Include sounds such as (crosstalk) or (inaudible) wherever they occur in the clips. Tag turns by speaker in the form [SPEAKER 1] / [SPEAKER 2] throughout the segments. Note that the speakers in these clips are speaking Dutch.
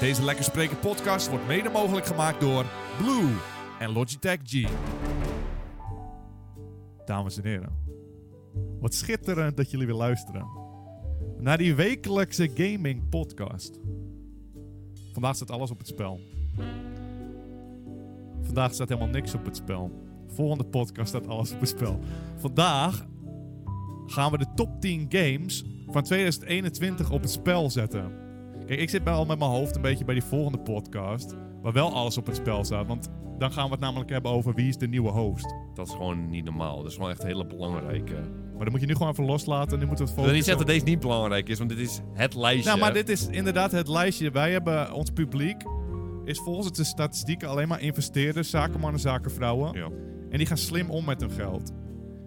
[SPEAKER 1] Deze Lekker Spreken podcast wordt mede mogelijk gemaakt door Blue en Logitech G. Dames en heren, wat schitterend dat jullie weer luisteren naar die wekelijkse gaming podcast. Vandaag staat alles op het spel. Vandaag staat helemaal niks op het spel. Volgende podcast staat alles op het spel. Vandaag gaan we de top 10 games van 2021 op het spel zetten. Kijk, ik zit bij- al met mijn hoofd een beetje bij die volgende podcast. Waar wel alles op het spel staat. Want dan gaan we het namelijk hebben over wie is de nieuwe host.
[SPEAKER 2] Dat is gewoon niet normaal. Dat is gewoon echt hele belangrijke.
[SPEAKER 1] Maar dan moet je nu gewoon even loslaten. En nu moeten we het
[SPEAKER 2] Ik wil
[SPEAKER 1] volgende.
[SPEAKER 2] niet zeggen dat deze niet belangrijk is, want dit is het lijstje.
[SPEAKER 1] Nou, maar dit is inderdaad het lijstje. Wij hebben ons publiek. Is volgens de statistieken alleen maar investeerders, zakenmannen, zakenvrouwen.
[SPEAKER 2] Ja.
[SPEAKER 1] En die gaan slim om met hun geld.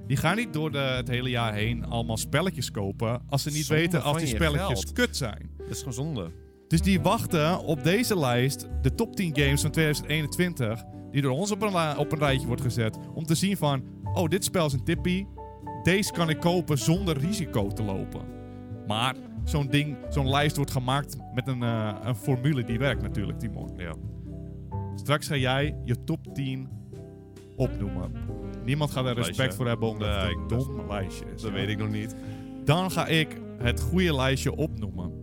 [SPEAKER 1] Die gaan niet door de, het hele jaar heen allemaal spelletjes kopen. als ze niet
[SPEAKER 2] Zonde
[SPEAKER 1] weten als
[SPEAKER 2] van
[SPEAKER 1] die
[SPEAKER 2] je
[SPEAKER 1] spelletjes
[SPEAKER 2] geld.
[SPEAKER 1] kut zijn.
[SPEAKER 2] Dat is gewoon zonde.
[SPEAKER 1] Dus die wachten op deze lijst, de top 10 games van 2021, die door ons op een, la- op een rijtje wordt gezet, om te zien van, oh, dit spel is een tippie, deze kan ik kopen zonder risico te lopen. Maar zo'n ding, zo'n lijst wordt gemaakt met een, eh, een formule die werkt natuurlijk, Timon.
[SPEAKER 2] Ja.
[SPEAKER 1] Straks ga jij je top 10 opnoemen. Niemand gaat er
[SPEAKER 2] Lijstje,
[SPEAKER 1] respect
[SPEAKER 2] hè?
[SPEAKER 1] voor hebben omdat het
[SPEAKER 2] Nee,
[SPEAKER 1] een
[SPEAKER 2] ik- dat-
[SPEAKER 1] dom lijstje is.
[SPEAKER 2] Dat
[SPEAKER 1] Ja.
[SPEAKER 2] weet ik nog niet.
[SPEAKER 1] Dan ga ik het goede lijstje opnoemen.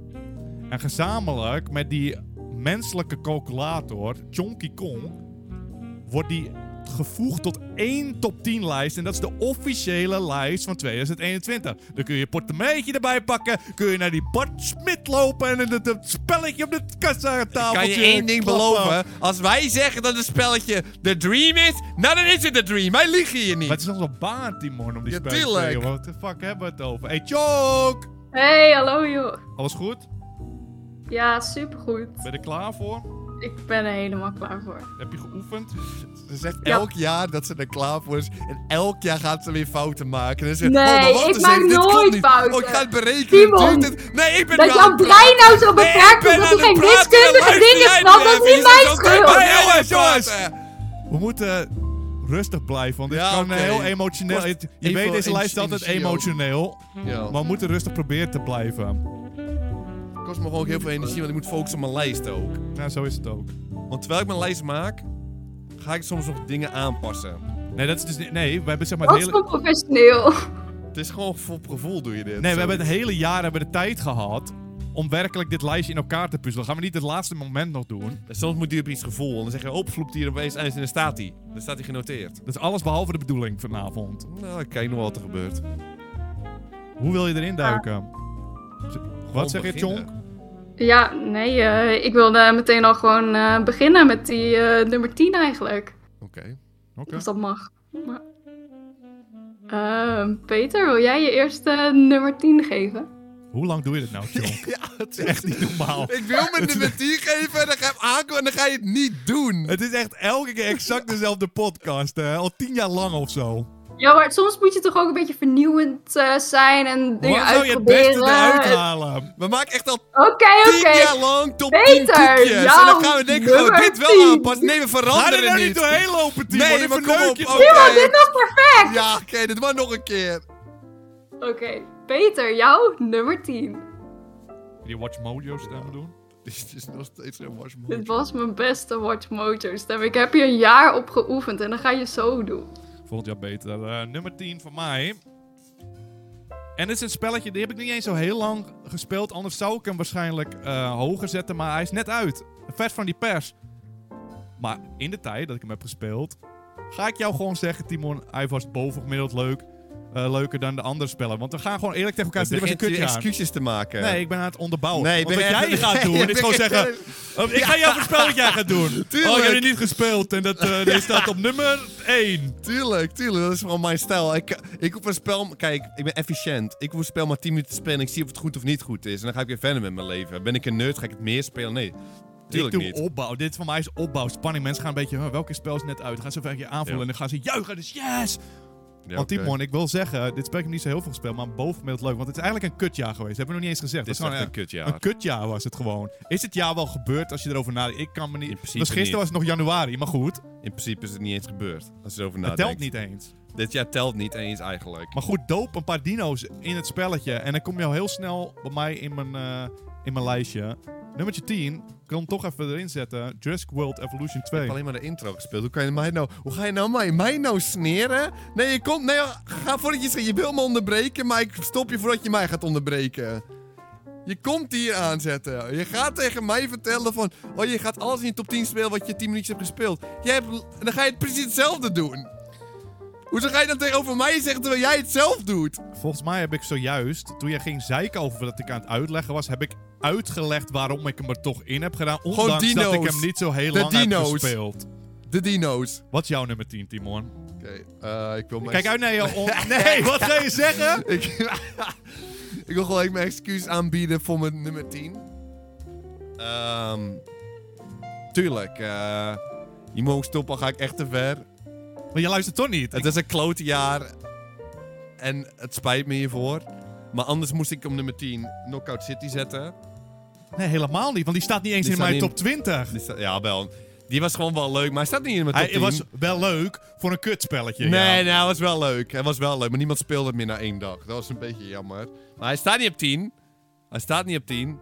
[SPEAKER 1] En gezamenlijk met die menselijke calculator, Chonky Kong, wordt die gevoegd tot één top 10 lijst. En dat is de officiële lijst van 2021. Dan kun je je portemonneetje erbij pakken. Kun je naar die Bart Smit lopen en het, het spelletje op de kassatafeltje
[SPEAKER 2] Kan je één ding
[SPEAKER 1] klappen.
[SPEAKER 2] beloven? Als wij zeggen dat het spelletje de dream is, nou dan is het de dream. Wij liegen hier
[SPEAKER 1] Maar
[SPEAKER 2] niet.
[SPEAKER 1] het is onze baan, Timon, om die
[SPEAKER 2] Ja,
[SPEAKER 1] spelletjes te
[SPEAKER 2] tuurlijk.
[SPEAKER 1] spelen. Wat de fuck hebben we het over? Hey, Chonk!
[SPEAKER 3] Hey, hallo joh.
[SPEAKER 1] Alles goed?
[SPEAKER 3] Ja, supergoed.
[SPEAKER 1] Ben je er klaar voor?
[SPEAKER 3] Ik ben er helemaal klaar voor.
[SPEAKER 1] Heb je geoefend?
[SPEAKER 2] Ze zegt
[SPEAKER 3] Ja.
[SPEAKER 2] jaar dat ze er klaar voor is. En elk jaar gaat ze weer fouten maken. En ze
[SPEAKER 3] Nee,
[SPEAKER 2] oh, maar wacht
[SPEAKER 3] ik
[SPEAKER 2] eens
[SPEAKER 3] maak
[SPEAKER 2] even, dit klopt
[SPEAKER 3] nooit
[SPEAKER 2] niet.
[SPEAKER 3] fouten.
[SPEAKER 2] Oh, ik ga het berekenen.
[SPEAKER 3] Timon,
[SPEAKER 2] Duurt het- Nee, ik ben
[SPEAKER 3] Dat
[SPEAKER 2] wel aan
[SPEAKER 3] jouw
[SPEAKER 2] het praten.
[SPEAKER 3] brein nou zo
[SPEAKER 2] Nee,
[SPEAKER 3] beperkt
[SPEAKER 2] ik ben
[SPEAKER 3] is dat
[SPEAKER 2] aan
[SPEAKER 3] hij geen
[SPEAKER 2] het praten,
[SPEAKER 3] wiskundige
[SPEAKER 2] luister
[SPEAKER 3] dingen
[SPEAKER 2] jij
[SPEAKER 3] snapt,
[SPEAKER 2] maar
[SPEAKER 3] dat
[SPEAKER 2] even.
[SPEAKER 3] is niet
[SPEAKER 2] Je zit
[SPEAKER 3] mijn
[SPEAKER 2] zo tegen mij. Jongens,
[SPEAKER 3] schuld.
[SPEAKER 2] jongens.
[SPEAKER 1] We moeten rustig blijven, want dit
[SPEAKER 2] Ja,
[SPEAKER 1] kan
[SPEAKER 2] oké.
[SPEAKER 1] heel emotioneel.
[SPEAKER 2] Kost
[SPEAKER 1] Het- je
[SPEAKER 2] even
[SPEAKER 1] weet, deze
[SPEAKER 2] en-
[SPEAKER 1] lijst is altijd
[SPEAKER 2] energie ook.
[SPEAKER 1] emotioneel.
[SPEAKER 2] Ja.
[SPEAKER 1] Maar we moeten rustig proberen te blijven.
[SPEAKER 2] kost me gewoon ook heel veel energie, want ik moet focussen op mijn lijst ook.
[SPEAKER 1] Nou, zo is het ook.
[SPEAKER 2] Want terwijl ik mijn lijst maak, ga ik soms nog dingen aanpassen.
[SPEAKER 1] Nee, dat is dus niet- nee we hebben zeg maar het
[SPEAKER 3] Dat is
[SPEAKER 1] hele,
[SPEAKER 3] gewoon professioneel.
[SPEAKER 2] Het is gewoon voor gevoel doe je dit.
[SPEAKER 1] nee, we hebben het hele jaar hebben we de tijd gehad om werkelijk dit lijstje in elkaar te puzzelen. Gaan we niet het laatste moment nog doen.
[SPEAKER 2] En Soms moet je op iets gevoel. En dan zeg je, oh, vloept hier opeens en dan staat hij. Dan staat hij genoteerd.
[SPEAKER 1] Dat is alles behalve de bedoeling vanavond.
[SPEAKER 2] Nou, ik kijk nog wel wat er gebeurt.
[SPEAKER 1] Hoe wil je erin duiken? Wat zeg je, John?
[SPEAKER 3] Ja, nee, eh, ik wilde meteen al gewoon eh, beginnen met die eh, nummer 10 eigenlijk.
[SPEAKER 2] Oké.
[SPEAKER 1] Oké.
[SPEAKER 3] Als dat mag. Maar... Ehm, Peter, wil jij je eerste eh, nummer 10 geven?
[SPEAKER 1] Hoe lang doe je dit nou,
[SPEAKER 2] (laughs)
[SPEAKER 1] John?
[SPEAKER 2] Ja, het
[SPEAKER 1] Echt niet normaal.
[SPEAKER 2] Ik wil me de metier geven en dan ga je hem aankomen en dan ga je het niet doen.
[SPEAKER 1] Het is echt elke keer exact dezelfde podcast. hè. Al tien jaar lang of zo.
[SPEAKER 3] Ja, maar soms moet je toch ook een beetje vernieuwend eh, zijn en dingen
[SPEAKER 1] Hoe zou je het
[SPEAKER 3] uitproberen.
[SPEAKER 1] beste eruit halen?
[SPEAKER 2] We maken echt al
[SPEAKER 3] Oké, oké.
[SPEAKER 2] 10 jaar lang top 10
[SPEAKER 3] Peter,
[SPEAKER 2] koekjes. En
[SPEAKER 3] jouw
[SPEAKER 2] dan gaan we denken, gaan we
[SPEAKER 3] nummer
[SPEAKER 2] dit wel
[SPEAKER 3] 10.
[SPEAKER 2] aanpassen? Nee, we
[SPEAKER 1] Ga er
[SPEAKER 2] veranderen
[SPEAKER 1] nou
[SPEAKER 2] niet.
[SPEAKER 1] niet doorheen lopen, Timon.
[SPEAKER 2] Nee,
[SPEAKER 1] Ik
[SPEAKER 2] maar kom
[SPEAKER 1] verneuk
[SPEAKER 2] op.
[SPEAKER 1] je Oh.
[SPEAKER 2] Oké.
[SPEAKER 3] Timon, dit was perfect!
[SPEAKER 2] Ja, oké, dit was nog een keer.
[SPEAKER 3] Oké, Peter, jouw nummer 10.
[SPEAKER 1] toch. Die Watch Mojo stemmen doen.
[SPEAKER 2] (laughs) Dit is nog steeds een was
[SPEAKER 3] Dit was mijn beste Watch Mojo stem. Ik heb hier een jaar op geoefend en dan ga je zo doen.
[SPEAKER 1] Volgend jaar beter. Eh, nummer 10 van mij. En dit is een spelletje, die heb ik niet eens zo heel lang gespeeld. Anders zou ik hem waarschijnlijk eh, hoger zetten. Maar hij is net uit. Vers van die pers. Maar in de tijd dat ik hem heb gespeeld... Ga ik jou gewoon zeggen, Timon, hij was bovengemiddeld leuk. eh, leuker dan de andere spellen. Want we gaan gewoon eerlijk tegen elkaar
[SPEAKER 2] Je
[SPEAKER 1] zeggen, dit
[SPEAKER 2] begint
[SPEAKER 1] was een
[SPEAKER 2] je
[SPEAKER 1] kutjaar.
[SPEAKER 2] excuses te maken.
[SPEAKER 1] Nee, ik ben aan het onderbouwen.
[SPEAKER 2] (laughs) Nee, ik
[SPEAKER 1] Want
[SPEAKER 2] ben
[SPEAKER 1] wat
[SPEAKER 2] echt-
[SPEAKER 1] jij gaat doen,
[SPEAKER 2] Nee,
[SPEAKER 1] is
[SPEAKER 2] ik
[SPEAKER 1] gewoon
[SPEAKER 2] ben
[SPEAKER 1] zeggen...
[SPEAKER 2] echt-
[SPEAKER 1] "Oh, Ik ga jou voorspellen
[SPEAKER 2] (laughs)
[SPEAKER 1] wat jij gaat doen.
[SPEAKER 2] Tuurlijk.
[SPEAKER 1] Oh, jullie niet gespeeld. En dat eh, die staat op nummer 1.
[SPEAKER 2] Tuurlijk, tuurlijk. Dat is gewoon mijn stijl. Ik, ik hoef een spel... Kijk, ik ben efficiënt. Ik hoef een spel maar 10 minuten te spelen en ik zie of het goed of niet goed is. En dan ga ik weer verder met mijn leven. Ben ik een nerd? Ga ik het meer spelen? Nee. Tuurlijk
[SPEAKER 1] ik doe
[SPEAKER 2] niet.
[SPEAKER 1] opbouw. Dit voor mij is opbouw. Spanning. Mensen gaan een beetje, huh, welke spel is net uit? Dan gaan ze even een keer aanvoelen
[SPEAKER 2] Ja.
[SPEAKER 1] en dan gaan ze juichen. Dus yes!
[SPEAKER 2] Ja,
[SPEAKER 1] want
[SPEAKER 2] oké.
[SPEAKER 1] Timon, ik wil zeggen, dit spel heb ik niet zo heel veel gespeeld, maar bovengemiddeld leuk. Want het is eigenlijk een kutjaar geweest. Dat hebben we nog niet eens gezegd.
[SPEAKER 2] Dit is
[SPEAKER 1] dat
[SPEAKER 2] echt
[SPEAKER 1] gewoon
[SPEAKER 2] een kutjaar.
[SPEAKER 1] Een kutjaar was het gewoon. Is het jaar wel gebeurd als je erover nadenkt? Ik kan me niet...
[SPEAKER 2] In
[SPEAKER 1] Dus
[SPEAKER 2] principe
[SPEAKER 1] gisteren
[SPEAKER 2] niet.
[SPEAKER 1] was het nog januari, maar goed.
[SPEAKER 2] In principe is het niet eens gebeurd. Als je erover
[SPEAKER 1] Dat
[SPEAKER 2] nadenkt.
[SPEAKER 1] telt niet eens.
[SPEAKER 2] Dit jaar telt niet eens eigenlijk.
[SPEAKER 1] Maar goed, doop een paar dino's in het spelletje. En dan kom je al heel snel bij mij in mijn, eh, in mijn lijstje. Nummertje 10, kan toch even erin zetten. Jurassic World Evolution
[SPEAKER 2] Ik
[SPEAKER 1] 2.
[SPEAKER 2] heb alleen maar de intro gespeeld. Hoe, kan je mij nou, hoe ga je nou mij, mij nou sneren? Nee, je komt... Nee, ga voordat je... Je wil me onderbreken, maar ik stop je voordat je mij gaat onderbreken. Je komt hier aanzetten. Je gaat tegen mij vertellen van... Oh, je gaat alles in je top 10 spelen wat je 10 minuutjes hebt gespeeld. Jij hebt, en dan ga je het precies hetzelfde doen. Hoezo ga je dan tegenover mij zeggen terwijl jij het zelf doet?
[SPEAKER 1] Volgens mij heb ik zojuist, toen jij ging zeiken over dat ik aan het uitleggen was, heb ik uitgelegd waarom ik hem er toch in heb gedaan. Ondanks dat ik
[SPEAKER 2] dino's.
[SPEAKER 1] hem niet zo heel
[SPEAKER 2] De
[SPEAKER 1] lang
[SPEAKER 2] dino's.
[SPEAKER 1] heb gespeeld.
[SPEAKER 2] De dino's.
[SPEAKER 1] Wat is jouw nummer 10, Timon?
[SPEAKER 2] Oké, eh, ik wil mijn...
[SPEAKER 1] Kijk uit naar je...
[SPEAKER 2] (laughs)
[SPEAKER 1] on- Nee, wat ga je zeggen?
[SPEAKER 2] Ik, ik wil gewoon even mijn excuus aanbieden voor mijn nummer 10. Ehm, tuurlijk. eh, je mag stoppen, al ga ik echt te ver.
[SPEAKER 1] Maar je luistert toch niet?
[SPEAKER 2] Het is een klote jaar. En het spijt me hiervoor. Maar anders moest ik om nummer 10 Knockout City zetten.
[SPEAKER 1] Nee, helemaal niet, want die staat niet eens
[SPEAKER 2] Die
[SPEAKER 1] in
[SPEAKER 2] staat
[SPEAKER 1] mijn
[SPEAKER 2] niet
[SPEAKER 1] top
[SPEAKER 2] in-
[SPEAKER 1] 20.
[SPEAKER 2] Die sta- Dus, ja, wel. Die was gewoon wel leuk, maar hij staat niet in mijn top
[SPEAKER 1] Hij
[SPEAKER 2] 10.
[SPEAKER 1] was wel leuk voor een kutspelletje. ja.
[SPEAKER 2] Nee, nee, hij was wel leuk. Hij was wel leuk, maar niemand speelde het meer na één dag. Dat was een beetje jammer. Maar hij staat niet op 10. Hij staat niet op 10.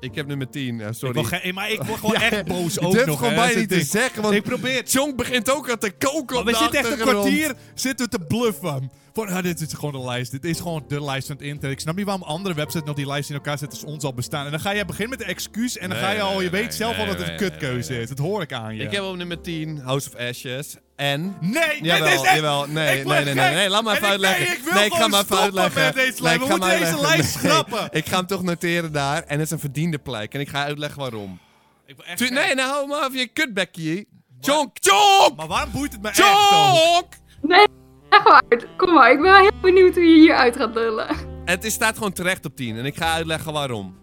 [SPEAKER 2] Ik heb nummer 10, eh,
[SPEAKER 1] Ik
[SPEAKER 2] sorry.
[SPEAKER 1] wil geen- maar ik word gewoon
[SPEAKER 2] (laughs)
[SPEAKER 1] echt boos
[SPEAKER 2] je
[SPEAKER 1] ook
[SPEAKER 2] durft
[SPEAKER 1] nog.
[SPEAKER 2] gewoon
[SPEAKER 1] hè,
[SPEAKER 2] bijna
[SPEAKER 1] zit
[SPEAKER 2] niet te
[SPEAKER 1] ik-
[SPEAKER 2] zeggen, want-
[SPEAKER 1] Ik probeer...
[SPEAKER 2] Chong begint ook al te koken
[SPEAKER 1] Maar
[SPEAKER 2] op
[SPEAKER 1] we
[SPEAKER 2] de
[SPEAKER 1] zitten echt een
[SPEAKER 2] achtergrond.
[SPEAKER 1] kwartier zitten te bluffen. Van, ah, dit is gewoon een lijst. Dit is gewoon de lijst van het internet. Ik snap niet waarom andere websites nog die lijst in elkaar zetten als ons al bestaan. En dan ga je beginnen met een excuus en dan
[SPEAKER 2] Nee,
[SPEAKER 1] ga je al...
[SPEAKER 2] nee,
[SPEAKER 1] je
[SPEAKER 2] nee,
[SPEAKER 1] weet zelf
[SPEAKER 2] nee,
[SPEAKER 1] al dat het
[SPEAKER 2] nee,
[SPEAKER 1] een
[SPEAKER 2] nee,
[SPEAKER 1] kutkeuze
[SPEAKER 2] nee, nee.
[SPEAKER 1] is. Dat hoor ik aan je.
[SPEAKER 2] Ik heb op nummer 10 House of Ashes. En...
[SPEAKER 1] Nee,
[SPEAKER 2] Jawel,
[SPEAKER 1] dit is echt...
[SPEAKER 2] jawel. Nee,
[SPEAKER 1] ik word
[SPEAKER 2] nee, nee, nee,
[SPEAKER 1] gek.
[SPEAKER 2] nee. Laat maar
[SPEAKER 1] En
[SPEAKER 2] even
[SPEAKER 1] ik- nee,
[SPEAKER 2] uitleggen.
[SPEAKER 1] ik wil
[SPEAKER 2] ik ga
[SPEAKER 1] gewoon
[SPEAKER 2] maar even
[SPEAKER 1] stoppen
[SPEAKER 2] uitleggen.
[SPEAKER 1] met deze
[SPEAKER 2] Nee,
[SPEAKER 1] lijst.
[SPEAKER 2] ik
[SPEAKER 1] We
[SPEAKER 2] ga
[SPEAKER 1] moeten
[SPEAKER 2] maar
[SPEAKER 1] deze
[SPEAKER 2] uitleggen.
[SPEAKER 1] lijst
[SPEAKER 2] Nee,
[SPEAKER 1] schrappen.
[SPEAKER 2] Ik ga hem toch noteren daar. En het is een verdiende plek. En ik ga uitleggen waarom.
[SPEAKER 1] Ik word echt
[SPEAKER 2] Tu-
[SPEAKER 1] gek.
[SPEAKER 2] nee, nou hou maar af je kutbekkie. Chonk, chonk!
[SPEAKER 1] Maar waarom boeit het me echt dan?
[SPEAKER 2] Chonk!
[SPEAKER 3] Nee, leg wel uit. Kom maar, ik ben wel heel benieuwd hoe je hier uit gaat lullen.
[SPEAKER 2] Het is, staat gewoon terecht op 10 en ik ga uitleggen waarom.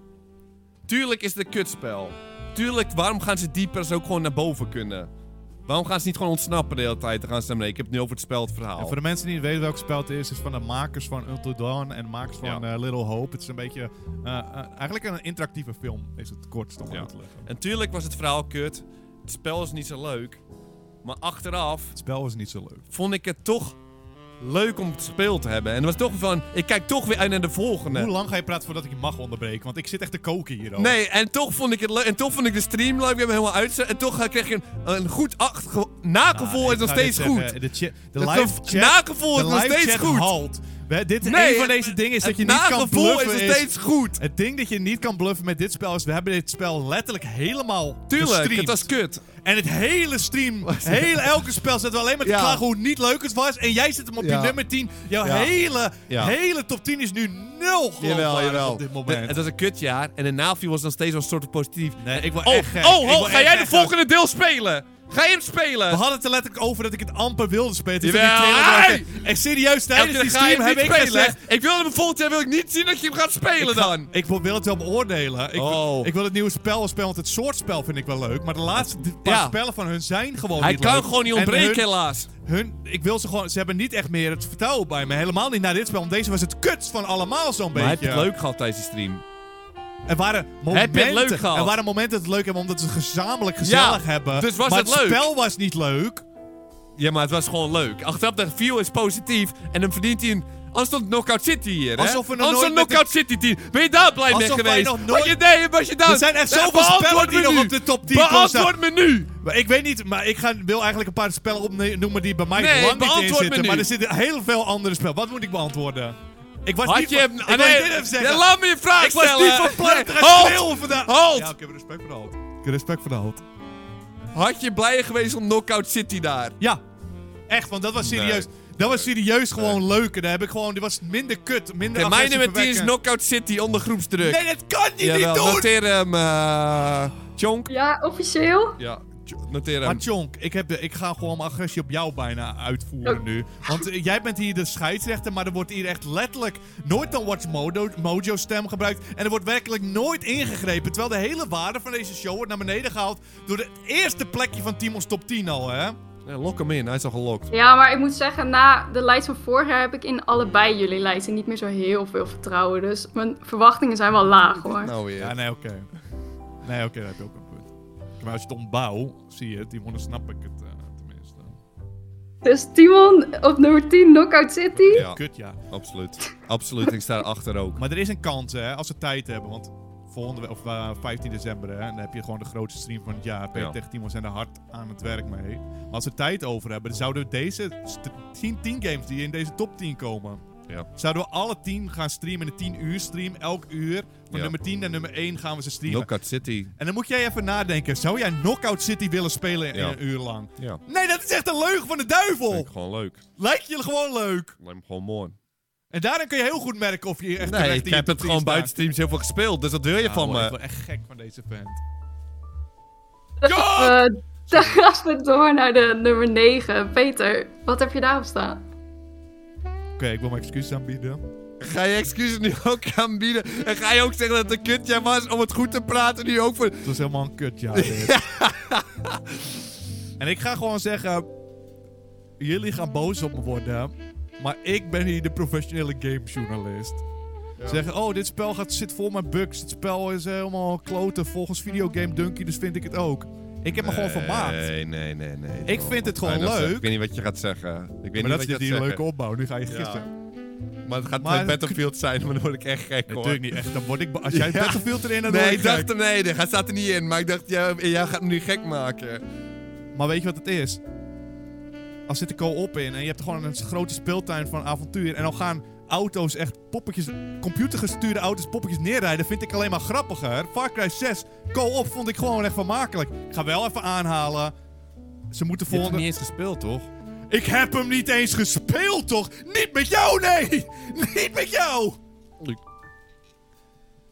[SPEAKER 2] Tuurlijk is het een kutspel. Tuurlijk, waarom gaan ze diepers ook gewoon naar boven kunnen? Waarom gaan ze niet gewoon ontsnappen de hele tijd? Dan gaan ze naar beneden. Ik heb het nu over het spel, het
[SPEAKER 1] En
[SPEAKER 2] verhaal.
[SPEAKER 1] voor de mensen die niet weten welk spel het is, is van de makers van Until Dawn en de makers van
[SPEAKER 2] Ja.
[SPEAKER 1] eh, Little Hope. Het is een beetje, eh, eh, eigenlijk een interactieve film, is het kort om
[SPEAKER 2] Ja.
[SPEAKER 1] uit te leggen.
[SPEAKER 2] En tuurlijk was het verhaal kut. Het spel is niet zo leuk. Maar achteraf
[SPEAKER 1] Het spel was niet zo leuk.
[SPEAKER 2] vond ik het toch leuk om gespeeld te hebben. En het was toch van, ik kijk toch weer uit naar de volgende.
[SPEAKER 1] Hoe lang ga je praten voordat ik je mag onderbreken? Want ik zit echt te koken hier al.
[SPEAKER 2] Nee, en toch vond ik het leuk. En toch vond ik de stream leuk. We hebben helemaal uitzet. En toch eh, kreeg je een, een goed acht- nagevoel
[SPEAKER 1] Ah, ik
[SPEAKER 2] is nog
[SPEAKER 1] ga
[SPEAKER 2] steeds
[SPEAKER 1] dit
[SPEAKER 2] goed.
[SPEAKER 1] zeggen, De, chi- de
[SPEAKER 2] Het
[SPEAKER 1] live
[SPEAKER 2] gev-
[SPEAKER 1] chat,
[SPEAKER 2] nagevoel is
[SPEAKER 1] de
[SPEAKER 2] nog
[SPEAKER 1] live
[SPEAKER 2] steeds
[SPEAKER 1] chat
[SPEAKER 2] goed.
[SPEAKER 1] halt. We- dit,
[SPEAKER 2] Nee,
[SPEAKER 1] een van
[SPEAKER 2] het-
[SPEAKER 1] deze dingen is dat
[SPEAKER 2] het
[SPEAKER 1] je niet kan
[SPEAKER 2] nagevoel
[SPEAKER 1] bluffen.
[SPEAKER 2] is
[SPEAKER 1] is-
[SPEAKER 2] nog steeds goed.
[SPEAKER 1] Het ding dat je niet kan bluffen met dit spel is, we hebben dit spel letterlijk helemaal
[SPEAKER 2] Tuurlijk,
[SPEAKER 1] gestreamd.
[SPEAKER 2] het was kut.
[SPEAKER 1] En het hele stream, heel elke spel zetten we alleen maar te
[SPEAKER 2] Ja.
[SPEAKER 1] klagen hoe niet leuk het was. En jij zit hem op je
[SPEAKER 2] Ja.
[SPEAKER 1] nummer 10. Jouw
[SPEAKER 2] Ja.
[SPEAKER 1] hele,
[SPEAKER 2] Ja.
[SPEAKER 1] hele top 10 is nu nul
[SPEAKER 2] Oh,
[SPEAKER 1] geloofwaardig op dit
[SPEAKER 2] Het,
[SPEAKER 1] moment.
[SPEAKER 2] het was een kutjaar en de naviel was nog steeds wel een soort van positief.
[SPEAKER 1] Nee, ik word
[SPEAKER 2] oh,
[SPEAKER 1] echt gek.
[SPEAKER 2] oh,
[SPEAKER 1] Ik
[SPEAKER 2] oh,
[SPEAKER 1] word
[SPEAKER 2] ga
[SPEAKER 1] echt
[SPEAKER 2] jij de
[SPEAKER 1] gek.
[SPEAKER 2] volgende deel spelen? Ga je hem
[SPEAKER 1] We
[SPEAKER 2] spelen?
[SPEAKER 1] hadden het er letterlijk over dat ik het amper wilde spelen. Dus
[SPEAKER 2] Jawel, hey!
[SPEAKER 1] En serieus,
[SPEAKER 2] Elke
[SPEAKER 1] tijdens
[SPEAKER 2] keer
[SPEAKER 1] die
[SPEAKER 2] ga je
[SPEAKER 1] stream
[SPEAKER 2] hem
[SPEAKER 1] heb
[SPEAKER 2] niet
[SPEAKER 1] ik
[SPEAKER 2] spelen.
[SPEAKER 1] gezegd...
[SPEAKER 2] Ik wil hem volgend jaar wil ik Oh, niet zien dat je hem gaat spelen
[SPEAKER 1] ik ga-
[SPEAKER 2] dan.
[SPEAKER 1] Ik wil wil het wel beoordelen. Ik,
[SPEAKER 2] Oh.
[SPEAKER 1] ik wil het nieuwe spel wel spelen, want het soort spel vind ik wel leuk. Maar de laatste paar
[SPEAKER 2] Ja.
[SPEAKER 1] spellen van hun zijn gewoon
[SPEAKER 2] Hij
[SPEAKER 1] niet
[SPEAKER 2] kan
[SPEAKER 1] leuk.
[SPEAKER 2] gewoon niet
[SPEAKER 1] En
[SPEAKER 2] ontbreken
[SPEAKER 1] hun-
[SPEAKER 2] helaas.
[SPEAKER 1] Hun, ik wil ze gewoon, ze hebben niet echt meer het vertrouwen bij me. Helemaal niet naar dit spel, want deze was het kutst van allemaal zo'n
[SPEAKER 2] Maar
[SPEAKER 1] beetje.
[SPEAKER 2] heb je het leuk gehad tijdens die stream?
[SPEAKER 1] Er waren momenten,
[SPEAKER 2] Heb je het leuk gehad?
[SPEAKER 1] Er waren momenten dat het leuk hebben, omdat ze het gezamenlijk gezellig
[SPEAKER 2] Ja,
[SPEAKER 1] hebben.
[SPEAKER 2] dus was
[SPEAKER 1] maar
[SPEAKER 2] het
[SPEAKER 1] het,
[SPEAKER 2] leuk?
[SPEAKER 1] spel was niet leuk.
[SPEAKER 2] Ja, maar het was gewoon leuk. Achteraf de view is positief en dan verdient hij een... Anders stond Knockout City hier, hè?
[SPEAKER 1] Alsof we nog
[SPEAKER 2] Anders
[SPEAKER 1] nooit
[SPEAKER 2] stond
[SPEAKER 1] met
[SPEAKER 2] Knockout City team. Ben je daar blij mee
[SPEAKER 1] Alsof wij
[SPEAKER 2] geweest?
[SPEAKER 1] nog nooit-
[SPEAKER 2] Had je nee, was je daar...
[SPEAKER 1] Er zijn echt zoveel
[SPEAKER 2] Beantwoord
[SPEAKER 1] spellen die
[SPEAKER 2] me
[SPEAKER 1] nog
[SPEAKER 2] nu.
[SPEAKER 1] op de top 10 komen staan.
[SPEAKER 2] Beantwoord me nu!
[SPEAKER 1] Maar ik weet niet, maar ik ga, wil eigenlijk een paar spellen opnoemen die bij mij
[SPEAKER 2] Nee,
[SPEAKER 1] lang niet in
[SPEAKER 2] beantwoord me
[SPEAKER 1] zitten.
[SPEAKER 2] nu.
[SPEAKER 1] Maar er zitten heel veel andere spellen. Wat moet ik beantwoorden? Ik was
[SPEAKER 2] Had
[SPEAKER 1] niet
[SPEAKER 2] je
[SPEAKER 1] van-
[SPEAKER 2] hem...
[SPEAKER 1] ik
[SPEAKER 2] ah,
[SPEAKER 1] wou
[SPEAKER 2] nee,
[SPEAKER 1] dit even zeggen.
[SPEAKER 2] ja, laat me je vraag
[SPEAKER 1] ik was
[SPEAKER 2] stellen.
[SPEAKER 1] niet van plan te
[SPEAKER 2] Nee,
[SPEAKER 1] gaan
[SPEAKER 2] halt.
[SPEAKER 1] schreeuwen vandaag.
[SPEAKER 2] Halt.
[SPEAKER 1] Ja, ik heb respect voor de halt. Ik heb respect voor de halt.
[SPEAKER 2] Had je blij geweest om Knockout City daar?
[SPEAKER 1] Ja. Echt, want dat was serieus. Dat was serieus gewoon leuk. En daar heb ik gewoon... Dit was minder kut, minder
[SPEAKER 2] Oké, mijn nummer 10 is
[SPEAKER 1] nog.
[SPEAKER 2] Knockout City onder groepsdruk.
[SPEAKER 1] Nee, dat kan je
[SPEAKER 2] Jawel,
[SPEAKER 1] niet doen!
[SPEAKER 2] noteer hem, eh, Chonk.
[SPEAKER 3] Ja, officieel?
[SPEAKER 2] Ja, Ch- noteer
[SPEAKER 1] Maar
[SPEAKER 2] hem.
[SPEAKER 1] Chonk, ik, heb de, ik ga gewoon mijn agressie op jou bijna uitvoeren nu. Want eh, jij bent hier de scheidsrechter, maar er wordt hier echt letterlijk nooit een Watch Mojo, Mojo stem gebruikt. En er wordt werkelijk nooit ingegrepen. Terwijl de hele waarde van deze show wordt naar beneden gehaald door het eerste plekje van Timo's top 10 al, hè?
[SPEAKER 2] Ja, lok hem in, hij is al gelokt.
[SPEAKER 3] Ja, maar ik moet zeggen, na de lijst van vorig jaar heb ik in allebei jullie lijsten niet meer zo heel veel vertrouwen. Dus mijn verwachtingen zijn wel laag hoor.
[SPEAKER 2] Nou weer.
[SPEAKER 1] Ja, nee, oké. Nee, oké, daar heb je ook een punt. Maar als je het ontbouwt, zie je het, Timo, dan snap ik het eh, tenminste.
[SPEAKER 3] Dus Timon op nummer 10, Knockout City.
[SPEAKER 2] Ja.
[SPEAKER 1] Kut, ja.
[SPEAKER 2] Absoluut. Absoluut, ik sta erachter ook.
[SPEAKER 1] Maar er is een kans, hè, als we tijd hebben. Want volgende we- of eh, 15 december, hè, en dan heb je gewoon de grootste stream van het jaar. Peter
[SPEAKER 2] Ja.
[SPEAKER 1] tegen Timo zijn er hard aan het werk mee. Maar als we tijd over hebben, dan zouden we deze st- 10, 10 games die in deze top 10 komen,
[SPEAKER 2] Ja.
[SPEAKER 1] zouden we alle 10 gaan streamen in een 10 uur stream. Elk uur van
[SPEAKER 2] Ja.
[SPEAKER 1] nummer 10 naar nummer 1 gaan we ze streamen.
[SPEAKER 2] Knockout City.
[SPEAKER 1] en dan moet jij even nadenken, zou jij Knockout City willen spelen in
[SPEAKER 2] Ja.
[SPEAKER 1] een uur lang?
[SPEAKER 2] Ja.
[SPEAKER 1] Nee, dat is echt een leugen van de duivel!
[SPEAKER 2] Vind ik gewoon leuk.
[SPEAKER 1] Lijkt je gewoon leuk.
[SPEAKER 2] Lijkt me gewoon mooi.
[SPEAKER 1] En daarin kun je heel goed merken of je echt terecht
[SPEAKER 2] Nee,
[SPEAKER 1] in
[SPEAKER 2] ik
[SPEAKER 1] je
[SPEAKER 2] heb
[SPEAKER 1] top
[SPEAKER 2] het
[SPEAKER 1] 10
[SPEAKER 2] gewoon
[SPEAKER 1] staat.
[SPEAKER 2] buiten streams heel veel gespeeld, dus dat wil je
[SPEAKER 1] Ja,
[SPEAKER 2] van
[SPEAKER 1] hoor, Ik
[SPEAKER 2] me.
[SPEAKER 1] word echt gek van deze vent.
[SPEAKER 3] Eh, (laughs) dan gaan we door naar de nummer 9. Peter, wat heb je daarop staan?
[SPEAKER 1] Oké, ik wil mijn excuses aanbieden.
[SPEAKER 2] Ga je excuses nu ook aanbieden? En ga je ook zeggen dat het een kutjaar was om het goed te praten nu ook voor...
[SPEAKER 1] Het was helemaal een kutjaar.
[SPEAKER 2] (laughs)
[SPEAKER 1] dit. en ik ga gewoon zeggen... Jullie gaan boos op me worden. Maar ik ben hier de professionele gamejournalist. Zeggen, oh, dit spel gaat, zit vol met bugs. Het spel is helemaal kloten volgens Videogame Dunky, dus vind ik het ook. Ik heb me gewoon vermaakt.
[SPEAKER 2] Nee, nee, nee, nee.
[SPEAKER 1] Ik vind het gewoon
[SPEAKER 2] Nee, dat is-
[SPEAKER 1] leuk.
[SPEAKER 2] Ik weet niet wat je gaat zeggen. Ik weet
[SPEAKER 1] Maar dat is dit
[SPEAKER 2] niet wat je
[SPEAKER 1] hier een
[SPEAKER 2] gaat
[SPEAKER 1] leuke
[SPEAKER 2] zeggen.
[SPEAKER 1] opbouw. Nu ga je gisteren.
[SPEAKER 2] Maar het gaat
[SPEAKER 1] Maar-
[SPEAKER 2] geen Battlefield zijn, maar dan word ik echt gek hoor.
[SPEAKER 1] Natuurlijk niet echt. Dan word ik bo- Als jij
[SPEAKER 2] Ja.
[SPEAKER 1] Battlefield erin hebt,
[SPEAKER 2] Nee,
[SPEAKER 1] word
[SPEAKER 2] ik dacht er nee, dat staat er niet in. Maar ik dacht, jij, jij gaat me nu gek maken.
[SPEAKER 1] Maar weet je wat het is? Als zit de co-op in en je hebt gewoon een grote speeltuin van avontuur. En dan gaan auto's echt poppetjes, computergestuurde auto's poppetjes neerrijden. Vind ik alleen maar grappiger. Far Cry 6 co-op vond ik gewoon echt vermakelijk. Ik ga wel even aanhalen. Ze moeten volgende...
[SPEAKER 2] eens gespeeld, toch?
[SPEAKER 1] Ik heb hem niet eens gespeeld, toch? Niet met jou, nee! (laughs) Niet met jou!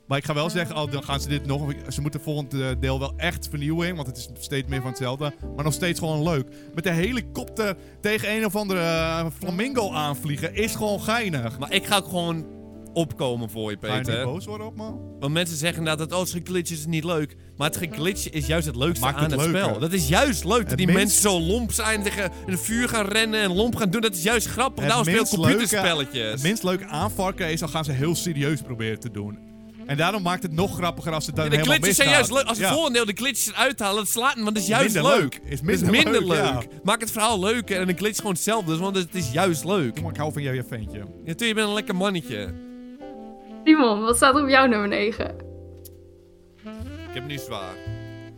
[SPEAKER 1] Maar ik ga wel zeggen, oh, dan gaan ze dit nog... Ze moeten volgend eh, deel wel echt vernieuwing, want het is steeds meer van hetzelfde. Maar nog steeds gewoon leuk. Met de helikopter tegen een of andere eh, flamingo aanvliegen is gewoon geinig.
[SPEAKER 2] Maar ik ga ook gewoon opkomen voor je,
[SPEAKER 1] Ga je niet
[SPEAKER 2] Peter.
[SPEAKER 1] boos worden op me?
[SPEAKER 2] Want mensen zeggen inderdaad dat oh, het glitch is niet leuk. Maar het geglitch is juist het leukste
[SPEAKER 1] Maakt
[SPEAKER 2] aan
[SPEAKER 1] het
[SPEAKER 2] het,
[SPEAKER 1] leuker.
[SPEAKER 2] spel. Dat is juist leuk. Dat
[SPEAKER 1] Het
[SPEAKER 2] die
[SPEAKER 1] minst-
[SPEAKER 2] mensen zo lomp zijn tegen een vuur gaan rennen en lomp gaan doen. Dat is juist grappig.
[SPEAKER 1] Het
[SPEAKER 2] Daarom nou, speel ik
[SPEAKER 1] minst leuke-
[SPEAKER 2] computerspelletjes.
[SPEAKER 1] Het minst leuke aan Far Cry is, dan gaan ze heel serieus proberen te doen. En daarom maakt het nog grappiger als het dan
[SPEAKER 2] de
[SPEAKER 1] helemaal
[SPEAKER 2] glitches zijn
[SPEAKER 1] misgaat.
[SPEAKER 2] juist leuk. dus Als het
[SPEAKER 1] Ja.
[SPEAKER 2] volgende deel de glitches eruit halen, dat slaat hem, want het is juist
[SPEAKER 1] Minder
[SPEAKER 2] leuk.
[SPEAKER 1] leuk. Is
[SPEAKER 2] Het
[SPEAKER 1] minder
[SPEAKER 2] minder
[SPEAKER 1] leuk, ja.
[SPEAKER 2] Maak het verhaal leuker en een glitch gewoon hetzelfde, dus, want het is juist leuk.
[SPEAKER 1] Kom, Ik hou van jou, je ventje.
[SPEAKER 2] Natuurlijk, je bent een lekker mannetje.
[SPEAKER 3] Simon, wat staat er op jouw nummer 9?
[SPEAKER 2] Ik heb nu zwaar.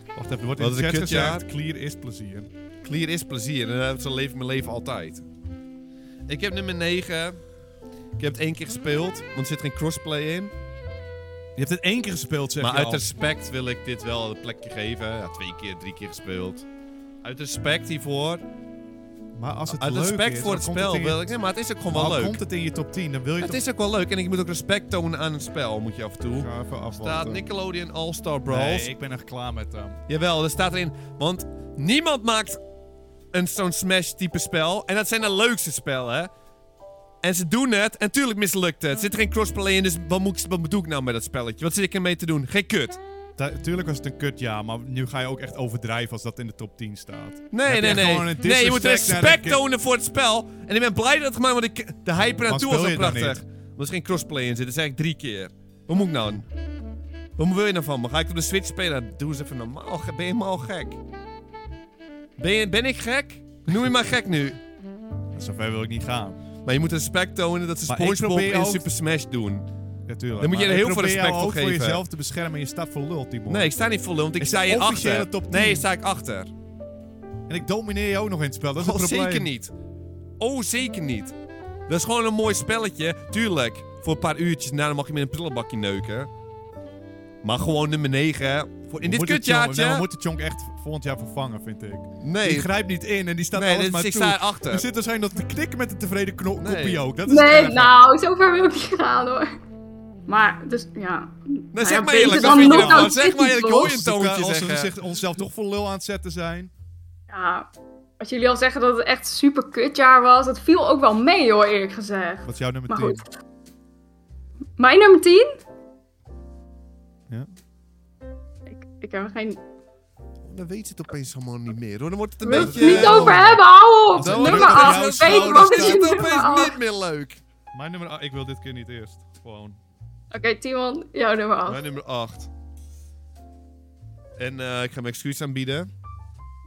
[SPEAKER 1] Wacht even, er wordt in
[SPEAKER 2] Wat
[SPEAKER 1] de
[SPEAKER 2] een
[SPEAKER 1] chat
[SPEAKER 2] kutjaar.
[SPEAKER 1] gezegd, clear is plezier.
[SPEAKER 2] Clear is plezier en dat leef ik mijn leven altijd. Ik heb nummer 9. Ik heb het één keer gespeeld, want er zit geen crossplay in.
[SPEAKER 1] Je hebt het één keer gespeeld, zeg
[SPEAKER 2] Maar
[SPEAKER 1] je al.
[SPEAKER 2] uit respect wil ik dit wel een plekje geven. Ja, twee keer, drie keer gespeeld. Uit respect hiervoor.
[SPEAKER 1] Maar als het
[SPEAKER 2] Uit
[SPEAKER 1] leuk
[SPEAKER 2] respect
[SPEAKER 1] is,
[SPEAKER 2] voor
[SPEAKER 1] dan
[SPEAKER 2] het
[SPEAKER 1] komt
[SPEAKER 2] spel
[SPEAKER 1] in je-
[SPEAKER 2] wil ik... Nee, maar het is ook gewoon
[SPEAKER 1] Maar
[SPEAKER 2] wel
[SPEAKER 1] al
[SPEAKER 2] leuk.
[SPEAKER 1] komt het in je top 10, dan wil je
[SPEAKER 2] Het
[SPEAKER 1] toch...
[SPEAKER 2] is ook wel leuk en ik moet ook respect tonen aan het spel, moet je af en toe.
[SPEAKER 1] Ik ga even
[SPEAKER 2] staat
[SPEAKER 1] afwachten.
[SPEAKER 2] Nickelodeon All-Star Bros.
[SPEAKER 1] eh, Nee, ik ben echt klaar met ehm, hem.
[SPEAKER 2] Jawel, er staat erin. Want niemand maakt een zo'n Smash-type spel. En dat zijn de leukste spellen, hè? En ze doen het, en tuurlijk mislukt het. Er zit geen crossplay in, dus wat, moet, ik- wat bedoel ik nou met dat spelletje? Wat zit ik ermee te doen? Geen kut.
[SPEAKER 1] Tu- tuurlijk was het een kut, ja, maar nu ga je ook echt overdrijven als dat in de top 10 staat. Dan
[SPEAKER 2] Nee,
[SPEAKER 1] heb
[SPEAKER 2] nee,
[SPEAKER 1] je
[SPEAKER 2] nee.
[SPEAKER 1] gewoon een
[SPEAKER 2] Nee, je moet
[SPEAKER 1] disrespect naar
[SPEAKER 2] respect
[SPEAKER 1] de kind-
[SPEAKER 2] tonen voor het spel. En ik ben blij dat het gemaakt want ik, de hype
[SPEAKER 1] Waarom
[SPEAKER 2] naartoe was
[SPEAKER 1] speel
[SPEAKER 2] zo
[SPEAKER 1] je het dan
[SPEAKER 2] prachtig. Omdat er geen crossplay in zit, dat zei ik drie keer. Hoe moet ik nou? Wat wil je nou van me? Ga ik op de Switch spelen? Doe eens even normaal. Ge- Ben je helemaal gek? Ben, je, ben ik gek? Noem je maar gek nu.
[SPEAKER 1] Zover wil ik niet gaan.
[SPEAKER 2] Maar je moet respect tonen dat ze
[SPEAKER 1] Maar ik
[SPEAKER 2] Spongebob
[SPEAKER 1] probeer
[SPEAKER 2] in
[SPEAKER 1] ook-
[SPEAKER 2] Super Smash doen.
[SPEAKER 1] Natuurlijk.
[SPEAKER 2] Dan moet je er heel veel respect voor
[SPEAKER 1] ook
[SPEAKER 2] geven.
[SPEAKER 1] voor jezelf te beschermen en je staat voor lul, Timon.
[SPEAKER 2] Nee, ik sta niet voor lul, want ik
[SPEAKER 1] Is
[SPEAKER 2] sta
[SPEAKER 1] de
[SPEAKER 2] hier
[SPEAKER 1] officiële
[SPEAKER 2] achter.
[SPEAKER 1] top 10?
[SPEAKER 2] Nee, sta ik achter.
[SPEAKER 1] En ik domineer je ook nog in het spel, dat is
[SPEAKER 2] Oh,
[SPEAKER 1] het probleem.
[SPEAKER 2] zeker niet. Oh, zeker niet. Dat is gewoon een mooi spelletje. Tuurlijk, voor een paar uurtjes daarna mag je met een prullenbakje neuken. Maar gewoon nummer 9. Voor in
[SPEAKER 1] We moeten
[SPEAKER 2] dit
[SPEAKER 1] Chonk- nee, we
[SPEAKER 2] kutjaartje.
[SPEAKER 1] moeten Chonk echt volgend jaar vervangen, vind ik. Die
[SPEAKER 2] Nee,
[SPEAKER 1] grijpt niet in en die staat
[SPEAKER 2] nee
[SPEAKER 1] alles maar
[SPEAKER 2] dit, ik
[SPEAKER 1] toe.
[SPEAKER 2] sta
[SPEAKER 1] Er
[SPEAKER 2] erachter.
[SPEAKER 1] zit waarschijnlijk nog te knikken met een tevreden kno-
[SPEAKER 2] Nee.
[SPEAKER 1] koppie ook. Dat is het
[SPEAKER 3] Nee,
[SPEAKER 1] erge.
[SPEAKER 3] nou, zover wil ik niet gaan hoor. Maar, dus ja.
[SPEAKER 2] Nou,
[SPEAKER 3] ja,
[SPEAKER 2] zeg maar
[SPEAKER 3] beter
[SPEAKER 2] eerlijk,
[SPEAKER 3] dan
[SPEAKER 2] wat vind je
[SPEAKER 3] Knockout
[SPEAKER 2] ervan? Zeg
[SPEAKER 3] City,
[SPEAKER 2] maar eerlijk, ik hoor je een
[SPEAKER 1] Als we-
[SPEAKER 2] toontje
[SPEAKER 1] Als we
[SPEAKER 2] zeggen.
[SPEAKER 1] zich- onszelf toch voor lul aan het zetten zijn.
[SPEAKER 3] Ja, als jullie al zeggen dat het echt super kutjaar was, dat viel ook wel mee hoor, eerlijk gezegd.
[SPEAKER 1] Wat is jouw nummer
[SPEAKER 3] Maar
[SPEAKER 1] 10?
[SPEAKER 3] goed. Mijn nummer 10?
[SPEAKER 1] Ja.
[SPEAKER 3] Ik, ik heb er geen...
[SPEAKER 2] Dan weet je het opeens helemaal niet meer hoor. Dan wordt het een
[SPEAKER 3] Wil je het
[SPEAKER 2] beetje...
[SPEAKER 3] niet over hebben, hou op!
[SPEAKER 1] Als het
[SPEAKER 3] Nummer
[SPEAKER 1] druk op jouw
[SPEAKER 3] 8, weet
[SPEAKER 1] schouders
[SPEAKER 3] je wat
[SPEAKER 2] is
[SPEAKER 3] is
[SPEAKER 2] het
[SPEAKER 3] je nummer
[SPEAKER 2] opeens
[SPEAKER 3] 8?
[SPEAKER 2] niet meer leuk.
[SPEAKER 1] Mijn nummer... ah, ik wil dit keer niet eerst. Gewoon.
[SPEAKER 3] Oké, Timon, jouw nummer 8.
[SPEAKER 2] Mijn nummer 8. En eh, ik ga mijn excuus aanbieden.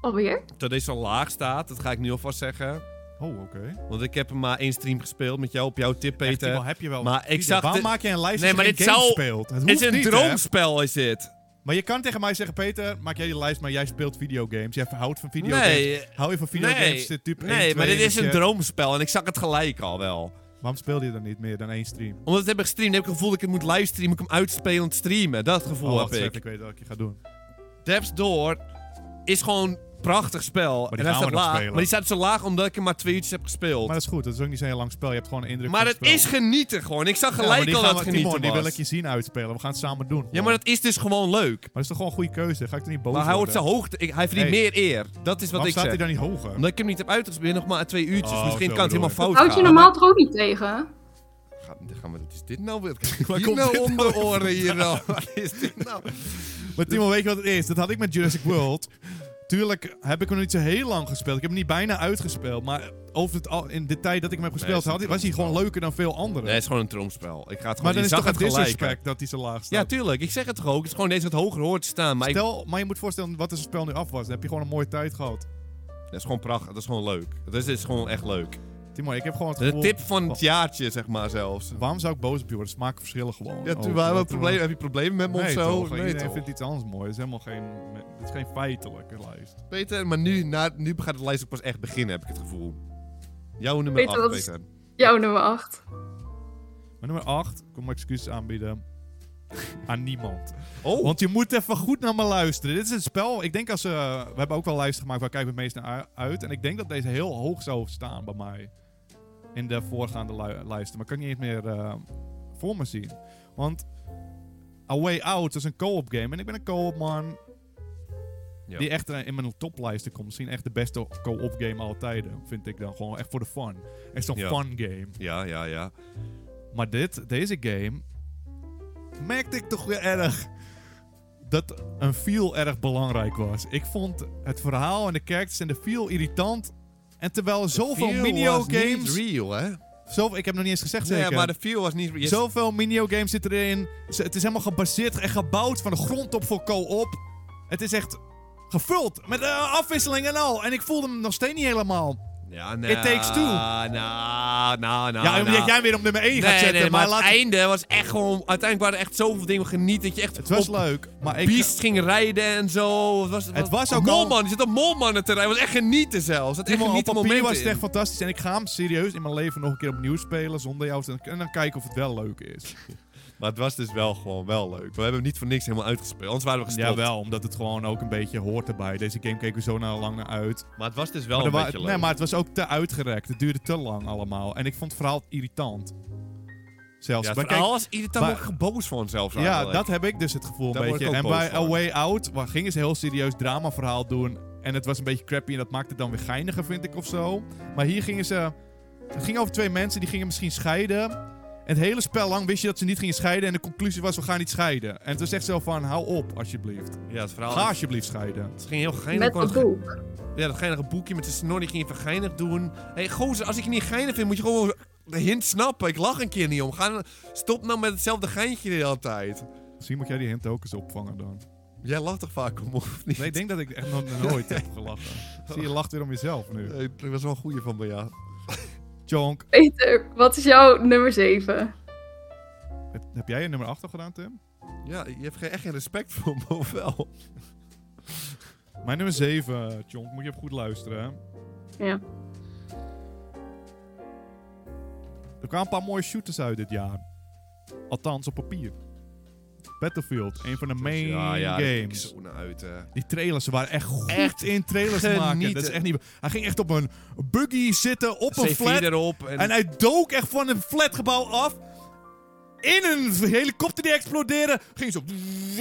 [SPEAKER 3] Alweer?
[SPEAKER 2] Dat deze al laag staat, dat ga ik nu alvast zeggen.
[SPEAKER 1] Oh, oké.
[SPEAKER 2] Want ik heb hem maar één stream gespeeld met jou op jouw tip,
[SPEAKER 1] Echt,
[SPEAKER 2] Peter.
[SPEAKER 1] wel, heb je wel.
[SPEAKER 2] Maar ik
[SPEAKER 1] Pieter,
[SPEAKER 2] zag
[SPEAKER 1] Waarom
[SPEAKER 2] de-
[SPEAKER 1] maak je een lijst
[SPEAKER 2] Nee,
[SPEAKER 1] als
[SPEAKER 2] maar
[SPEAKER 1] je geen
[SPEAKER 2] dit
[SPEAKER 1] game
[SPEAKER 2] zou-
[SPEAKER 1] speelt? Het
[SPEAKER 2] Het
[SPEAKER 1] hoeft
[SPEAKER 2] is een
[SPEAKER 1] niet, hè?
[SPEAKER 2] droomspel, is dit.
[SPEAKER 1] Maar je kan tegen mij zeggen, Peter, maak jij die lijst, maar jij speelt videogames. Jij houdt van videogames.
[SPEAKER 2] Nee.
[SPEAKER 1] Hou je van videogames? Dit type één,
[SPEAKER 2] nee maar
[SPEAKER 1] twee,
[SPEAKER 2] dit is
[SPEAKER 1] weet
[SPEAKER 2] een
[SPEAKER 1] je.
[SPEAKER 2] droomspel en ik zag het gelijk al wel.
[SPEAKER 1] Waarom speel je dan niet meer dan één stream?
[SPEAKER 2] Omdat ik heb ik gestreamd, heb ik het gevoel dat ik het moet livestreamen, moet ik hem uitspelend streamen. Dat gevoel
[SPEAKER 1] Oh, wacht eens
[SPEAKER 2] heb
[SPEAKER 1] even,
[SPEAKER 2] ik.
[SPEAKER 1] ik weet wat je gaat doen.
[SPEAKER 2] Depths Door is gewoon een prachtig spel.
[SPEAKER 1] die
[SPEAKER 2] en hij
[SPEAKER 1] gaan we
[SPEAKER 2] staat
[SPEAKER 1] nog
[SPEAKER 2] laag.
[SPEAKER 1] spelen.
[SPEAKER 2] Maar die staat zo laag omdat ik hem maar twee uurtjes heb gespeeld.
[SPEAKER 1] Maar
[SPEAKER 2] Maar,
[SPEAKER 1] dat is goed, dat is ook niet zo'n heel lang spel. Je hebt gewoon een indruk van
[SPEAKER 2] het
[SPEAKER 1] het spel.
[SPEAKER 2] is genieten gewoon. Ik zag
[SPEAKER 1] Ja, maar
[SPEAKER 2] gelijk
[SPEAKER 1] die
[SPEAKER 2] al
[SPEAKER 1] gaan
[SPEAKER 2] dat het
[SPEAKER 1] we-
[SPEAKER 2] genieten
[SPEAKER 1] Timon, die
[SPEAKER 2] was.
[SPEAKER 1] wil ik je zien uitspelen. We gaan het samen doen.
[SPEAKER 2] Ja,
[SPEAKER 1] gewoon.
[SPEAKER 2] maar dat is dus gewoon leuk.
[SPEAKER 1] Maar dat is toch gewoon een goede keuze? Ga ik er niet boos
[SPEAKER 2] Maar hij wordt
[SPEAKER 1] worden?
[SPEAKER 2] zijn hoogte. ik- hij verdient
[SPEAKER 1] Hey.
[SPEAKER 2] meer eer. Dat is wat
[SPEAKER 1] Waarom
[SPEAKER 2] ik
[SPEAKER 1] staat
[SPEAKER 2] zeg.
[SPEAKER 1] hij dan niet hoger?
[SPEAKER 2] Omdat ik hem niet heb uitgespeeld, nog maar twee uurtjes.
[SPEAKER 1] Oh,
[SPEAKER 2] Misschien
[SPEAKER 1] zo
[SPEAKER 2] kan het helemaal
[SPEAKER 1] bedoel
[SPEAKER 2] fout
[SPEAKER 3] Houd je
[SPEAKER 2] gaan.
[SPEAKER 3] normaal toch ook niet tegen?
[SPEAKER 2] Ga- Gaan we, wat is dit nou weer? (laughs) Waar
[SPEAKER 1] Waar
[SPEAKER 2] komt
[SPEAKER 1] komt
[SPEAKER 2] nou
[SPEAKER 1] dit
[SPEAKER 2] om de oren hier nou? (laughs) Wat is dit nou?
[SPEAKER 1] Maar Timon, weet je wat het is? Dat had ik met
[SPEAKER 2] (laughs)
[SPEAKER 1] Jurassic World. Tuurlijk heb ik hem nog niet zo heel lang gespeeld. Ik heb hem niet bijna uitgespeeld. Maar over het al, in de tijd dat ik hem heb gespeeld,
[SPEAKER 2] het is
[SPEAKER 1] had, was hij gewoon leuker dan veel anderen.
[SPEAKER 2] Nee, het is gewoon een droomspel. Ik ga het gewoon
[SPEAKER 1] maar dan
[SPEAKER 2] je
[SPEAKER 1] is
[SPEAKER 2] zag
[SPEAKER 1] toch het
[SPEAKER 2] het gelijk.
[SPEAKER 1] disrespect dat hij zo laag
[SPEAKER 2] Ja,
[SPEAKER 1] staat.
[SPEAKER 2] tuurlijk. Ik zeg het toch ook. Het is gewoon deze wat hoger hoort te staan. Maar ik-
[SPEAKER 1] Stel, maar je moet voorstellen wat als het spel nu af was. Dan heb je gewoon een mooie tijd gehad.
[SPEAKER 2] dat is gewoon prachtig. Dat is gewoon leuk. Dat is, dit is gewoon echt leuk.
[SPEAKER 1] Timon, ik heb gewoon het
[SPEAKER 2] De
[SPEAKER 1] gevoel...
[SPEAKER 2] tip van het jaartje, zeg maar zelfs.
[SPEAKER 1] Waarom zou ik boos op je worden? Smaken verschillen gewoon.
[SPEAKER 2] Ja, toen
[SPEAKER 1] Oh,
[SPEAKER 2] waren we
[SPEAKER 1] wat-
[SPEAKER 2] problemen. Heb je problemen met me
[SPEAKER 1] Nee,
[SPEAKER 2] of zo?
[SPEAKER 1] toch?
[SPEAKER 2] Nee,
[SPEAKER 1] Iedereen
[SPEAKER 2] toch?
[SPEAKER 1] vindt iets anders mooi. Het is helemaal geen... Het is geen feitelijke lijst.
[SPEAKER 2] Peter, maar nu, na, nu gaat het lijst ook pas echt beginnen, heb ik het gevoel. Jouw nummer
[SPEAKER 3] Peter,
[SPEAKER 2] 8,
[SPEAKER 3] dat is-
[SPEAKER 2] Peter.
[SPEAKER 3] Jouw nummer 8.
[SPEAKER 1] Maar nummer 8, ik kom mijn excuses
[SPEAKER 2] (laughs)
[SPEAKER 1] aanbieden aan niemand.
[SPEAKER 2] Oh,
[SPEAKER 1] Want je moet even goed naar me luisteren. Dit is een spel, ik denk als... eh, we hebben ook wel lijsten gemaakt, waar kijken we het meest naar u- uit. En ik denk dat deze heel hoog zou staan bij mij. In de voorgaande lui- lijsten. Maar ik kan ik niet eens meer eh, voor me zien. Want A Way Out is een co-op game. En ik ben een co-op man.
[SPEAKER 2] Ja.
[SPEAKER 1] Die echt eh, in mijn toplijsten komt. Misschien echt de beste co-op game aller tijden. Vind ik dan gewoon echt voor de fun. Echt zo'n
[SPEAKER 2] Ja.
[SPEAKER 1] fun game.
[SPEAKER 2] ja, ja, ja.
[SPEAKER 1] Maar dit, deze game. merkte ik toch weer erg. dat een feel erg belangrijk was. Ik vond het verhaal en de characters en de feel irritant. En terwijl er zoveel
[SPEAKER 2] Feel was
[SPEAKER 1] minigames.
[SPEAKER 2] niet real, hè?
[SPEAKER 1] Zoveel, ik heb nog niet eens gezegd
[SPEAKER 2] Nee,
[SPEAKER 1] zeker.
[SPEAKER 2] maar de feel was niet real. Je-
[SPEAKER 1] Zoveel minigames zitten erin. Ze- Het is helemaal gebaseerd en gebouwd van de grond op voor co-op. Het is echt gevuld met eh, afwisseling en al. En ik voelde hem nog steeds niet helemaal.
[SPEAKER 2] Ja, nou,
[SPEAKER 1] It Takes Two.
[SPEAKER 2] Nou, nou, nou.
[SPEAKER 1] ja,
[SPEAKER 2] nou.
[SPEAKER 1] omdat jij hem weer op nummer 1 gaat
[SPEAKER 2] Nee,
[SPEAKER 1] zetten.
[SPEAKER 2] nee, maar,
[SPEAKER 1] maar
[SPEAKER 2] het
[SPEAKER 1] laat
[SPEAKER 2] einde was echt gewoon... Uiteindelijk waren er echt zoveel dingen geniet dat je echt
[SPEAKER 1] het was
[SPEAKER 2] op
[SPEAKER 1] leuk. Maar ik,
[SPEAKER 2] beest ging rijden en zo. Het was,
[SPEAKER 1] Het was ook
[SPEAKER 2] Molman,
[SPEAKER 1] al-
[SPEAKER 2] je zit op Molman te rijden. Het was echt genieten zelfs. Het was echt
[SPEAKER 1] Timon, op
[SPEAKER 2] genieten
[SPEAKER 1] papier
[SPEAKER 2] momenten
[SPEAKER 1] was het
[SPEAKER 2] in.
[SPEAKER 1] echt fantastisch. En ik ga hem serieus in mijn leven nog een keer opnieuw spelen zonder jou. te- En dan kijken of het wel leuk is.
[SPEAKER 2] Maar het was dus wel gewoon wel leuk. We hebben hem niet voor niks helemaal uitgespeeld. Anders waren we gestopt.
[SPEAKER 1] Jawel, omdat het gewoon ook een beetje hoort erbij. Deze game keken we zo naar- lang naar uit.
[SPEAKER 2] Maar het was dus wel
[SPEAKER 1] Maar
[SPEAKER 2] een
[SPEAKER 1] er wa-
[SPEAKER 2] beetje leuk.
[SPEAKER 1] nee, maar het was ook te uitgerekt. Het duurde te lang allemaal. En ik vond het verhaal irritant. Zelfs.
[SPEAKER 2] ja,
[SPEAKER 1] Maar
[SPEAKER 2] het
[SPEAKER 1] kijk,
[SPEAKER 2] verhaal was irritant
[SPEAKER 1] maar-
[SPEAKER 2] maar... geboos van zelfs
[SPEAKER 1] ja,
[SPEAKER 2] eigenlijk.
[SPEAKER 1] dat heb ik dus het gevoel
[SPEAKER 2] Daar
[SPEAKER 1] een
[SPEAKER 2] word ik
[SPEAKER 1] beetje. En
[SPEAKER 2] ook boos
[SPEAKER 1] bij
[SPEAKER 2] van.
[SPEAKER 1] A Way Out waar gingen ze heel serieus dramaverhaal doen. En het was een beetje crappy en dat maakte het dan weer geiniger, vind ik, of zo. Maar hier gingen ze... Het ging over twee mensen, die gingen misschien scheiden. En het hele spel lang wist je dat ze niet gingen scheiden. En de conclusie was, we gaan niet scheiden. En het was echt zo van, hou op, alsjeblieft.
[SPEAKER 2] Ja, het verhaal...
[SPEAKER 1] Ga alsjeblieft scheiden.
[SPEAKER 2] Het ging heel geinig.
[SPEAKER 3] Met
[SPEAKER 2] kwam
[SPEAKER 3] een
[SPEAKER 2] ge-
[SPEAKER 3] boek.
[SPEAKER 2] Ja, dat geinige boekje met de snor, die ging even geinig doen. Hé, hey, gozer, als ik je niet geinig vind, moet je gewoon de hint snappen. Ik lach een keer niet om. Ga, stop nou met hetzelfde geintje de hele tijd.
[SPEAKER 1] Misschien moet jij die hint ook eens opvangen dan.
[SPEAKER 2] Jij lacht toch vaak om, of niet?
[SPEAKER 1] Nee, ik denk dat ik echt nog
[SPEAKER 2] (laughs)
[SPEAKER 1] nooit heb gelachen. Zie, je lacht weer om jezelf nu.
[SPEAKER 2] Eh, Dat was wel een goeie van me, ja.
[SPEAKER 1] Chonk,
[SPEAKER 3] Peter, wat is jouw nummer 7?
[SPEAKER 1] het- heb jij je nummer 8 al gedaan, Tim?
[SPEAKER 2] Ja, je hebt geen- echt geen respect voor me, of wel?
[SPEAKER 1] Mijn nummer 7, Chonk. Moet je even goed luisteren, hè.
[SPEAKER 3] Ja.
[SPEAKER 1] Er kwamen een paar mooie shooters uit dit jaar. Althans, op papier. Battlefield, een van de main
[SPEAKER 2] ja, ja, daar kijk ik
[SPEAKER 1] games.
[SPEAKER 2] zo naar uit, eh. hè.
[SPEAKER 1] Die trailers ze waren echt goed
[SPEAKER 2] Echt
[SPEAKER 1] in trailers maken. Dat is
[SPEAKER 2] genieten.
[SPEAKER 1] echt niet... Hij ging echt op een buggy zitten, op een
[SPEAKER 2] C4
[SPEAKER 1] flat.
[SPEAKER 2] erop. En,
[SPEAKER 1] En hij dook echt van een flatgebouw af. In een helikopter die explodeerde. Ging zo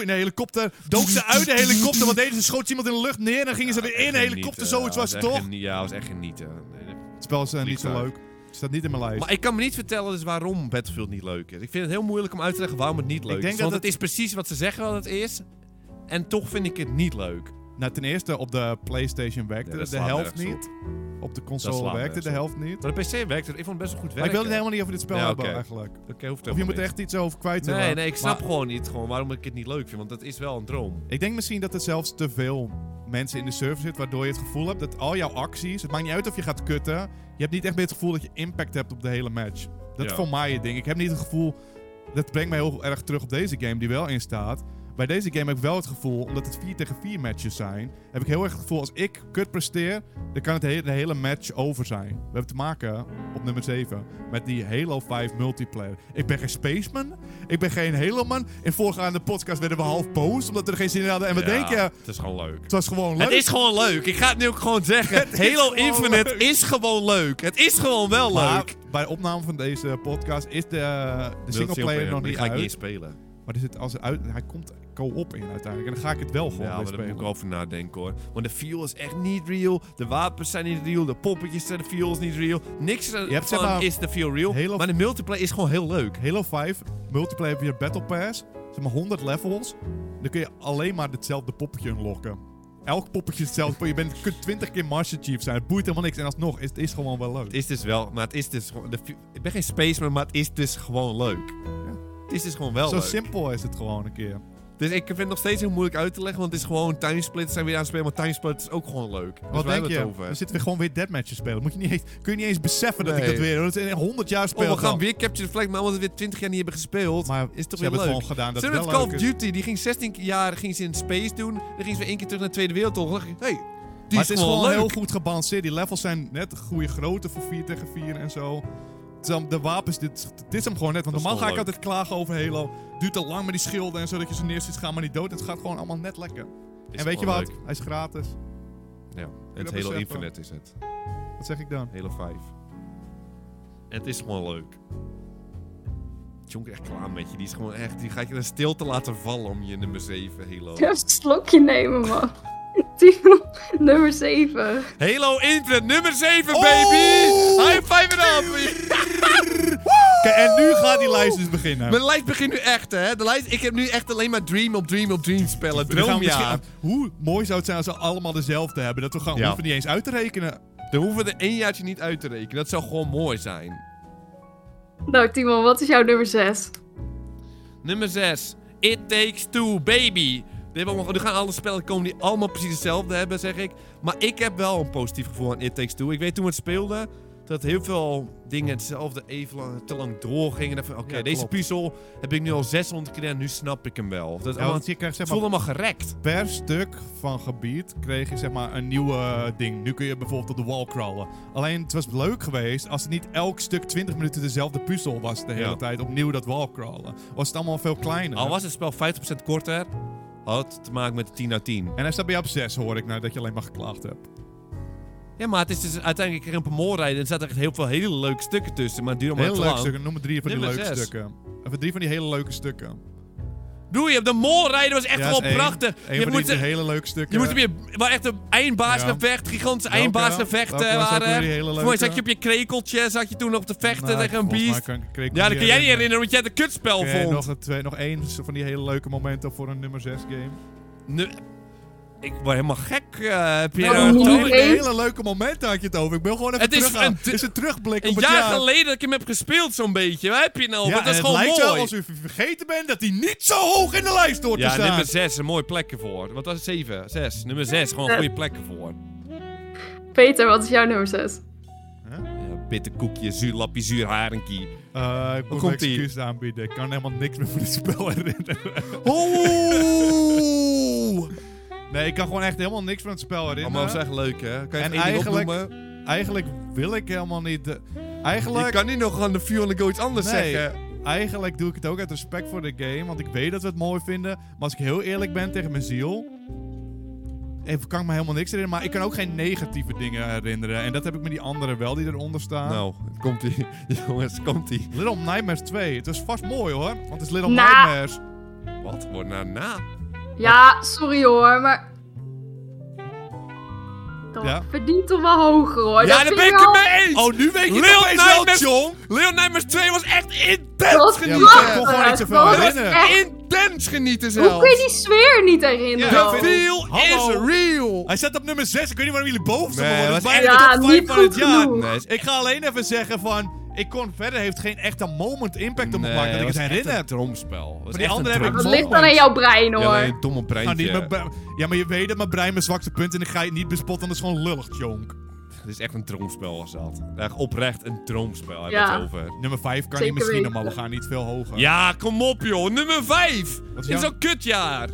[SPEAKER 1] in een helikopter. Dook ze uit de helikopter. Wat deden ze? Schoot iemand in de lucht neer. En gingen ze weer in een helikopter. Zoiets was het toch?
[SPEAKER 2] Ja, was eh, echt genieten. Nee, dat-
[SPEAKER 1] Het spel is eh, niet zo
[SPEAKER 2] Vliegtuig.
[SPEAKER 1] leuk. Staat niet in mijn lijst.
[SPEAKER 2] Maar ik kan me niet vertellen dus waarom Battlefield niet leuk is. Ik vind het heel moeilijk om uit te leggen waarom het niet leuk
[SPEAKER 1] denk
[SPEAKER 2] is.
[SPEAKER 1] dat
[SPEAKER 2] Want het is precies wat ze zeggen dat het is. En toch vind ik het niet leuk.
[SPEAKER 1] Nou, ten eerste op de PlayStation
[SPEAKER 2] Ja,
[SPEAKER 1] werkte
[SPEAKER 2] dat
[SPEAKER 1] de
[SPEAKER 2] slaat
[SPEAKER 1] helft
[SPEAKER 2] nergens
[SPEAKER 1] niet. Op. de
[SPEAKER 2] Dat
[SPEAKER 1] console
[SPEAKER 2] slaat
[SPEAKER 1] werkte de helft niet.
[SPEAKER 2] Maar de PC werkt er. Ik vond het best wel goed
[SPEAKER 1] Maar ik
[SPEAKER 2] werken.
[SPEAKER 1] wil het helemaal niet over dit spel
[SPEAKER 2] Ja,
[SPEAKER 1] hebben
[SPEAKER 2] oké.
[SPEAKER 1] eigenlijk.
[SPEAKER 2] Oké,
[SPEAKER 1] Of
[SPEAKER 2] hoeft
[SPEAKER 1] je
[SPEAKER 2] helemaal
[SPEAKER 1] moet er
[SPEAKER 2] niet.
[SPEAKER 1] echt iets over kwijt
[SPEAKER 2] Nee,
[SPEAKER 1] hebben.
[SPEAKER 2] nee, ik snap
[SPEAKER 1] Maar
[SPEAKER 2] gewoon niet gewoon waarom ik het niet leuk vind. Want dat is wel een droom.
[SPEAKER 1] ik denk misschien dat er zelfs te veel mensen in de server zit, waardoor je het gevoel hebt dat al jouw acties, het maakt niet uit of je gaat kutten, je hebt niet echt meer het gevoel dat je impact hebt op de hele match. Dat is
[SPEAKER 2] Ja.
[SPEAKER 1] voor mij het ding. Ik heb niet het gevoel, dat brengt mij heel erg terug op deze game die wel in staat. Bij deze game heb ik wel het gevoel, omdat het 4 tegen 4 matches zijn, heb ik heel erg het gevoel als ik kut presteer, dan kan het he- de hele match over zijn. We hebben te maken op nummer 7 met die Halo 5 multiplayer. Ik ben geen spaceman, ik ben geen Halo man. In voorgaande podcast werden we half boos omdat we er geen zin in hadden en we
[SPEAKER 2] Ja,
[SPEAKER 1] denken,
[SPEAKER 2] Het is gewoon leuk.
[SPEAKER 1] het was gewoon leuk.
[SPEAKER 2] Het is gewoon leuk. Ik ga het nu ook gewoon
[SPEAKER 1] (laughs)
[SPEAKER 2] zeggen.
[SPEAKER 1] is
[SPEAKER 2] Halo
[SPEAKER 1] gewoon
[SPEAKER 2] Infinite
[SPEAKER 1] leuk.
[SPEAKER 2] is gewoon leuk. Het is gewoon wel
[SPEAKER 1] Maar
[SPEAKER 2] leuk.
[SPEAKER 1] bij de opname van deze podcast is de, de
[SPEAKER 2] Wilt
[SPEAKER 1] singleplayer nog
[SPEAKER 2] maar die
[SPEAKER 1] niet
[SPEAKER 2] ga ik
[SPEAKER 1] uit.
[SPEAKER 2] niet eens spelen.
[SPEAKER 1] Maar er zit, als het uit, hij komt co-op in uiteindelijk. En dan ga ik het wel gewoon
[SPEAKER 2] ja,
[SPEAKER 1] weer
[SPEAKER 2] maar daar moet ik
[SPEAKER 1] spelen.
[SPEAKER 2] over nadenken hoor. Want de feel is echt niet real. De wapens zijn niet real. De poppetjes zijn de feel is niet real. Niks
[SPEAKER 1] Je hebt, zeg
[SPEAKER 2] van
[SPEAKER 1] maar,
[SPEAKER 2] is de feel real.
[SPEAKER 1] Halo-
[SPEAKER 2] Maar de multiplayer is gewoon heel leuk.
[SPEAKER 1] Halo 5, multiplayer via Battle Pass. Zeg maar 100 levels. Dan kun je alleen maar hetzelfde poppetje unlocken. Elk poppetje is hetzelfde. je bent, je kunt 20 keer Master Chief zijn. Het boeit helemaal niks. En alsnog, is- het is gewoon wel leuk.
[SPEAKER 2] Het is dus wel, maar het is dus gewoon... de fe- Ik ben geen spaceman, maar het is dus gewoon leuk. Het is dus gewoon wel
[SPEAKER 1] Zo
[SPEAKER 2] leuk.
[SPEAKER 1] simpel is het gewoon een keer.
[SPEAKER 2] Dus ik vind het nog steeds heel moeilijk uit te leggen, want het is gewoon timesplits zijn we weer aan het spelen, maar timesplits is ook gewoon leuk. Dus
[SPEAKER 1] Wat
[SPEAKER 2] waar
[SPEAKER 1] denk
[SPEAKER 2] hebben we
[SPEAKER 1] je?
[SPEAKER 2] het over?
[SPEAKER 1] We zitten weer gewoon weer deathmatches spelen. Moet je niet eens, kun je niet eens beseffen dat ik
[SPEAKER 2] Nee.
[SPEAKER 1] dat weer... Dat is 100 jaar speel
[SPEAKER 2] Oh, we
[SPEAKER 1] ik al.
[SPEAKER 2] gaan weer Capture the Flag, maar omdat we het weer 20 jaar niet hebben gespeeld,
[SPEAKER 1] Maar
[SPEAKER 2] is het toch
[SPEAKER 1] ze hebben
[SPEAKER 2] weer leuk.
[SPEAKER 1] het gewoon gedaan. Dat
[SPEAKER 2] Ze
[SPEAKER 1] het
[SPEAKER 2] hebben het
[SPEAKER 1] wel
[SPEAKER 2] Call of
[SPEAKER 1] leuk is.
[SPEAKER 2] Duty, die ging 16 jaar ging ze in space doen, dan ging ze weer één keer terug naar de Tweede Wereldoorlog. Hé, hey, die
[SPEAKER 1] maar
[SPEAKER 2] is,
[SPEAKER 1] het is
[SPEAKER 2] gewoon,
[SPEAKER 1] gewoon
[SPEAKER 2] leuk.
[SPEAKER 1] heel goed gebalanceerd. Die levels zijn net de goede grootte voor 4 tegen 4 en zo. Terwijl De wapens, dit, dit is hem gewoon net. Want
[SPEAKER 2] Dat is
[SPEAKER 1] normaal ga
[SPEAKER 2] wel
[SPEAKER 1] ik
[SPEAKER 2] leuk.
[SPEAKER 1] altijd klagen over Halo. Duurt te lang met die schilden en zo dat je ze neer ziet gaan, maar niet dood. Het gaat gewoon allemaal net lekker.
[SPEAKER 2] Is
[SPEAKER 1] en weet je
[SPEAKER 2] gewoon
[SPEAKER 1] wat? Hij is gratis.
[SPEAKER 2] leuk. Ja, en
[SPEAKER 1] dat
[SPEAKER 2] het Halo
[SPEAKER 1] beseffen.
[SPEAKER 2] Infinite is het.
[SPEAKER 1] Wat zeg ik dan?
[SPEAKER 2] Halo 5. En het is gewoon leuk. Jonk echt klaar met je. Die is gewoon echt. Die gaat je naar stilte laten vallen om je nummer 7 Halo.
[SPEAKER 3] (laughs) Even een slokje nemen, man. (laughs) Titel nummer 7.
[SPEAKER 2] Halo Infinite, nummer 7,
[SPEAKER 1] Oh!
[SPEAKER 2] baby! High five en af!
[SPEAKER 1] Kijk, en nu gaat die lijst dus beginnen.
[SPEAKER 4] Mijn lijst begint nu echt, hè? De lijst, ik heb nu echt alleen maar Dream op Dream op Dream spellen.
[SPEAKER 1] We gaan
[SPEAKER 4] Droom,
[SPEAKER 1] misschien-
[SPEAKER 4] ja.
[SPEAKER 1] Hoe mooi zou het zijn als we allemaal dezelfde hebben? Dat we gaan
[SPEAKER 2] Ja.
[SPEAKER 1] hoeven niet eens uit te rekenen.
[SPEAKER 2] Dan hoeven we er één jaartje niet uit te rekenen. Dat zou gewoon mooi zijn.
[SPEAKER 3] Nou, Timon, wat is jouw nummer 6?
[SPEAKER 2] Nummer 6, It Takes Two, baby! Die hebben allemaal- Nu gaan alle spellen komen die allemaal precies hetzelfde hebben, zeg ik. Maar ik heb wel een positief gevoel aan It Takes Two. Ik weet toen we het speelden, dat heel veel dingen hetzelfde even lang, te lang doorgingen. Dan van, Oké,
[SPEAKER 1] Ja,
[SPEAKER 2] deze
[SPEAKER 1] klopt.
[SPEAKER 2] puzzel heb ik nu al 600 keer gedaan, nu snap ik hem wel. Dat is
[SPEAKER 1] Ja,
[SPEAKER 2] allemaal,
[SPEAKER 1] want je krijgt
[SPEAKER 2] het
[SPEAKER 1] zeg
[SPEAKER 2] voelt
[SPEAKER 1] maar
[SPEAKER 2] allemaal gerekt.
[SPEAKER 1] per stuk van gebied kreeg je zeg maar een nieuw eh, ding. Nu kun je bijvoorbeeld op de wall crawlen. Alleen het was leuk geweest als het niet elk stuk 20 minuten dezelfde puzzel was de hele
[SPEAKER 2] Ja.
[SPEAKER 1] tijd. Opnieuw dat wall crawlen. Was het allemaal veel kleiner.
[SPEAKER 2] Al was het spel 50% korter, had het te maken met de 10 uit 10.
[SPEAKER 1] En hij staat bij jou op 6 hoor ik nou dat je alleen maar geklaagd hebt.
[SPEAKER 2] Ja, maar het is dus uiteindelijk een remoorrijden en er zaten echt heel veel hele leuke stukken tussen, maar het duurde maar
[SPEAKER 1] Heel
[SPEAKER 2] te
[SPEAKER 1] leuk
[SPEAKER 2] lang.
[SPEAKER 1] stukken. Noem maar drie van die
[SPEAKER 2] Nummer
[SPEAKER 1] leuke
[SPEAKER 2] zes.
[SPEAKER 1] stukken. Even drie van die hele leuke stukken.
[SPEAKER 2] Doe je, de moorrijden was echt
[SPEAKER 1] Ja,
[SPEAKER 2] gewoon
[SPEAKER 1] is één.
[SPEAKER 2] prachtig.
[SPEAKER 1] Eén
[SPEAKER 2] je
[SPEAKER 1] van die
[SPEAKER 2] moest,
[SPEAKER 1] drie hele leuke stukken.
[SPEAKER 2] je moest op je, maar echt een eindbaasgevecht, gigantische
[SPEAKER 1] Welke dan?
[SPEAKER 2] eindbaasgevechten
[SPEAKER 1] Welke was ook weer die hele
[SPEAKER 2] eh, waren. Volgens mij
[SPEAKER 1] leuke?
[SPEAKER 2] zat je op je krekeltje, zat je toen nog te vechten
[SPEAKER 1] Nou,
[SPEAKER 2] eh, tegen een
[SPEAKER 1] volgens mij
[SPEAKER 2] beest.
[SPEAKER 1] kan ik- kan ik me
[SPEAKER 2] Ja, dat kun jij niet
[SPEAKER 1] herinneren.
[SPEAKER 2] herinneren, want jij het een kutspel
[SPEAKER 1] Kun jij
[SPEAKER 2] vond.
[SPEAKER 1] nog, een twee, nog één van die hele leuke momenten voor een nummer 6 game.
[SPEAKER 2] Nu- ik word helemaal gek, eh Piero.
[SPEAKER 3] Nou,
[SPEAKER 1] Over
[SPEAKER 3] niet
[SPEAKER 2] Toon.
[SPEAKER 1] een
[SPEAKER 3] eens.
[SPEAKER 1] hele leuke momenten had je het over. Ik ben gewoon even
[SPEAKER 2] Het is
[SPEAKER 1] teruggaan.
[SPEAKER 2] een-
[SPEAKER 1] is een terugblik
[SPEAKER 2] Een
[SPEAKER 1] op het
[SPEAKER 2] jaar, geleden dat ik hem heb gespeeld, zo'n beetje. Waar heb je
[SPEAKER 1] Ja,
[SPEAKER 2] nou? over? dat
[SPEAKER 1] en
[SPEAKER 2] is
[SPEAKER 1] het
[SPEAKER 2] gewoon
[SPEAKER 1] lijkt
[SPEAKER 2] mooi.
[SPEAKER 1] wel als u vergeten bent dat hij niet zo hoog in de lijst hoort te
[SPEAKER 2] Ja,
[SPEAKER 1] staan.
[SPEAKER 2] nummer 6, een mooie plekken voor. Wat was het? 7, 6. Nummer 6, gewoon
[SPEAKER 3] Ja.
[SPEAKER 2] goede plekken voor.
[SPEAKER 3] Peter, wat is jouw nummer 6?
[SPEAKER 2] Ja, bitter koekje, zuur lapje, zuur harenkie.
[SPEAKER 1] Eh, ik moet een
[SPEAKER 2] komt ie?
[SPEAKER 1] excuus aanbieden. Ik kan helemaal niks meer van dit spel herinneren.
[SPEAKER 2] Oeh!
[SPEAKER 1] Nee, ik kan gewoon echt helemaal niks van het spel
[SPEAKER 2] Allemaal is
[SPEAKER 1] herinneren.
[SPEAKER 2] echt leuk, hè? Kan je
[SPEAKER 1] En
[SPEAKER 2] en eigenlijk...
[SPEAKER 1] eigenlijk-
[SPEAKER 2] opnoemen?
[SPEAKER 1] Eigenlijk wil ik helemaal niet... de-
[SPEAKER 2] Je
[SPEAKER 1] Eigenlijk...
[SPEAKER 2] kan niet nog aan de View on the Go iets anders
[SPEAKER 1] Nee,
[SPEAKER 2] zeggen.
[SPEAKER 1] eigenlijk doe ik het ook uit respect voor de game, want ik weet dat we het mooi vinden. Maar als ik heel eerlijk ben tegen mijn ziel, even kan ik me helemaal niks herinneren. Maar ik kan ook geen negatieve dingen herinneren. En dat heb ik met die anderen wel die eronder
[SPEAKER 3] Ah.
[SPEAKER 1] staan.
[SPEAKER 2] Nou, komt-ie. (laughs) Jongens, komt-ie.
[SPEAKER 1] Little Nightmares 2, het is vast mooi hoor, want het is Little
[SPEAKER 3] Nou.
[SPEAKER 1] Nightmares.
[SPEAKER 2] Wat? Wordt nou
[SPEAKER 3] Oh,
[SPEAKER 2] na?
[SPEAKER 3] Ja, sorry hoor, maar... Dat
[SPEAKER 1] Ja?
[SPEAKER 3] verdient toch wel hoger hoor.
[SPEAKER 2] ja,
[SPEAKER 3] dat
[SPEAKER 2] daar
[SPEAKER 3] vind
[SPEAKER 2] ben ik
[SPEAKER 3] ik wel-
[SPEAKER 2] het mee eens!
[SPEAKER 1] Oh, nu weet je
[SPEAKER 2] Little
[SPEAKER 1] het opeens wel,
[SPEAKER 2] Nightmares-
[SPEAKER 1] John!
[SPEAKER 2] Leon Nijmers 2 was echt intens!
[SPEAKER 3] Dat
[SPEAKER 1] Ja, maar
[SPEAKER 3] was
[SPEAKER 1] ik kon gewoon niet
[SPEAKER 3] echt-
[SPEAKER 1] zoveel
[SPEAKER 3] dat was
[SPEAKER 1] herinneren.
[SPEAKER 3] echt-
[SPEAKER 2] Intens!
[SPEAKER 4] intens genieten zelfs.
[SPEAKER 3] Hoe kun je die sfeer niet herinneren?
[SPEAKER 2] Ja,
[SPEAKER 4] The
[SPEAKER 2] ik vind-
[SPEAKER 4] feel
[SPEAKER 1] Hallo.
[SPEAKER 4] is real.
[SPEAKER 1] Hij staat op nummer 6. Ik weet niet waarom jullie boven staan.
[SPEAKER 2] Nee,
[SPEAKER 1] maar
[SPEAKER 2] dat
[SPEAKER 1] het
[SPEAKER 2] was
[SPEAKER 1] is bijna
[SPEAKER 3] echt-
[SPEAKER 1] de
[SPEAKER 3] Ja,
[SPEAKER 1] top vijf
[SPEAKER 3] niet
[SPEAKER 1] van het
[SPEAKER 3] goed
[SPEAKER 1] jaar.
[SPEAKER 3] genoeg.
[SPEAKER 2] Nee, is
[SPEAKER 1] Ik ga alleen even zeggen van... Ik kon verder heeft geen echte moment impact op me
[SPEAKER 2] Nee,
[SPEAKER 1] gemaakt dat ik
[SPEAKER 2] was
[SPEAKER 1] het
[SPEAKER 2] echt
[SPEAKER 1] herinner.
[SPEAKER 2] een tromspel. Was
[SPEAKER 1] die
[SPEAKER 2] echt
[SPEAKER 1] andere
[SPEAKER 2] een
[SPEAKER 1] heb ik
[SPEAKER 3] Dat
[SPEAKER 1] wel.
[SPEAKER 2] tromspel.
[SPEAKER 3] ligt dan aan jouw brein hoor.
[SPEAKER 2] Ja, alleen een domme breintje.
[SPEAKER 1] Nou, niet mijn bre- ja, maar je weet dat mijn brein mijn zwakste punt en ik ga je niet bespotten. Dat is gewoon lullig, jonk.
[SPEAKER 2] Het is echt een droomspel was dat. Echt oprecht een droomspel heb
[SPEAKER 3] Ja.
[SPEAKER 2] het over.
[SPEAKER 1] Nummer 5 kan je
[SPEAKER 3] Zeker
[SPEAKER 1] misschien nog, maar we
[SPEAKER 3] weten.
[SPEAKER 1] gaan niet veel hoger.
[SPEAKER 2] Ja, kom op joh. Nummer 5.
[SPEAKER 1] Wat
[SPEAKER 2] Dit
[SPEAKER 1] is
[SPEAKER 2] is
[SPEAKER 1] jou-
[SPEAKER 2] al kutjaar.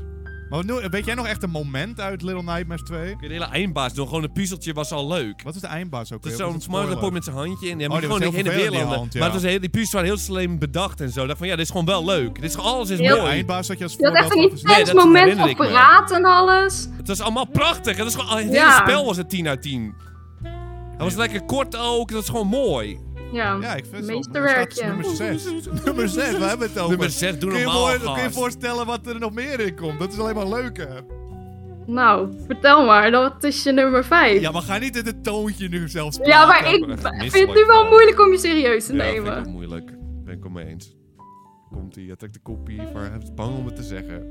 [SPEAKER 1] Maar wat noem- weet jij nog echt een moment uit Little Nightmares 2?
[SPEAKER 2] De hele eindbaas doen. Gewoon een puzzeltje was al leuk.
[SPEAKER 1] Wat is de eindbaas ook
[SPEAKER 2] Het is
[SPEAKER 1] weer? Wat
[SPEAKER 2] zo'n
[SPEAKER 1] een spoiler.
[SPEAKER 2] smartphone met zijn handje en die
[SPEAKER 1] Oh,
[SPEAKER 2] hebben
[SPEAKER 1] die
[SPEAKER 2] gewoon
[SPEAKER 1] was
[SPEAKER 2] heen en
[SPEAKER 1] heel
[SPEAKER 2] weer
[SPEAKER 1] vervelend, die
[SPEAKER 2] landen.
[SPEAKER 1] hand, ja.
[SPEAKER 2] Maar het was heel, die puzzels waren heel slim bedacht en zo. Ik dacht van ja, dit is gewoon wel leuk. Dit is gewoon, alles is
[SPEAKER 3] Heel-
[SPEAKER 2] mooi.
[SPEAKER 1] De eindbaas had je als
[SPEAKER 3] Je had
[SPEAKER 1] voorbeeld
[SPEAKER 3] echt
[SPEAKER 1] van
[SPEAKER 3] een
[SPEAKER 1] verzinnen.
[SPEAKER 3] intens
[SPEAKER 2] dat
[SPEAKER 3] moment
[SPEAKER 2] herinner
[SPEAKER 3] van
[SPEAKER 2] ik me.
[SPEAKER 3] praat en alles.
[SPEAKER 2] Het was allemaal prachtig. Het, was gewoon, het
[SPEAKER 3] Ja.
[SPEAKER 2] hele spel was een 10 uit 10. Het was lekker kort ook. Dat is gewoon mooi.
[SPEAKER 3] Ja.
[SPEAKER 1] Ja, ik vind het wel.
[SPEAKER 3] Meesterwerk,
[SPEAKER 1] Het staat
[SPEAKER 3] ja.
[SPEAKER 1] Nummer 6.
[SPEAKER 2] (laughs)
[SPEAKER 1] nummer 6, we hebben het over.
[SPEAKER 2] Nummer 6, doe
[SPEAKER 1] kun je,
[SPEAKER 2] normaal,
[SPEAKER 1] voor- kun je
[SPEAKER 2] gast.
[SPEAKER 1] voorstellen wat er nog meer in komt? Dat is alleen maar leuker.
[SPEAKER 3] Nou, vertel maar, dat is je nummer 5.
[SPEAKER 1] Ja, maar ga niet in het toontje nu zelfs.
[SPEAKER 3] Ja, maar
[SPEAKER 2] praten
[SPEAKER 3] ik
[SPEAKER 2] over echt
[SPEAKER 3] b- vind het
[SPEAKER 2] misselijk
[SPEAKER 3] nu wel
[SPEAKER 2] van.
[SPEAKER 3] moeilijk om je serieus te
[SPEAKER 2] Ja, vind ik ook
[SPEAKER 3] nemen.
[SPEAKER 2] moeilijk. Ben ik het mee eens. Komt hij, trekt de kopie, maar hij is bang om het te zeggen.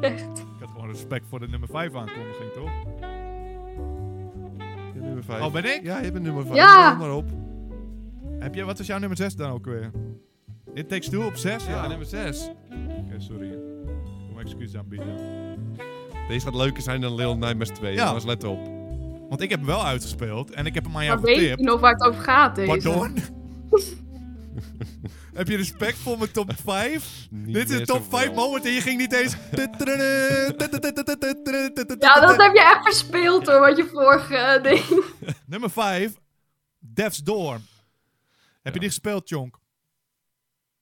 [SPEAKER 3] Echt.
[SPEAKER 1] Ik had gewoon respect voor de nummer 5 aankondiging, toch?
[SPEAKER 2] Ja, nummer 5.
[SPEAKER 1] Oh, ben ik?
[SPEAKER 2] Ja, je bent nummer 5.
[SPEAKER 3] Ja.
[SPEAKER 2] maar op.
[SPEAKER 1] Heb je, wat is jouw nummer 6 dan ook weer? It Takes Two op 6?
[SPEAKER 2] Ja, nummer 6.
[SPEAKER 1] sorry. Ik kom excuses aanbieden.
[SPEAKER 2] Deze gaat leuker zijn dan Little Nightmares 2.
[SPEAKER 1] Ja.
[SPEAKER 2] Ja. Jongens, let op.
[SPEAKER 1] Want ik heb hem wel uitgespeeld en ik heb hem aan jou
[SPEAKER 3] Maar weet
[SPEAKER 1] getipt.
[SPEAKER 3] je nog waar het over gaat, deze?
[SPEAKER 1] Pardon? Heb je respect voor mijn top 5?
[SPEAKER 2] Niet
[SPEAKER 1] Dit is
[SPEAKER 2] meer
[SPEAKER 1] een top
[SPEAKER 2] zoveel.
[SPEAKER 1] 5 moment en je ging niet eens.
[SPEAKER 3] Ja, dat heb je echt verspeeld hoor, wat je vorige eh, (laughs) ding.
[SPEAKER 1] Nummer 5, Death's Door. Heb je die gespeeld, Jonk?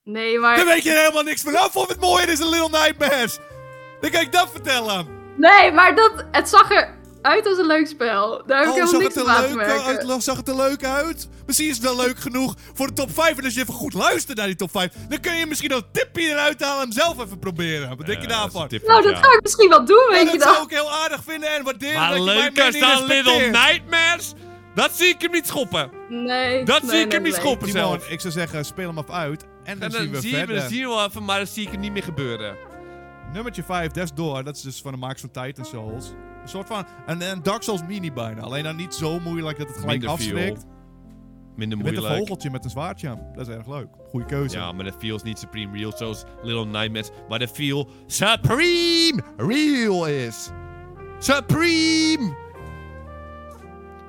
[SPEAKER 3] Nee,
[SPEAKER 1] Daar
[SPEAKER 3] maar...
[SPEAKER 1] weet je helemaal niks vanaf of het mooier is dan Little Nightmares. Dan kan ik dat vertellen.
[SPEAKER 3] Nee, maar dat... Het zag eruit als een leuk spel. Daar heb ik
[SPEAKER 1] oh,
[SPEAKER 3] helemaal
[SPEAKER 1] zag
[SPEAKER 3] niks
[SPEAKER 1] het,
[SPEAKER 3] op
[SPEAKER 1] er
[SPEAKER 3] aan te
[SPEAKER 1] leuk
[SPEAKER 3] merken.
[SPEAKER 1] uit, zag het er leuk uit? Misschien is het wel leuk genoeg voor de top 5. En als je even goed luistert naar die top 5, dan kun je misschien dat tipje eruit halen en hem zelf even proberen. Wat
[SPEAKER 2] Eh,
[SPEAKER 1] denk je daarvan?
[SPEAKER 3] Nou, dat ga ik misschien wel doen, weet je
[SPEAKER 1] dat zou
[SPEAKER 3] dan.
[SPEAKER 1] ik heel aardig vinden en waarderen.
[SPEAKER 2] Maar
[SPEAKER 1] dat je mijn
[SPEAKER 2] leuker
[SPEAKER 1] mening
[SPEAKER 2] dan Little
[SPEAKER 1] respecteert.
[SPEAKER 2] Nightmares? Dat zie ik hem niet schoppen.
[SPEAKER 3] Nee.
[SPEAKER 2] Dat
[SPEAKER 3] nee,
[SPEAKER 2] zie ik
[SPEAKER 3] nee,
[SPEAKER 2] hem niet
[SPEAKER 3] nee.
[SPEAKER 2] schoppen.
[SPEAKER 1] Timon,
[SPEAKER 2] zelf.
[SPEAKER 1] ik zou zeggen, speel hem af uit. En dan,
[SPEAKER 2] En dan
[SPEAKER 1] zien we
[SPEAKER 2] zie je,
[SPEAKER 1] verder.
[SPEAKER 2] dan zie je wel even, maar dat zie ik hem niet meer gebeuren.
[SPEAKER 1] Nummertje 5, Death's Door. Dat is dus van de makers van Titan Souls. Een soort van... Een, een Dark Souls mini bijna. Alleen dan niet zo moeilijk dat het gelijk
[SPEAKER 2] Minder
[SPEAKER 1] afschrikt.
[SPEAKER 2] viel. Minder
[SPEAKER 1] Je bent een
[SPEAKER 2] moeilijk.
[SPEAKER 1] vogeltje met een zwaardje. Dat is erg leuk. Goeie keuze.
[SPEAKER 2] Ja, maar dat feel is niet Supreme Real zoals Little Nightmares. Maar dat feel Supreme Real is. Supreme!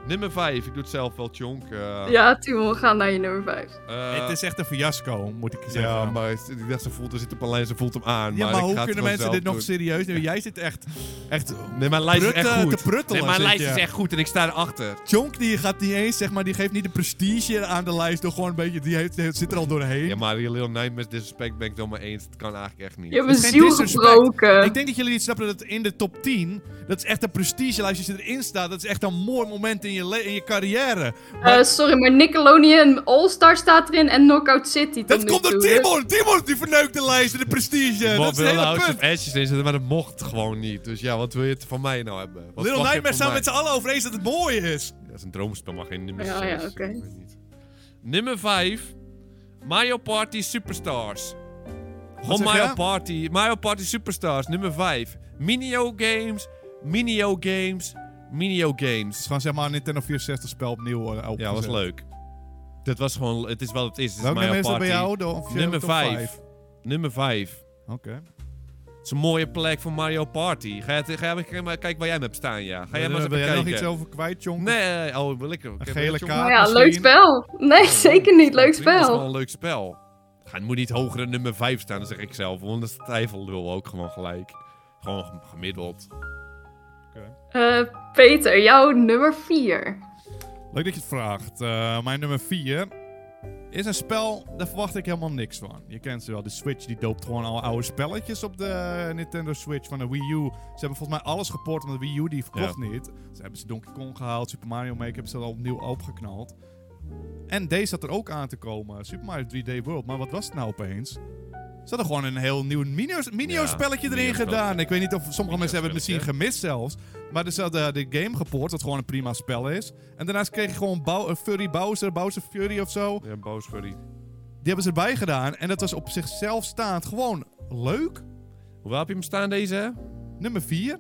[SPEAKER 2] Nummer 5. Ik doe het zelf wel, Chonk. Eh,
[SPEAKER 3] Ja, Timon, ga naar je nummer 5.
[SPEAKER 2] eh,
[SPEAKER 1] het is echt een fiasco, moet ik zeggen.
[SPEAKER 2] ja, maar ik dacht, ze voelt, er zit op een lijn, ze voelt hem aan.
[SPEAKER 1] Ja, maar,
[SPEAKER 2] ik ga
[SPEAKER 1] hoe
[SPEAKER 2] het
[SPEAKER 1] kunnen
[SPEAKER 2] gewoon
[SPEAKER 1] mensen
[SPEAKER 2] zelf
[SPEAKER 1] dit nog
[SPEAKER 2] doen.
[SPEAKER 1] serieus nemen? Jij zit echt... echt
[SPEAKER 2] Nee, mijn lijst is
[SPEAKER 1] Prutte-
[SPEAKER 2] echt goed.
[SPEAKER 1] te pruttelen,
[SPEAKER 2] nee, mijn
[SPEAKER 1] zit
[SPEAKER 2] lijst
[SPEAKER 1] je.
[SPEAKER 2] is echt goed en ik sta erachter.
[SPEAKER 1] Chonk die gaat niet eens, zeg maar, die geeft niet de prestige aan de lijst door gewoon een beetje... Die heeft, die zit er al doorheen.
[SPEAKER 2] Ja, maar die Little Nightmares Disrespect ben ik het helemaal eens. Het kan eigenlijk echt niet.
[SPEAKER 3] Je hebt mijn
[SPEAKER 1] geen
[SPEAKER 3] ziel
[SPEAKER 1] disrespect.
[SPEAKER 3] gebroken.
[SPEAKER 1] Ik denk dat jullie niet snappen dat in de top 10, dat is echt een prestigelijst. Als je erin staat, dat is echt een mooi moment in je, le- in je carrière.
[SPEAKER 3] Eh, sorry, maar Nickelodeon All-Star staat erin en Knockout City. tot
[SPEAKER 1] Dat
[SPEAKER 3] nu
[SPEAKER 1] komt door
[SPEAKER 3] toe,
[SPEAKER 1] Timon! Timon die verneukt de lijst en de prestige.
[SPEAKER 2] Bob
[SPEAKER 1] dat is
[SPEAKER 2] wilde
[SPEAKER 1] het hele
[SPEAKER 2] House
[SPEAKER 1] punt.
[SPEAKER 2] of Ashes inzetten, maar dat mocht gewoon niet. Dus ja, wat wil je het van mij nou hebben? Wat
[SPEAKER 1] Little
[SPEAKER 2] verwacht je
[SPEAKER 1] Nightmares
[SPEAKER 2] van
[SPEAKER 1] staan
[SPEAKER 2] mij?
[SPEAKER 1] met z'n allen over eens dat het mooi is.
[SPEAKER 2] Dat is een droomspel, maar geen nummer
[SPEAKER 3] Ja,
[SPEAKER 2] 6.
[SPEAKER 3] ja, oké.
[SPEAKER 2] Nummer 5. Mario Party Superstars. Gewoon
[SPEAKER 1] zeg
[SPEAKER 2] Mario
[SPEAKER 1] je?
[SPEAKER 2] Party. Mario Party Superstars, nummer 5. Minio games, minio games, minio
[SPEAKER 1] Het
[SPEAKER 2] games.
[SPEAKER 1] is gewoon zeg maar een Nintendo 64 spel opnieuw eh,
[SPEAKER 2] Ja, was
[SPEAKER 1] opgezet.
[SPEAKER 2] leuk. Dat was gewoon, het is wat het is. Het is
[SPEAKER 1] Welk
[SPEAKER 2] Mario
[SPEAKER 1] nummer is dat bij
[SPEAKER 2] Party.
[SPEAKER 1] jou? De, of je
[SPEAKER 2] Nummer
[SPEAKER 1] top
[SPEAKER 2] 5. Nummer 5.
[SPEAKER 1] Oké.
[SPEAKER 2] Het is een mooie plek voor Mario Party. Ga je, het- ga je, ga je maar kijken waar jij hem hebt staan, ja. Ga jij maar eens
[SPEAKER 1] Eh, Wil
[SPEAKER 2] even
[SPEAKER 1] jij
[SPEAKER 2] kijken.
[SPEAKER 1] nog iets over kwijt, Jonk?
[SPEAKER 2] Nee, oh, wil ik hem. Ik heb-
[SPEAKER 1] gele
[SPEAKER 2] ik heb-
[SPEAKER 1] kaart.
[SPEAKER 3] Maar ja,
[SPEAKER 1] misschien. Oh,
[SPEAKER 3] leuk spel. Nee, zeker niet. Leuk
[SPEAKER 2] Prima, Het is wel
[SPEAKER 3] spel.
[SPEAKER 2] een leuk spel. Ja, het moet niet hoger dan nummer 5 staan, dat zeg ik zelf. Want dat is twijfelul ook gewoon gelijk. Gewoon gem- gemiddeld.
[SPEAKER 3] Eh, Peter, jouw nummer 4.
[SPEAKER 1] Leuk dat je het vraagt. Eh, mijn nummer 4 is een spel, daar verwacht ik helemaal niks van. Je kent ze wel, de Switch die doopt gewoon al oude spelletjes op de Nintendo Switch van de Wii U. Ze hebben volgens mij alles gepoord, want de Wii U die verkocht niet. Ze hebben ze Donkey Kong gehaald, Super Mario Maker hebben ze al opnieuw opgeknald. En deze zat er ook aan te komen, Super Mario 3D World. Maar wat was het nou opeens? Ze hadden gewoon een heel nieuw minio- minio-spelletje erin
[SPEAKER 2] minio-spelletje.
[SPEAKER 1] gedaan. Ik weet niet of sommige mensen hebben het misschien
[SPEAKER 2] Minio-spelletje.
[SPEAKER 1] gemist zelfs. Maar dus ze hadden de game gepoord, wat gewoon een prima spel is. En daarnaast kreeg je gewoon Bou- eh, Furry Bowser, Bowser Fury of zo.
[SPEAKER 2] Ja, boos voor die.
[SPEAKER 1] Die hebben ze erbij gedaan. En dat was op zichzelf staand gewoon leuk.
[SPEAKER 2] Hoewel heb je hem staan deze?
[SPEAKER 1] Nummer 4.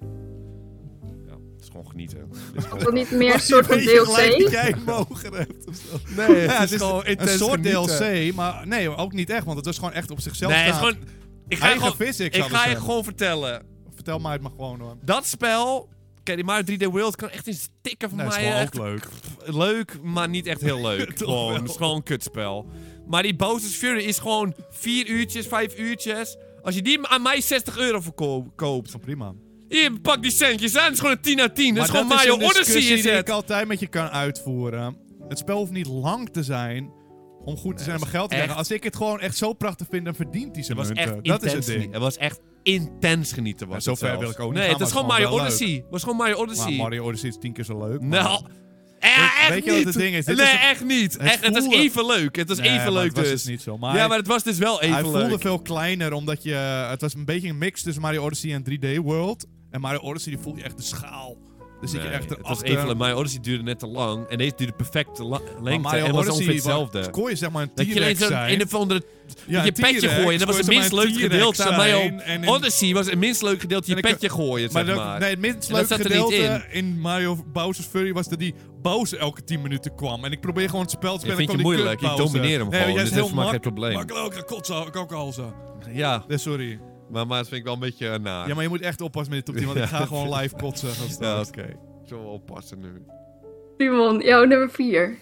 [SPEAKER 2] Ja, het is gewoon genieten.
[SPEAKER 3] Is dat niet
[SPEAKER 1] (laughs)
[SPEAKER 3] meer een soort van DLC?
[SPEAKER 1] jij mogen hebt.
[SPEAKER 4] Nee, (laughs)
[SPEAKER 2] (laughs)
[SPEAKER 4] het is,
[SPEAKER 1] Ja, het is
[SPEAKER 4] gewoon
[SPEAKER 1] een
[SPEAKER 4] intens
[SPEAKER 1] soort
[SPEAKER 4] genieten.
[SPEAKER 1] DLC, maar nee, ook niet echt, want het was gewoon echt op zichzelf
[SPEAKER 2] nee, het is
[SPEAKER 1] staand.
[SPEAKER 2] gewoon... Ik ga, je
[SPEAKER 1] Eigen
[SPEAKER 2] gewoon,
[SPEAKER 1] physics,
[SPEAKER 2] ik
[SPEAKER 1] hadden
[SPEAKER 2] ga
[SPEAKER 1] ze.
[SPEAKER 2] je gewoon vertellen.
[SPEAKER 1] Vertel mij het maar gewoon hoor.
[SPEAKER 2] Dat spel... Kijk, die Mario 3D World kan echt in stikken van
[SPEAKER 1] Nee, het is
[SPEAKER 2] mij.
[SPEAKER 1] gewoon
[SPEAKER 2] echt
[SPEAKER 1] ook leuk.
[SPEAKER 2] leuk, maar niet echt heel (laughs) leuk.
[SPEAKER 1] Toch
[SPEAKER 2] gewoon,
[SPEAKER 1] wel.
[SPEAKER 2] het is gewoon een kutspel. Maar die Bowser's Fury is gewoon vier uurtjes, vijf uurtjes. Als je die aan mij 60 euro verkoopt, koopt,
[SPEAKER 1] Van prima.
[SPEAKER 2] hier, pak die centjes aan. Het is gewoon een 10 uit 10. Dat is
[SPEAKER 1] Maar
[SPEAKER 2] gewoon Mario
[SPEAKER 1] een discussie
[SPEAKER 2] Odyssey is
[SPEAKER 1] die
[SPEAKER 2] het.
[SPEAKER 1] ik altijd met je kan uitvoeren. Het spel hoeft niet lang te zijn om goed te zijn om geld te
[SPEAKER 2] echt-
[SPEAKER 1] krijgen. Als ik het gewoon echt zo prachtig vind, dan verdient hij zijn
[SPEAKER 2] Het was
[SPEAKER 1] munten.
[SPEAKER 2] echt
[SPEAKER 1] dat is
[SPEAKER 2] intens
[SPEAKER 1] het
[SPEAKER 2] genieten.
[SPEAKER 1] ding.
[SPEAKER 2] Het was echt intens genieten. Was
[SPEAKER 1] Ja,
[SPEAKER 2] het
[SPEAKER 1] zover
[SPEAKER 2] zelfs.
[SPEAKER 1] wil ik ook niet
[SPEAKER 2] Nee,
[SPEAKER 1] gaan,
[SPEAKER 2] het was
[SPEAKER 1] maar
[SPEAKER 2] gewoon
[SPEAKER 1] het is
[SPEAKER 2] Mario
[SPEAKER 1] gewoon wel
[SPEAKER 2] Odyssey. Het was gewoon Mario
[SPEAKER 1] Maar
[SPEAKER 2] Odyssey.
[SPEAKER 1] Mario Odyssey is tien keer zo leuk. maar-
[SPEAKER 2] Nou, eh, echt
[SPEAKER 1] weet je wat het
[SPEAKER 2] niet.
[SPEAKER 1] ding is? Dit
[SPEAKER 2] nee,
[SPEAKER 1] is een-
[SPEAKER 2] echt niet.
[SPEAKER 1] het
[SPEAKER 2] Echt, het was
[SPEAKER 1] voelde-
[SPEAKER 2] even leuk. Het was
[SPEAKER 1] Nee, maar
[SPEAKER 2] even leuk
[SPEAKER 1] het was
[SPEAKER 2] dus.
[SPEAKER 1] dus niet zo. Maar
[SPEAKER 2] ja, maar het was dus wel even
[SPEAKER 1] hij voelde
[SPEAKER 2] leuk.
[SPEAKER 1] veel kleiner, omdat je... eh, Het was een beetje een mix tussen Mario Odyssey en 3D World. En Mario Odyssey, die voelde je echt de schaal. Dus zit je
[SPEAKER 2] Nee,
[SPEAKER 1] echt
[SPEAKER 2] het was
[SPEAKER 1] erachter.
[SPEAKER 2] even leuk. Mario Odyssey duurde net te lang. En deze duurde perfect te la-
[SPEAKER 1] Maar
[SPEAKER 2] lengte.
[SPEAKER 1] Mario
[SPEAKER 2] en was ongeveer
[SPEAKER 1] Odyssey wa-
[SPEAKER 2] hetzelfde.
[SPEAKER 1] kon je zeg maar een
[SPEAKER 2] Dat je
[SPEAKER 1] T-Rex
[SPEAKER 2] ineens een,
[SPEAKER 1] zijn.
[SPEAKER 2] een of andere...
[SPEAKER 1] Ja,
[SPEAKER 2] je
[SPEAKER 1] een
[SPEAKER 2] petje
[SPEAKER 1] T-Rex,
[SPEAKER 2] gooien. Dat
[SPEAKER 1] kon je
[SPEAKER 2] was het
[SPEAKER 1] zeg maar
[SPEAKER 2] minst
[SPEAKER 1] een
[SPEAKER 2] leuke
[SPEAKER 1] T-Rex
[SPEAKER 2] gedeelte aan
[SPEAKER 1] zijn
[SPEAKER 2] Mario
[SPEAKER 1] en een-
[SPEAKER 2] Odyssey. was het minst leuke gedeelte. Je
[SPEAKER 1] En ik-
[SPEAKER 2] petje gooien,
[SPEAKER 1] Maar,
[SPEAKER 2] zeg
[SPEAKER 1] dat-
[SPEAKER 2] maar.
[SPEAKER 1] nee, het minst
[SPEAKER 2] En dat
[SPEAKER 1] leuke
[SPEAKER 2] zat er niet
[SPEAKER 1] gedeelte in. Mario Bowser's Fury was dat die Bowser elke 10 minuten kwam. En ik probeer gewoon het spel te
[SPEAKER 2] Ik
[SPEAKER 1] spelen.
[SPEAKER 2] vind
[SPEAKER 1] en
[SPEAKER 2] je
[SPEAKER 1] kwam die
[SPEAKER 2] moeilijk. Ik
[SPEAKER 1] kut Bowser.
[SPEAKER 2] domineer hem
[SPEAKER 1] Nee,
[SPEAKER 2] gewoon.
[SPEAKER 1] jij
[SPEAKER 2] Dus
[SPEAKER 1] is
[SPEAKER 2] dat
[SPEAKER 1] heel
[SPEAKER 2] is voor mij geen
[SPEAKER 1] mak-
[SPEAKER 2] probleem.
[SPEAKER 1] Maar ik wil ook een kotsen, ik ook al zo.
[SPEAKER 2] Ja,
[SPEAKER 1] Nee, sorry.
[SPEAKER 2] maar, maar dat vind ik wel een beetje eh, naar.
[SPEAKER 1] Ja, maar je moet echt oppassen met dit top 10,
[SPEAKER 2] (laughs)
[SPEAKER 1] want ik ga gewoon live kotsen. gaan staan.
[SPEAKER 2] Ja, oké. Ik zal wel oppassen nu.
[SPEAKER 3] Simon, jouw nummer 4.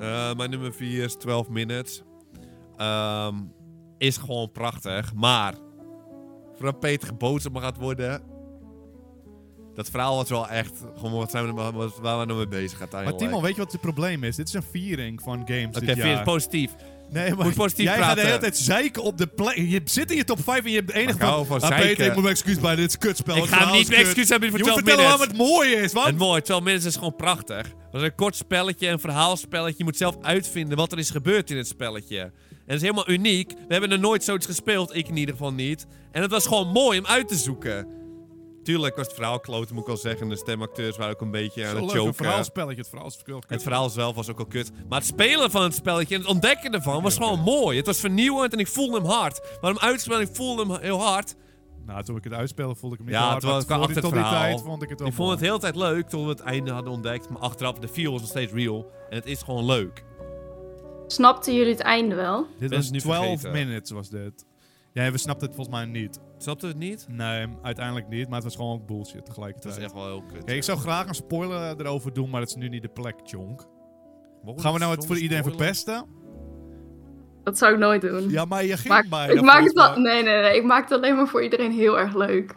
[SPEAKER 2] Eh, mijn nummer 4 is 12 Minutes. Ehm, is gewoon prachtig, maar voordat Peter geboten op me gaat worden. Dat verhaal was wel echt. Gewoon wat zijn we, nou- wat- waar we nou mee bezig gaan.
[SPEAKER 1] Maar
[SPEAKER 2] uiteindelijk.
[SPEAKER 1] Timon, weet je wat het probleem is? Dit is een viering van games dit
[SPEAKER 2] Oké, vind je het
[SPEAKER 1] jaar.
[SPEAKER 2] positief?
[SPEAKER 1] Nee, maar
[SPEAKER 2] Moet positief
[SPEAKER 1] jij gaat de
[SPEAKER 2] praten.
[SPEAKER 1] hele tijd zeiken op de plek. Je zit in je top 5 en je hebt de enige
[SPEAKER 2] Ik hou van
[SPEAKER 1] Ah, Peter,
[SPEAKER 2] zeiken.
[SPEAKER 1] ik moet mijn excuus bij, dit is een kutspel.
[SPEAKER 2] ik
[SPEAKER 1] het
[SPEAKER 2] ga hem
[SPEAKER 1] verhaal
[SPEAKER 2] niet
[SPEAKER 1] is
[SPEAKER 2] mijn
[SPEAKER 1] kut.
[SPEAKER 2] excuus hebben
[SPEAKER 1] Je
[SPEAKER 2] voor
[SPEAKER 1] moet
[SPEAKER 2] 12
[SPEAKER 1] vertellen waarom
[SPEAKER 2] Minutes.
[SPEAKER 1] het mooi is,
[SPEAKER 2] Het
[SPEAKER 1] want...
[SPEAKER 2] mooi, 12 Minutes is gewoon prachtig. Het is een kort spelletje, een verhaalspelletje. Je moet zelf uitvinden wat er is gebeurd in het spelletje. En het is helemaal uniek. We hebben er nooit zoiets gespeeld, ik in ieder geval niet. En het was gewoon mooi om uit te zoeken. Tuurlijk was het verhaal kloten, moet ik al zeggen. De stemacteurs waren ook een beetje aan
[SPEAKER 1] Zo'n
[SPEAKER 2] het
[SPEAKER 1] leuk, een
[SPEAKER 2] choken.
[SPEAKER 1] verhaalspelletje, het verhaal is kut.
[SPEAKER 2] Het verhaal zelf was ook al kut. Maar het spelen van het spelletje en het ontdekken ervan was gewoon mooi. Het was vernieuwend en ik voelde hem hard. Maar hem uitspelen, ik voelde hem heel hard.
[SPEAKER 1] Nou, toen ik het uitspelde voelde ik hem niet
[SPEAKER 2] Ja,
[SPEAKER 1] hard,
[SPEAKER 2] het was-
[SPEAKER 1] maar
[SPEAKER 2] het kwam
[SPEAKER 1] voor die-
[SPEAKER 2] achter
[SPEAKER 1] tot
[SPEAKER 2] het
[SPEAKER 1] die
[SPEAKER 2] verhaal.
[SPEAKER 1] tijd vond ik het wel
[SPEAKER 2] Ik vond het
[SPEAKER 1] mooi.
[SPEAKER 2] heel de tijd leuk tot we het einde hadden ontdekt. Maar achteraf, de feel was nog steeds real. En het is gewoon leuk.
[SPEAKER 3] Snapten jullie het einde wel?
[SPEAKER 1] Dit
[SPEAKER 2] ben
[SPEAKER 1] was
[SPEAKER 2] het nu
[SPEAKER 1] 12
[SPEAKER 2] vergeten.
[SPEAKER 1] minutes was dit. Ja, we snapten het volgens mij niet.
[SPEAKER 2] Snapte het niet?
[SPEAKER 1] Nee, uiteindelijk niet, maar het was gewoon ook bullshit
[SPEAKER 2] Het is
[SPEAKER 1] tegelijkertijd.
[SPEAKER 2] echt wel heel kut.
[SPEAKER 1] Kijk, ik zou graag een spoiler erover doen, maar dat is nu niet de plek, Chonk.
[SPEAKER 2] Mogen
[SPEAKER 1] Gaan we nou het
[SPEAKER 2] soms
[SPEAKER 1] voor iedereen
[SPEAKER 2] spoilen?
[SPEAKER 1] verpesten?
[SPEAKER 3] Dat zou ik nooit doen.
[SPEAKER 1] Ja, maar je ging
[SPEAKER 3] Maar
[SPEAKER 1] bijna.
[SPEAKER 3] ik maak het
[SPEAKER 1] volgens
[SPEAKER 3] wel.
[SPEAKER 1] mij.
[SPEAKER 3] Nee, nee, nee. Ik maak het alleen maar voor iedereen heel erg leuk.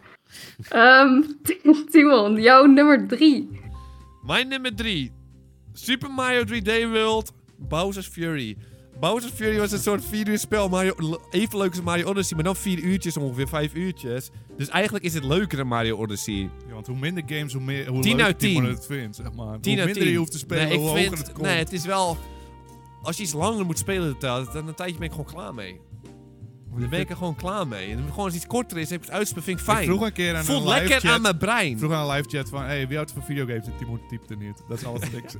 [SPEAKER 3] Ehm, (laughs) Timon, jouw nummer 3.
[SPEAKER 2] Mijn nummer 3. Super Mario 3D World. Bowser's Fury. Bowser's Fury was een soort 4 uur spel. Mario, l- even leuk als Mario Odyssey, maar dan 4 uurtjes, ongeveer 5 uurtjes. Dus eigenlijk is het leuker dan Mario Odyssey.
[SPEAKER 1] Ja, want hoe minder games, hoe meer hoe
[SPEAKER 2] 10
[SPEAKER 1] leuk
[SPEAKER 2] uit
[SPEAKER 1] Timon
[SPEAKER 2] 10.
[SPEAKER 1] het vindt, zeg maar.
[SPEAKER 2] 10
[SPEAKER 1] hoe
[SPEAKER 2] uit
[SPEAKER 1] minder
[SPEAKER 2] 10.
[SPEAKER 1] je hoeft te spelen,
[SPEAKER 2] nee,
[SPEAKER 1] hoe
[SPEAKER 2] ik
[SPEAKER 1] hoger
[SPEAKER 2] vind-
[SPEAKER 1] het komt.
[SPEAKER 2] Nee, het is wel... Als je iets langer moet spelen, de taal, dan een tijdje ben ik gewoon klaar mee. Dan ben ik er gewoon klaar mee. En gewoon als iets korter is, heb ik het uitspelen, vind ik fijn.
[SPEAKER 1] Ik vroeg een keer aan
[SPEAKER 2] Voelt
[SPEAKER 1] een
[SPEAKER 2] lekker
[SPEAKER 1] live chat,
[SPEAKER 2] aan mijn brein.
[SPEAKER 1] vroeg aan een live chat van, hey, wie houdt van videogames? En Timon typte niet. Dat is
[SPEAKER 2] (laughs)
[SPEAKER 1] alles niks.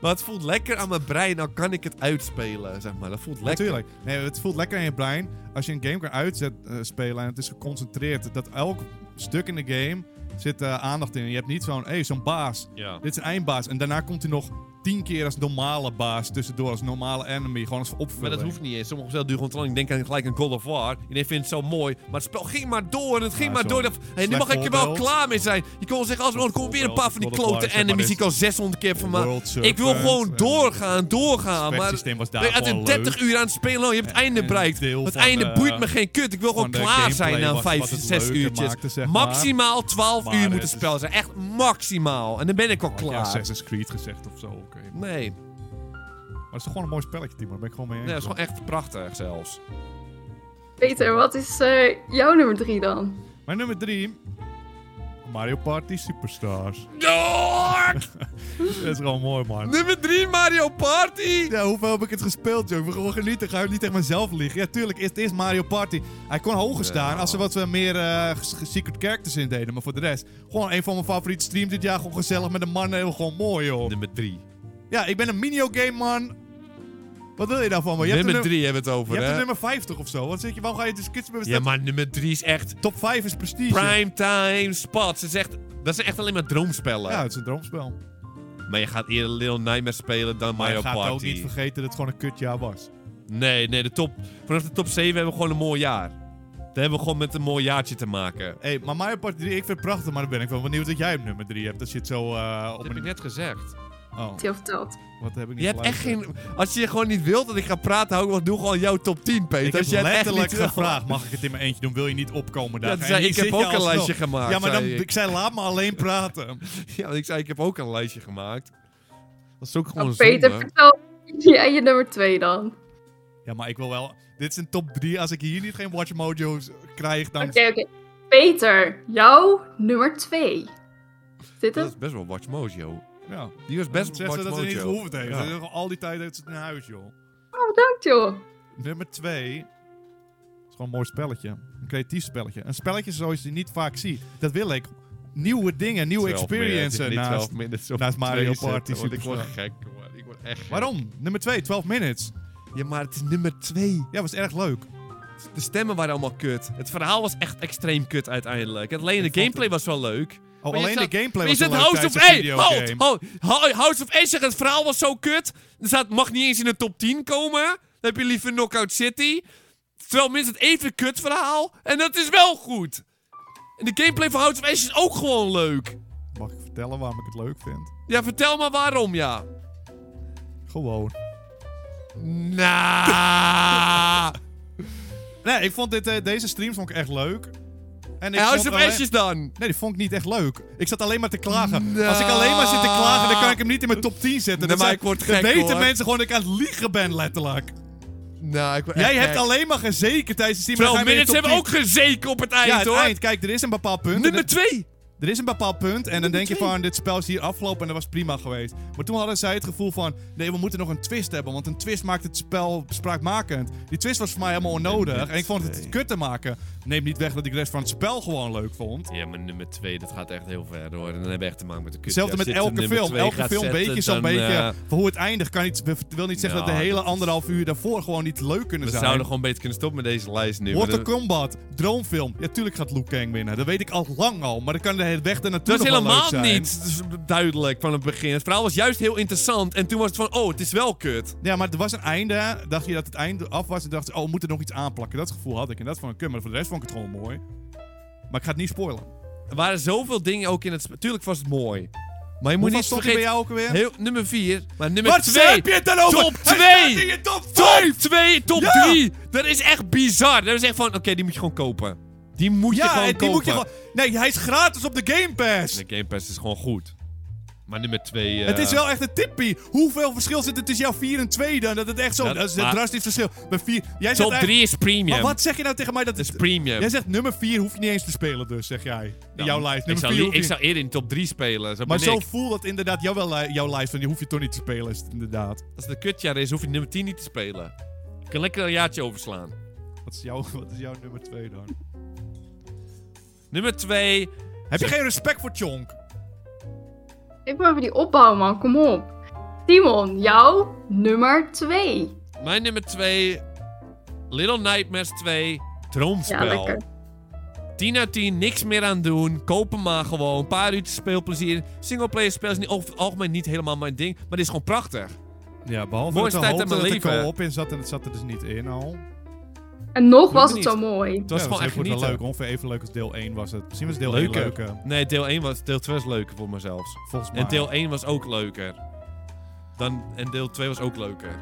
[SPEAKER 2] Maar het voelt lekker aan mijn brein, dan kan ik het uitspelen, zeg maar. Dat voelt lekker.
[SPEAKER 1] Natuurlijk. Nee, het voelt lekker in je brein. Als je een game kan uitspelen en het is geconcentreerd, dat elk stuk in de game zit eh, aandacht in. Je hebt niet zo'n, hé, hey, zo'n baas.
[SPEAKER 2] Ja.
[SPEAKER 1] Dit is een eindbaas. En daarna komt hij nog tien keer als normale baas tussendoor, als normale enemy. Gewoon als opvulling.
[SPEAKER 2] Maar dat hoeft niet eens. Sommige spellen duren gewoon te lang. Ik denk aan gelijk aan God of War. Iedereen vindt het zo mooi. Maar het spel ging maar door en het ging
[SPEAKER 1] Ja,
[SPEAKER 2] maar
[SPEAKER 1] zo.
[SPEAKER 2] door. Dat, hey, nu
[SPEAKER 1] Slecht
[SPEAKER 2] mag ik er wel
[SPEAKER 1] voorbeeld.
[SPEAKER 2] klaar mee zijn. Je kon wel zeggen, als we er komen weer een paar van die
[SPEAKER 1] Slecht voorbeeld.
[SPEAKER 2] klote enemies die ik al 600 keer van maar
[SPEAKER 1] World
[SPEAKER 2] Ik wil
[SPEAKER 1] Serpent,
[SPEAKER 2] gewoon
[SPEAKER 1] eh,
[SPEAKER 2] doorgaan, doorgaan.
[SPEAKER 1] Het
[SPEAKER 2] Maar
[SPEAKER 1] systeem was daar
[SPEAKER 2] Nee, uit
[SPEAKER 1] gewoon
[SPEAKER 2] een
[SPEAKER 1] leuk.
[SPEAKER 2] 30 uur aan het spelen, oh, je hebt het einde
[SPEAKER 1] en
[SPEAKER 2] bereikt.
[SPEAKER 1] deel
[SPEAKER 2] Het
[SPEAKER 1] van
[SPEAKER 2] einde
[SPEAKER 1] de-
[SPEAKER 2] boeit me geen kut. Ik wil gewoon
[SPEAKER 1] van de
[SPEAKER 2] klaar zijn
[SPEAKER 1] gameplay
[SPEAKER 2] na
[SPEAKER 1] was
[SPEAKER 2] 5,
[SPEAKER 1] wat het
[SPEAKER 2] 6
[SPEAKER 1] leuker
[SPEAKER 2] uurtjes.
[SPEAKER 1] maakte, zeg maar.
[SPEAKER 2] maximaal 12
[SPEAKER 1] Maar
[SPEAKER 2] uur
[SPEAKER 1] het
[SPEAKER 2] moet het
[SPEAKER 1] is-
[SPEAKER 2] spel zijn. Echt maximaal. En dan ben ik al
[SPEAKER 1] Had je
[SPEAKER 2] klaar.
[SPEAKER 1] Assassin's Creed gezegd of zo. oké. Maar
[SPEAKER 2] Nee,
[SPEAKER 1] het is toch gewoon een mooi spelletje, Timon. Daar ben ik gewoon mee eens.
[SPEAKER 2] nee, dat is gewoon echt prachtig zelfs.
[SPEAKER 3] Peter, wat is eh, jouw nummer 3 dan?
[SPEAKER 1] Mijn nummer drie... Mario Party Superstars.
[SPEAKER 2] Dork!
[SPEAKER 1] dat is gewoon mooi, man.
[SPEAKER 2] Nummer 3 Mario Party!
[SPEAKER 1] Ja, hoeveel heb ik het gespeeld, joh? Ik wil gewoon genieten. Ga ik niet tegen mezelf liegen. Ja, tuurlijk, het is Mario Party. Hij kon hoger staan als er wat eh, meer eh, ges- ges- secret characters in deden. Maar voor de rest, gewoon een van mijn favoriete streams dit jaar. Gewoon gezellig met een man. Heel gewoon mooi, joh.
[SPEAKER 2] Nummer 3.
[SPEAKER 1] Ja, ik ben een minigame man. Wat wil je nou van me? Je hebt, een
[SPEAKER 2] nummer
[SPEAKER 1] nummer,
[SPEAKER 2] 3 hebben we het
[SPEAKER 1] je
[SPEAKER 2] over,
[SPEAKER 1] hebt een
[SPEAKER 2] hè?
[SPEAKER 1] nummer 50 of zo. Wat zeg je? Waarom ga je dus kids
[SPEAKER 2] Ja, maar nummer 3 is echt
[SPEAKER 1] Top 5 is prestige.
[SPEAKER 2] primetime spots. Het is echt, dat zijn echt alleen maar droomspellen.
[SPEAKER 1] Ja, het is een droomspel.
[SPEAKER 2] Maar je gaat eerder Little Nightmares spelen dan
[SPEAKER 1] Maar
[SPEAKER 2] Mario
[SPEAKER 1] je gaat
[SPEAKER 2] Party.
[SPEAKER 1] ook niet vergeten dat het gewoon een kutjaar was.
[SPEAKER 2] nee, nee, de top, vanaf de top 7 hebben we gewoon een mooi jaar. Daar hebben we gewoon met een mooi jaartje te maken.
[SPEAKER 1] Hé, hey, maar Mario Party 3, ik vind het prachtig, maar dan ben ik wel benieuwd dat jij hem nummer 3 hebt. Dat je het zo eh, op
[SPEAKER 2] Dat heb ik
[SPEAKER 1] een...
[SPEAKER 2] net gezegd.
[SPEAKER 1] Oh,
[SPEAKER 3] Heel verteld.
[SPEAKER 1] wat heb ik niet
[SPEAKER 2] Je hebt echt
[SPEAKER 1] geluisterd.
[SPEAKER 2] geen... Als je gewoon niet wilt dat ik ga praten, hou ik wel, doe gewoon jouw top 10, Peter.
[SPEAKER 1] Ik heb
[SPEAKER 2] als jij het echt
[SPEAKER 1] letterlijk
[SPEAKER 2] niet wil.
[SPEAKER 1] gevraagd, mag ik het in mijn eentje doen? Wil je niet opkomen
[SPEAKER 2] Ja,
[SPEAKER 1] daar?
[SPEAKER 2] toen zei ik, ik heb ook een lijstje gemaakt,
[SPEAKER 1] Ja, maar dan,
[SPEAKER 2] zei ik.
[SPEAKER 1] ik zei, laat me alleen praten.
[SPEAKER 2] (laughs) Ja, want ik zei, ik heb ook een lijstje gemaakt. Dat is ook gewoon
[SPEAKER 3] Nou,
[SPEAKER 2] zonde.
[SPEAKER 3] Peter, vertel (laughs) jij je nummer 2 dan.
[SPEAKER 1] Ja, maar ik wil wel... Dit is een top 3. Als ik hier niet geen Watch Mojo's krijg, dan...
[SPEAKER 3] Oké, oké. Peter, jouw nummer 2. Is dit
[SPEAKER 2] Dat
[SPEAKER 3] het?
[SPEAKER 2] is best wel Watch Mojo.
[SPEAKER 1] Ja.
[SPEAKER 2] Die was best
[SPEAKER 1] Zegt
[SPEAKER 2] Watch
[SPEAKER 1] ze dat
[SPEAKER 2] Mojo.
[SPEAKER 1] ze niet gehoeven heeft.
[SPEAKER 2] Ja.
[SPEAKER 1] Ze heeft gewoon Al die tijd heeft ze het in huis, joh.
[SPEAKER 3] Oh, bedankt joh.
[SPEAKER 1] Nummer 2 is gewoon een mooi spelletje. Een creatief spelletje. Een spelletje zoals je niet vaak ziet. Dat wil ik. Nieuwe dingen, nieuwe
[SPEAKER 2] 12 minuten, het
[SPEAKER 1] experiences.
[SPEAKER 2] is niet
[SPEAKER 1] Naast.
[SPEAKER 2] 12 minutes of
[SPEAKER 1] naast Mario
[SPEAKER 2] twee zetten,
[SPEAKER 1] Party
[SPEAKER 2] want Ik word
[SPEAKER 1] Superstar.
[SPEAKER 2] gek, man. Ik word echt gek.
[SPEAKER 1] Waarom? Nummer 2, 12 minutes.
[SPEAKER 2] Ja, maar het is nummer 2.
[SPEAKER 1] Ja, was erg leuk.
[SPEAKER 2] De stemmen waren allemaal kut. Het verhaal was echt extreem kut uiteindelijk. Alleen de
[SPEAKER 1] vond
[SPEAKER 2] gameplay was wel leuk.
[SPEAKER 1] Oh,
[SPEAKER 2] Maar je
[SPEAKER 1] alleen
[SPEAKER 2] zat-
[SPEAKER 1] de gameplay
[SPEAKER 2] maar je
[SPEAKER 1] was een
[SPEAKER 2] zat
[SPEAKER 1] leuk
[SPEAKER 2] House of
[SPEAKER 1] tijdens een
[SPEAKER 2] Hey, halt,
[SPEAKER 1] videogame.
[SPEAKER 2] halt, halt, House of Hey zegt het verhaal was zo kut. Er staat, mag niet eens in de top 10 komen. Dan heb je liever Knockout City. Terwijl minstens het even kut verhaal. En dat is wel goed. En de gameplay van House of Ace is ook gewoon leuk.
[SPEAKER 1] Mag ik vertellen waarom ik het leuk vind?
[SPEAKER 2] Ja, vertel maar waarom, ja.
[SPEAKER 1] Gewoon.
[SPEAKER 2] (laughs) Nou.
[SPEAKER 1] Nee, ik vond dit, eh, deze stream vond ik echt leuk. En ik
[SPEAKER 2] en House
[SPEAKER 1] vond
[SPEAKER 2] of
[SPEAKER 1] alleen-
[SPEAKER 2] Ashes dan?
[SPEAKER 1] Nee, die vond ik niet echt leuk. Ik zat alleen maar te klagen.
[SPEAKER 2] Nou.
[SPEAKER 1] Als ik alleen maar zit te klagen, dan kan ik hem niet in mijn top 10 zetten.
[SPEAKER 2] Nee,
[SPEAKER 1] Dan
[SPEAKER 2] maar
[SPEAKER 1] zijn-
[SPEAKER 2] ik word
[SPEAKER 1] dan
[SPEAKER 2] gek,
[SPEAKER 1] weten
[SPEAKER 2] hoor.
[SPEAKER 1] mensen gewoon dat ik aan het liegen ben, letterlijk.
[SPEAKER 2] Nou, ik word
[SPEAKER 1] Jij hebt alleen maar gezeken tijdens de stream.
[SPEAKER 2] Terwijl
[SPEAKER 1] Dan ga je
[SPEAKER 2] minutes
[SPEAKER 1] weer in de
[SPEAKER 2] hebben
[SPEAKER 1] top
[SPEAKER 2] ook gezeken op het
[SPEAKER 1] 10.
[SPEAKER 2] eind,
[SPEAKER 1] Ja, het
[SPEAKER 2] hoor.
[SPEAKER 1] eind. Kijk, er is een bepaald punt.
[SPEAKER 2] Nummer 2.
[SPEAKER 1] Er is een bepaald punt en dan denk je
[SPEAKER 2] twee.
[SPEAKER 1] van, dit spel is hier afgelopen en dat was prima geweest. Maar toen hadden zij het gevoel van, nee, we moeten nog een twist hebben, want een twist maakt het spel spraakmakend. Die twist was voor mij helemaal onnodig en ik vond het
[SPEAKER 2] twee.
[SPEAKER 1] kut te maken. Neemt niet weg dat ik de rest van het spel gewoon leuk vond.
[SPEAKER 2] Ja, maar nummer 2, dat gaat echt heel ver, hoor. En dan hebben we echt te maken met de kut.
[SPEAKER 1] Hetzelfde
[SPEAKER 2] Ja,
[SPEAKER 1] met
[SPEAKER 2] als dit
[SPEAKER 1] elke
[SPEAKER 2] nummer
[SPEAKER 1] film.
[SPEAKER 2] twee
[SPEAKER 1] Elke
[SPEAKER 2] gaat
[SPEAKER 1] film
[SPEAKER 2] zetten,
[SPEAKER 1] weet je zo'n
[SPEAKER 2] dan,
[SPEAKER 1] beetje
[SPEAKER 2] eh,
[SPEAKER 1] van hoe het eindigt. Kan niet, wil niet zeggen dat
[SPEAKER 2] Nou,
[SPEAKER 1] de hele
[SPEAKER 2] dat-
[SPEAKER 1] anderhalf uur daarvoor gewoon niet leuk kunnen
[SPEAKER 2] we
[SPEAKER 1] zijn.
[SPEAKER 2] zouden gewoon beter kunnen stoppen met deze lijst nu. maar
[SPEAKER 1] Mortal
[SPEAKER 2] dat-
[SPEAKER 1] Kombat, Droomfilm. Ja, tuurlijk gaat Liu Kang winnen. Dat weet ik al lang al. Maar dan kan de weg er naartoe
[SPEAKER 2] Dat is
[SPEAKER 1] nog wel leuk
[SPEAKER 2] helemaal
[SPEAKER 1] zijn.
[SPEAKER 2] niet s- duidelijk van het begin. Het verhaal was juist heel interessant. En toen was het van, oh, het is wel kut.
[SPEAKER 1] Ja, maar er was een einde. Dacht je dat het einde af was en dacht je, oh, we moeten nog iets aanplakken. Dat gevoel had ik en dat vond ik kut. Maar voor de rest vond ik het gewoon mooi. Maar ik ga het niet spoilen.
[SPEAKER 2] Er waren zoveel dingen ook in het... sp- Tuurlijk was het mooi. Maar je moet
[SPEAKER 1] Hoeveel
[SPEAKER 2] niet
[SPEAKER 1] stond hij bij
[SPEAKER 2] vergeten...
[SPEAKER 1] jou ook weer?
[SPEAKER 2] Heel, nummer 4, maar nummer
[SPEAKER 1] Wat
[SPEAKER 2] 2.
[SPEAKER 1] heb je het dan over?
[SPEAKER 2] Top
[SPEAKER 1] Hij
[SPEAKER 2] 2!
[SPEAKER 1] staat in je top 5!
[SPEAKER 2] Top 2, top
[SPEAKER 1] Ja!
[SPEAKER 2] 3. Dat is echt bizar. Dat is echt van, oké, die moet je gewoon kopen. Die moet je
[SPEAKER 1] Ja,
[SPEAKER 2] gewoon
[SPEAKER 1] en
[SPEAKER 2] kopen.
[SPEAKER 1] die moet je gewoon... Nee, hij is gratis op de Game Pass.
[SPEAKER 2] De Game Pass is gewoon goed. Maar nummer eh, 2...
[SPEAKER 1] Het is wel echt een tippie. Hoeveel verschil zit er tussen jouw 4 en 2 dan? Dat het echt zo...
[SPEAKER 2] Dat-
[SPEAKER 1] Dat, is een
[SPEAKER 2] maar-
[SPEAKER 1] drastisch verschil. Bij 4... Jij zegt
[SPEAKER 2] Top
[SPEAKER 1] eigenlijk-
[SPEAKER 2] 3 is premium.
[SPEAKER 1] Maar wat zeg je nou tegen mij? Dat
[SPEAKER 2] Dat is
[SPEAKER 1] het,
[SPEAKER 2] premium.
[SPEAKER 1] jij zegt nummer 4 hoef je niet eens te spelen dus, zeg jij. In
[SPEAKER 2] Nou,
[SPEAKER 1] jouw lijst.
[SPEAKER 2] ik
[SPEAKER 1] Nummer
[SPEAKER 2] zou,
[SPEAKER 1] 4
[SPEAKER 2] li-
[SPEAKER 1] hoef je
[SPEAKER 2] ik zou eerder in de top 3 spelen. Zo
[SPEAKER 1] Maar
[SPEAKER 2] maar
[SPEAKER 1] zo voelt dat inderdaad jouw, wel, eh, jouw lijst, van die hoef je toch niet te spelen, is het inderdaad.
[SPEAKER 2] Als het een kutjaar is, hoef je nummer 10 niet te spelen. Je kan lekker een jaartje overslaan.
[SPEAKER 1] Wat is, jouw, (laughs) wat is jouw nummer 2 dan?
[SPEAKER 2] Nummer 2.
[SPEAKER 1] Heb je geen respect voor Chonk?
[SPEAKER 3] Ik wil even die opbouw man, kom op. Timon, jouw nummer 2.
[SPEAKER 2] Mijn nummer 2. Little Nightmares 2. Droomspel.
[SPEAKER 3] Ja, lekker.
[SPEAKER 2] 10 uit 10, niks meer aan doen. Kopen maar gewoon. Een paar uurtjes speelplezier. Singleplayer spel is niet, over het algemeen niet helemaal mijn ding. Maar dit is gewoon prachtig.
[SPEAKER 1] Ja, behalve
[SPEAKER 2] Mooiste
[SPEAKER 1] dat de hoogte
[SPEAKER 2] tijd uit
[SPEAKER 1] dat
[SPEAKER 2] mijn
[SPEAKER 1] er
[SPEAKER 2] leven.
[SPEAKER 1] co-op in zat en het zat er dus niet in al. Het
[SPEAKER 3] En nog was
[SPEAKER 2] me
[SPEAKER 3] het zo mooi.
[SPEAKER 2] Het was gewoon echt
[SPEAKER 1] wel
[SPEAKER 2] genieten.
[SPEAKER 1] leuk, ongeveer even leuk als deel 1 was het. Misschien was deel 1
[SPEAKER 2] Leuker.
[SPEAKER 1] leuker,
[SPEAKER 2] Nee, deel 1 was, deel 2 was leuker voor mezelf.
[SPEAKER 1] volgens mij.
[SPEAKER 2] En deel 1 was ook leuker. Dan, en deel 2 was ook leuker.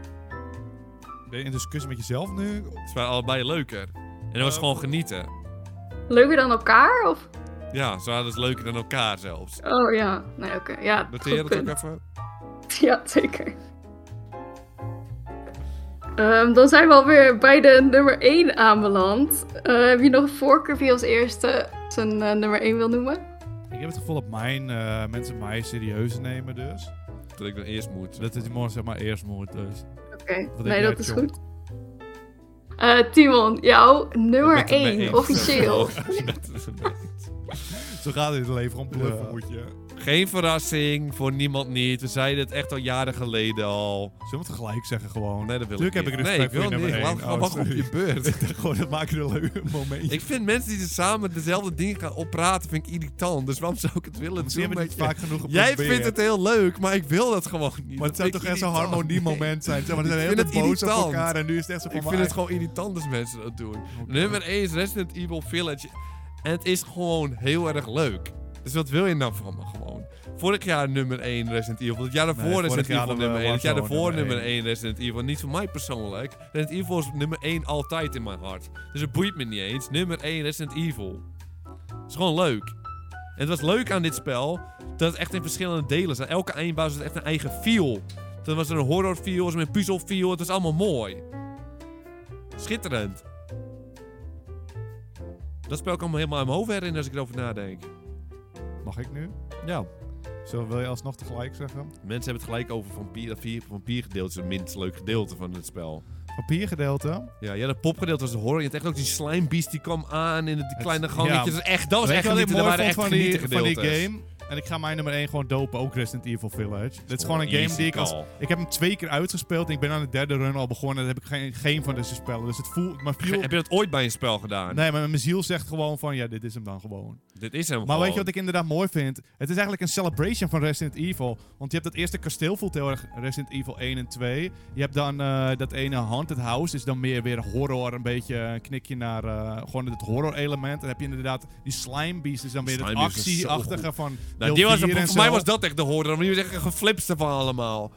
[SPEAKER 1] Ben je in discussie met jezelf nu?
[SPEAKER 2] Ze waren allebei leuker. En dat was
[SPEAKER 1] Eh,
[SPEAKER 2] gewoon genieten.
[SPEAKER 3] Leuker dan elkaar? Of?
[SPEAKER 2] Ja, ze waren dus leuker dan elkaar zelfs.
[SPEAKER 3] Oh ja, nee oké. Ja, goed
[SPEAKER 2] Noteer dat ook
[SPEAKER 3] punt.
[SPEAKER 2] even.
[SPEAKER 3] (laughs) Ja, zeker. Ehm, dan zijn we alweer bij de nummer 1 aanbeland. Eh, heb je nog een voorkeur wie als eerste zijn eh, nummer 1 wil noemen?
[SPEAKER 1] Ik heb het gevoel dat mijn, eh, mensen mij serieus nemen dus.
[SPEAKER 2] Dat ik dan eerst moet.
[SPEAKER 1] Dat het morgen zeg maar eerst moet dus.
[SPEAKER 3] Oké,
[SPEAKER 1] heb
[SPEAKER 3] nee,
[SPEAKER 1] jij,
[SPEAKER 3] dat is
[SPEAKER 1] John?
[SPEAKER 3] goed. Eh, Timon, jouw nummer
[SPEAKER 2] Ik ben het ermee
[SPEAKER 3] 1,
[SPEAKER 2] eens. (laughs)
[SPEAKER 3] officieel.
[SPEAKER 2] Dat is een beetje-
[SPEAKER 1] Zo gaat het in het leven, gewoon bluffen
[SPEAKER 4] Ja.
[SPEAKER 1] moet je.
[SPEAKER 2] Geen verrassing, voor niemand niet. We zeiden het echt al jaren geleden al.
[SPEAKER 1] Zullen we het gelijk zeggen gewoon?
[SPEAKER 2] Nee, dat wil
[SPEAKER 1] Tuurlijk
[SPEAKER 2] ik
[SPEAKER 1] heb
[SPEAKER 2] niet.
[SPEAKER 1] ik respect
[SPEAKER 2] nee, ik
[SPEAKER 1] voor
[SPEAKER 2] wil
[SPEAKER 1] je nummer
[SPEAKER 2] niet. Laat
[SPEAKER 1] één.
[SPEAKER 2] gewoon
[SPEAKER 1] Oh,
[SPEAKER 2] wachten op
[SPEAKER 1] sorry.
[SPEAKER 2] je beurt.
[SPEAKER 1] Ik dacht (laughs) gewoon, dat maakt een leuk momentje.
[SPEAKER 2] ik vind mensen die samen dezelfde dingen gaan oppraten, vind ik irritant. Dus waarom zou ik het willen
[SPEAKER 1] Misschien
[SPEAKER 2] doen
[SPEAKER 1] hebben we
[SPEAKER 2] met
[SPEAKER 1] het
[SPEAKER 2] je?
[SPEAKER 1] vaak genoeg geprobeerd.
[SPEAKER 2] Jij vindt het heel leuk, maar ik wil dat gewoon niet.
[SPEAKER 1] Maar het zou
[SPEAKER 2] Dat
[SPEAKER 1] toch
[SPEAKER 2] vind
[SPEAKER 1] echt
[SPEAKER 2] ik
[SPEAKER 1] zo'n
[SPEAKER 2] irritant.
[SPEAKER 1] harmoniemoment zijn. Zeg maar,
[SPEAKER 2] Ik
[SPEAKER 1] we zijn
[SPEAKER 2] vind
[SPEAKER 1] heel
[SPEAKER 2] het
[SPEAKER 1] boos op
[SPEAKER 2] irritant.
[SPEAKER 1] elkaar en nu is het echt zo van...
[SPEAKER 2] Ik
[SPEAKER 1] maar
[SPEAKER 2] vind het
[SPEAKER 1] eigenlijk-
[SPEAKER 2] gewoon irritant als mensen dat doen. Nummer 1 is Resident Evil Village. En het is gewoon heel erg leuk. Dus wat wil je nou van me gewoon? Vorig jaar nummer 1 Resident Evil. Het jaar daarvoor
[SPEAKER 1] vorig
[SPEAKER 2] Resident
[SPEAKER 1] jaar
[SPEAKER 2] Evil
[SPEAKER 1] hadden we
[SPEAKER 2] nummer 1. Het jaar
[SPEAKER 1] Warzone
[SPEAKER 2] daarvoor
[SPEAKER 1] nummer
[SPEAKER 2] nummer 1 Resident Evil. Niet voor mij persoonlijk. Resident Evil is nummer 1 altijd in mijn hart. Dus het boeit me niet eens. Nummer 1 Resident Evil. Het is gewoon leuk. En het was leuk aan dit spel dat het echt in verschillende delen zat. Elke eindbaas had echt een eigen feel. Dan was er een horror feel, was er een puzzel feel. Het was allemaal mooi. Schitterend. Dat spel kan me helemaal in mijn hoofd herinneren als ik erover nadenk.
[SPEAKER 1] Mag ik nu?
[SPEAKER 2] Ja.
[SPEAKER 1] Zo wil je alsnog tegelijk zeggen?
[SPEAKER 2] Mensen hebben het gelijk over vampier. Dat vier- vampiergedeelte is het minst leuk gedeelte van het spel.
[SPEAKER 1] Papiergedeelte.
[SPEAKER 2] Ja, ja dat popgedeelte was de horror. Je had echt ook die slimebeest die kwam aan in die kleine gangetjes.
[SPEAKER 1] ja.
[SPEAKER 2] Dat, is echt, dat was
[SPEAKER 1] Weet
[SPEAKER 2] echt
[SPEAKER 1] je wat ik
[SPEAKER 2] genieten. Dat
[SPEAKER 1] mooi
[SPEAKER 2] waren echt
[SPEAKER 1] vond van die,
[SPEAKER 2] genieten
[SPEAKER 1] van die
[SPEAKER 2] gedeeltes.
[SPEAKER 1] game? En ik ga mijn nummer 1 gewoon dopen, ook Resident Evil Village. Dit is gewoon een
[SPEAKER 2] Easy
[SPEAKER 1] game die ik als...
[SPEAKER 2] call.
[SPEAKER 1] Ik heb hem twee keer uitgespeeld en ik ben aan de derde run al begonnen. En dan heb ik geen, geen van deze spellen. Dus het voelt... Mijn
[SPEAKER 2] Ge-
[SPEAKER 1] ziel,
[SPEAKER 2] Heb je dat ooit bij een spel gedaan?
[SPEAKER 1] nee, maar mijn ziel zegt gewoon van, ja, dit is hem dan gewoon.
[SPEAKER 2] Dit is hem
[SPEAKER 1] Maar weet je
[SPEAKER 2] gewoon.
[SPEAKER 1] wat ik inderdaad mooi vind? Het is eigenlijk een celebration van Resident Evil. Want je hebt dat eerste kasteel voelt heel erg Resident Evil 1 en 2. Je hebt dan eh, dat ene Haunted House. Is dan meer weer horror. Een beetje een knikje naar eh, gewoon het horror element. En dan heb je inderdaad die Slime Beast. Is dan weer het
[SPEAKER 2] Slime Beast is zo
[SPEAKER 1] actieachtige van deel
[SPEAKER 2] Nou, die was,
[SPEAKER 1] 4 en
[SPEAKER 2] voor mij
[SPEAKER 1] zo.
[SPEAKER 2] was dat echt de horror. Want die was echt een geflipste van allemaal.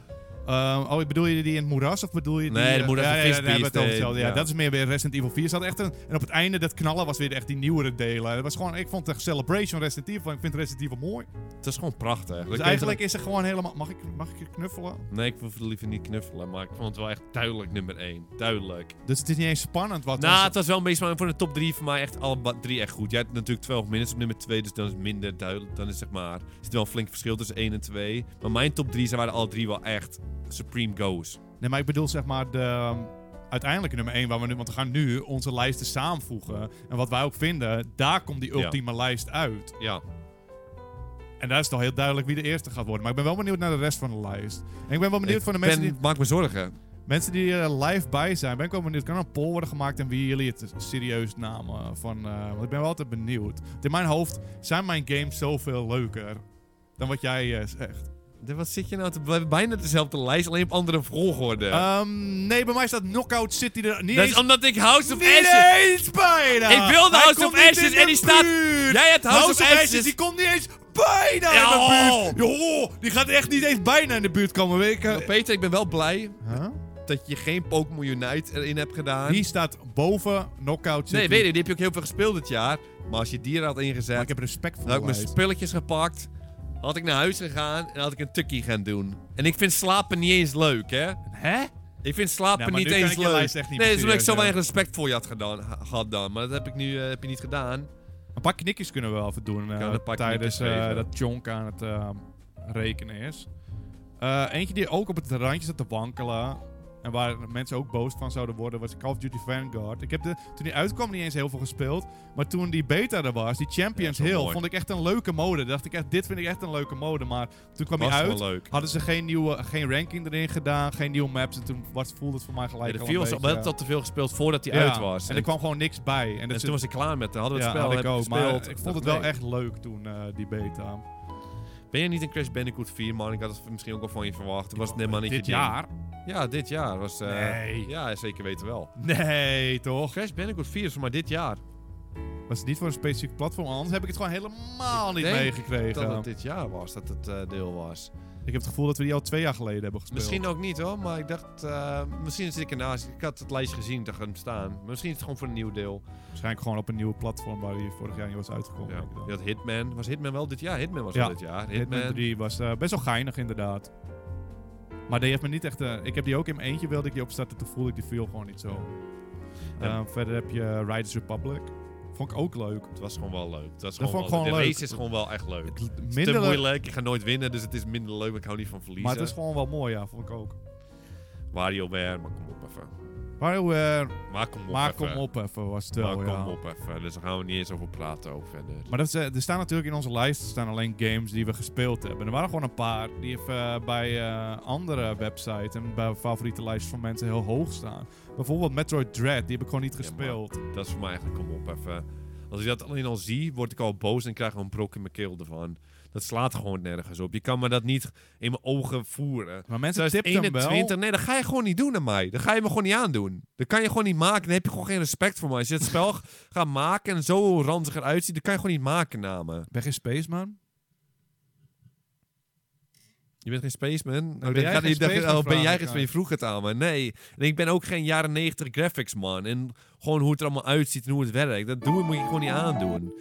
[SPEAKER 1] Ehm, oh, bedoel je die in het moeras of bedoel je die... eh,
[SPEAKER 2] Nee, de moeras
[SPEAKER 1] ja,
[SPEAKER 2] van
[SPEAKER 1] ja, ja,
[SPEAKER 2] Fist
[SPEAKER 1] daar hebben we het over
[SPEAKER 2] Beast,
[SPEAKER 1] hetzelfde.
[SPEAKER 2] eh,
[SPEAKER 1] Ja,
[SPEAKER 2] ja.
[SPEAKER 1] dat is meer weer Resident Evil 4. Zat echt een, en op het einde, dat knallen was weer echt die nieuwere delen. Het was gewoon, ik vond het een celebration van Resident Evil. en Ik vind Resident Evil mooi.
[SPEAKER 2] Het is gewoon prachtig.
[SPEAKER 1] Dus eigenlijk is er gewoon helemaal... Mag ik, mag ik je knuffelen?
[SPEAKER 2] Nee, ik wil liever niet knuffelen, maar ik vond het wel echt duidelijk nummer 1. Duidelijk.
[SPEAKER 1] Dus het is niet eens spannend wat...
[SPEAKER 2] nou, het was wel meestal voor de top 3 voor mij echt alle ba- drie echt goed. Jij hebt natuurlijk 12 minutes op nummer 2, dus dan is het minder duidelijk. Dan is zeg maar, zit wel een flink verschil tussen 1 en 2. Maar mijn top 3 waren alle drie wel echt supreme goes.
[SPEAKER 1] Nee, maar ik bedoel zeg maar de ehm, uiteindelijke nummer 1. Waar we nu, want we gaan nu onze lijsten samenvoegen. En wat wij ook vinden, daar komt die
[SPEAKER 2] Ja.
[SPEAKER 1] ultieme lijst uit.
[SPEAKER 2] Ja.
[SPEAKER 1] En daar is het al heel duidelijk wie de eerste gaat worden. Maar ik ben wel benieuwd naar de rest van de lijst. En ik ben wel benieuwd
[SPEAKER 2] Ik
[SPEAKER 1] van de mensen
[SPEAKER 2] ben-
[SPEAKER 1] die,
[SPEAKER 2] Maak me zorgen.
[SPEAKER 1] mensen die er live bij zijn. Ben ik wel benieuwd. Kan er een poll worden gemaakt en wie jullie het serieus namen? Van, eh, want ik ben wel altijd benieuwd. Want in mijn hoofd zijn mijn games zoveel leuker dan wat jij eh, zegt.
[SPEAKER 2] De- Wat zit je nou te... We hebben bijna dezelfde lijst, alleen op andere volgorde.
[SPEAKER 1] Ehm, nee, bij mij staat Knockout City er niet
[SPEAKER 2] dat
[SPEAKER 1] eens,
[SPEAKER 2] is omdat ik House of
[SPEAKER 1] niet
[SPEAKER 2] Ashes...
[SPEAKER 1] eens bijna.
[SPEAKER 2] Ik wilde
[SPEAKER 1] Hij
[SPEAKER 2] House
[SPEAKER 1] komt
[SPEAKER 2] of
[SPEAKER 1] niet
[SPEAKER 2] Ashes
[SPEAKER 1] in
[SPEAKER 2] en
[SPEAKER 1] de
[SPEAKER 2] die staat-
[SPEAKER 1] buurt.
[SPEAKER 2] Jij hebt House of Ashes.
[SPEAKER 1] die komt niet eens bijna
[SPEAKER 2] Ja,
[SPEAKER 1] in de
[SPEAKER 2] oh.
[SPEAKER 1] buurt. Joh, die gaat echt niet eens bijna in de buurt komen. Weet ik, eh,
[SPEAKER 2] Maar Oh, Peter, ik ben wel blij
[SPEAKER 1] huh?
[SPEAKER 2] dat je geen Pokémon Unite erin hebt gedaan.
[SPEAKER 1] Die staat boven Knockout City.
[SPEAKER 2] Nee, weet je, die heb je ook heel veel gespeeld dit jaar. Maar als je die er had ingezet,
[SPEAKER 1] Maar ik heb respect voor
[SPEAKER 2] dan had ik
[SPEAKER 1] de
[SPEAKER 2] mijn
[SPEAKER 1] lijst.
[SPEAKER 2] spulletjes gepakt, had ik naar huis gegaan en had ik een tukkie gaan doen. En ik vind slapen niet eens leuk, hè?
[SPEAKER 1] Hè?
[SPEAKER 2] Ik vind slapen
[SPEAKER 1] Nou, maar
[SPEAKER 2] niet
[SPEAKER 1] nu kan
[SPEAKER 2] eens
[SPEAKER 1] ik je
[SPEAKER 2] leuk.
[SPEAKER 1] lijst echt niet meer
[SPEAKER 2] nee, dat is omdat ik zo
[SPEAKER 1] serieus
[SPEAKER 2] weinig respect voor je had gedaan, ha- gehad dan. Maar dat heb ik nu eh, heb je niet gedaan.
[SPEAKER 1] Een paar knikjes kunnen we wel even doen eh,
[SPEAKER 2] Kan een paar
[SPEAKER 1] tijdens
[SPEAKER 2] knikjes
[SPEAKER 1] eh,
[SPEAKER 2] geven.
[SPEAKER 1] dat Chonk aan het eh, rekenen is. Eh, eentje die ook op het randje zat te wankelen en waar mensen ook boos van zouden worden was Call of Duty Vanguard. Ik heb de, toen die uitkwam niet eens heel veel gespeeld, maar toen die beta er was, die Champions
[SPEAKER 2] Ja, dat is wel
[SPEAKER 1] Hill,
[SPEAKER 2] mooi.
[SPEAKER 1] vond ik echt een leuke mode. Dacht ik echt, dit vind ik echt een leuke mode, maar toen kwam
[SPEAKER 2] Was
[SPEAKER 1] hij
[SPEAKER 2] wel
[SPEAKER 1] uit.
[SPEAKER 2] leuk.
[SPEAKER 1] Hadden ze geen, nieuwe, geen ranking erin gedaan, geen nieuwe maps. En toen was, voelde het voor mij
[SPEAKER 2] Ja,
[SPEAKER 1] gelijk
[SPEAKER 2] de
[SPEAKER 1] al
[SPEAKER 2] viel
[SPEAKER 1] een
[SPEAKER 2] was al,
[SPEAKER 1] beetje...
[SPEAKER 2] we hadden het al te veel gespeeld voordat hij
[SPEAKER 1] Ja,
[SPEAKER 2] uit was.
[SPEAKER 1] En er kwam gewoon niks bij. En, dat
[SPEAKER 2] en
[SPEAKER 1] is-
[SPEAKER 2] toen was ik klaar met. Dan hadden we het
[SPEAKER 1] ja,
[SPEAKER 2] spel
[SPEAKER 1] had ik
[SPEAKER 2] hebben
[SPEAKER 1] ook.
[SPEAKER 2] gespeeld.
[SPEAKER 1] Maar ik vond het
[SPEAKER 2] dacht,
[SPEAKER 1] wel
[SPEAKER 2] nee.
[SPEAKER 1] echt leuk toen, eh, die beta.
[SPEAKER 2] Ben je niet een Crash Bandicoot 4, man? Ik had het misschien ook al van je verwacht. Het was net maar niet je
[SPEAKER 1] Dit
[SPEAKER 2] ding.
[SPEAKER 1] jaar?
[SPEAKER 2] Ja, dit jaar was... eh,
[SPEAKER 1] Nee.
[SPEAKER 2] Ja, zeker weten wel.
[SPEAKER 1] Nee, toch?
[SPEAKER 2] Crash Bandicoot 4 is voor mij dit jaar.
[SPEAKER 1] Was het niet voor een specifiek platform, anders heb ik het gewoon helemaal niet
[SPEAKER 2] denk
[SPEAKER 1] meegekregen.
[SPEAKER 2] Dat het dit jaar was, dat het eh, deel was.
[SPEAKER 1] Ik heb het gevoel dat we die al twee jaar geleden hebben gespeeld.
[SPEAKER 2] Misschien ook niet hoor, maar ik dacht... eh, misschien zit ik ernaast. Ik had het lijstje gezien, dat hem staan. Maar misschien is het gewoon voor een nieuw deel.
[SPEAKER 1] Waarschijnlijk gewoon op een nieuwe platform waar die vorig jaar niet was uitgekomen.
[SPEAKER 2] Ja.
[SPEAKER 1] denk ik dan.
[SPEAKER 2] Je had Hitman. Was Hitman wel dit jaar? Hitman was
[SPEAKER 1] Ja.
[SPEAKER 2] wel dit jaar.
[SPEAKER 1] Hitman,
[SPEAKER 2] Hitman.
[SPEAKER 1] 3 was eh, best wel geinig inderdaad. Maar die heeft me niet echt... eh, ik heb die ook in mijn eentje wilde ik die opstarten, toen voelde ik die feel gewoon niet zo.
[SPEAKER 2] Ja.
[SPEAKER 1] Eh, verder heb je Riders Republic. Vond ik ook leuk.
[SPEAKER 2] Het was gewoon wel leuk. Het was
[SPEAKER 1] Dat
[SPEAKER 2] gewoon
[SPEAKER 1] vond ik
[SPEAKER 2] wel-
[SPEAKER 1] gewoon
[SPEAKER 2] de
[SPEAKER 1] leuk.
[SPEAKER 2] race is gewoon wel echt leuk. Het is te
[SPEAKER 1] Minder leuk,
[SPEAKER 2] moeilijk. Je gaat nooit winnen, dus het is minder leuk. maar Ik hou niet van verliezen.
[SPEAKER 1] maar het is gewoon wel mooi, ja, vond ik ook.
[SPEAKER 2] WarioWare, maar kom op even.
[SPEAKER 1] WarioWare,
[SPEAKER 2] Maak hem op
[SPEAKER 1] maak
[SPEAKER 2] even.
[SPEAKER 1] hem eh, op even, was het wel,
[SPEAKER 2] Maak
[SPEAKER 1] ja.
[SPEAKER 2] hem op even. Dus daar gaan we niet eens over praten ook verder.
[SPEAKER 1] Maar dat is, eh, er staan natuurlijk in onze lijst staan alleen games die we gespeeld hebben. Er waren gewoon een paar die even eh, bij eh, andere websites en bij favoriete lijsten van mensen heel hoog staan. Bijvoorbeeld Metroid Dread, die heb ik gewoon niet
[SPEAKER 2] Ja, maar-
[SPEAKER 1] gespeeld.
[SPEAKER 2] Dat is voor mij eigenlijk kom op even. Als ik dat alleen al zie, word ik al boos en krijg ik een brok in mijn keel ervan. Dat slaat gewoon nergens op. Je kan me dat niet in mijn ogen voeren.
[SPEAKER 1] Maar mensen tipten hem wel.
[SPEAKER 2] 2021, nee, dat ga je gewoon niet doen aan mij. Dat ga je me gewoon niet aandoen. Dat kan je gewoon niet maken. Dan heb je gewoon geen respect voor mij. Als je het spel (laughs) g- gaat maken en zo ranzig eruit ziet, dat kan je gewoon niet maken namen.
[SPEAKER 1] Ben geen spaceman?
[SPEAKER 2] Je bent geen spaceman. Oh,
[SPEAKER 1] jij
[SPEAKER 2] dat gaat
[SPEAKER 1] geen
[SPEAKER 2] niet- dat-
[SPEAKER 1] spaceman,
[SPEAKER 2] oh, ben
[SPEAKER 1] vraag ik
[SPEAKER 2] jij geen
[SPEAKER 1] aan.
[SPEAKER 2] spaceman? Je vroeg het aan me. Nee. En ik ben ook geen jaren 90 graphics man. En gewoon hoe het er allemaal uitziet en hoe het werkt. Dat doe, moet je gewoon niet aandoen.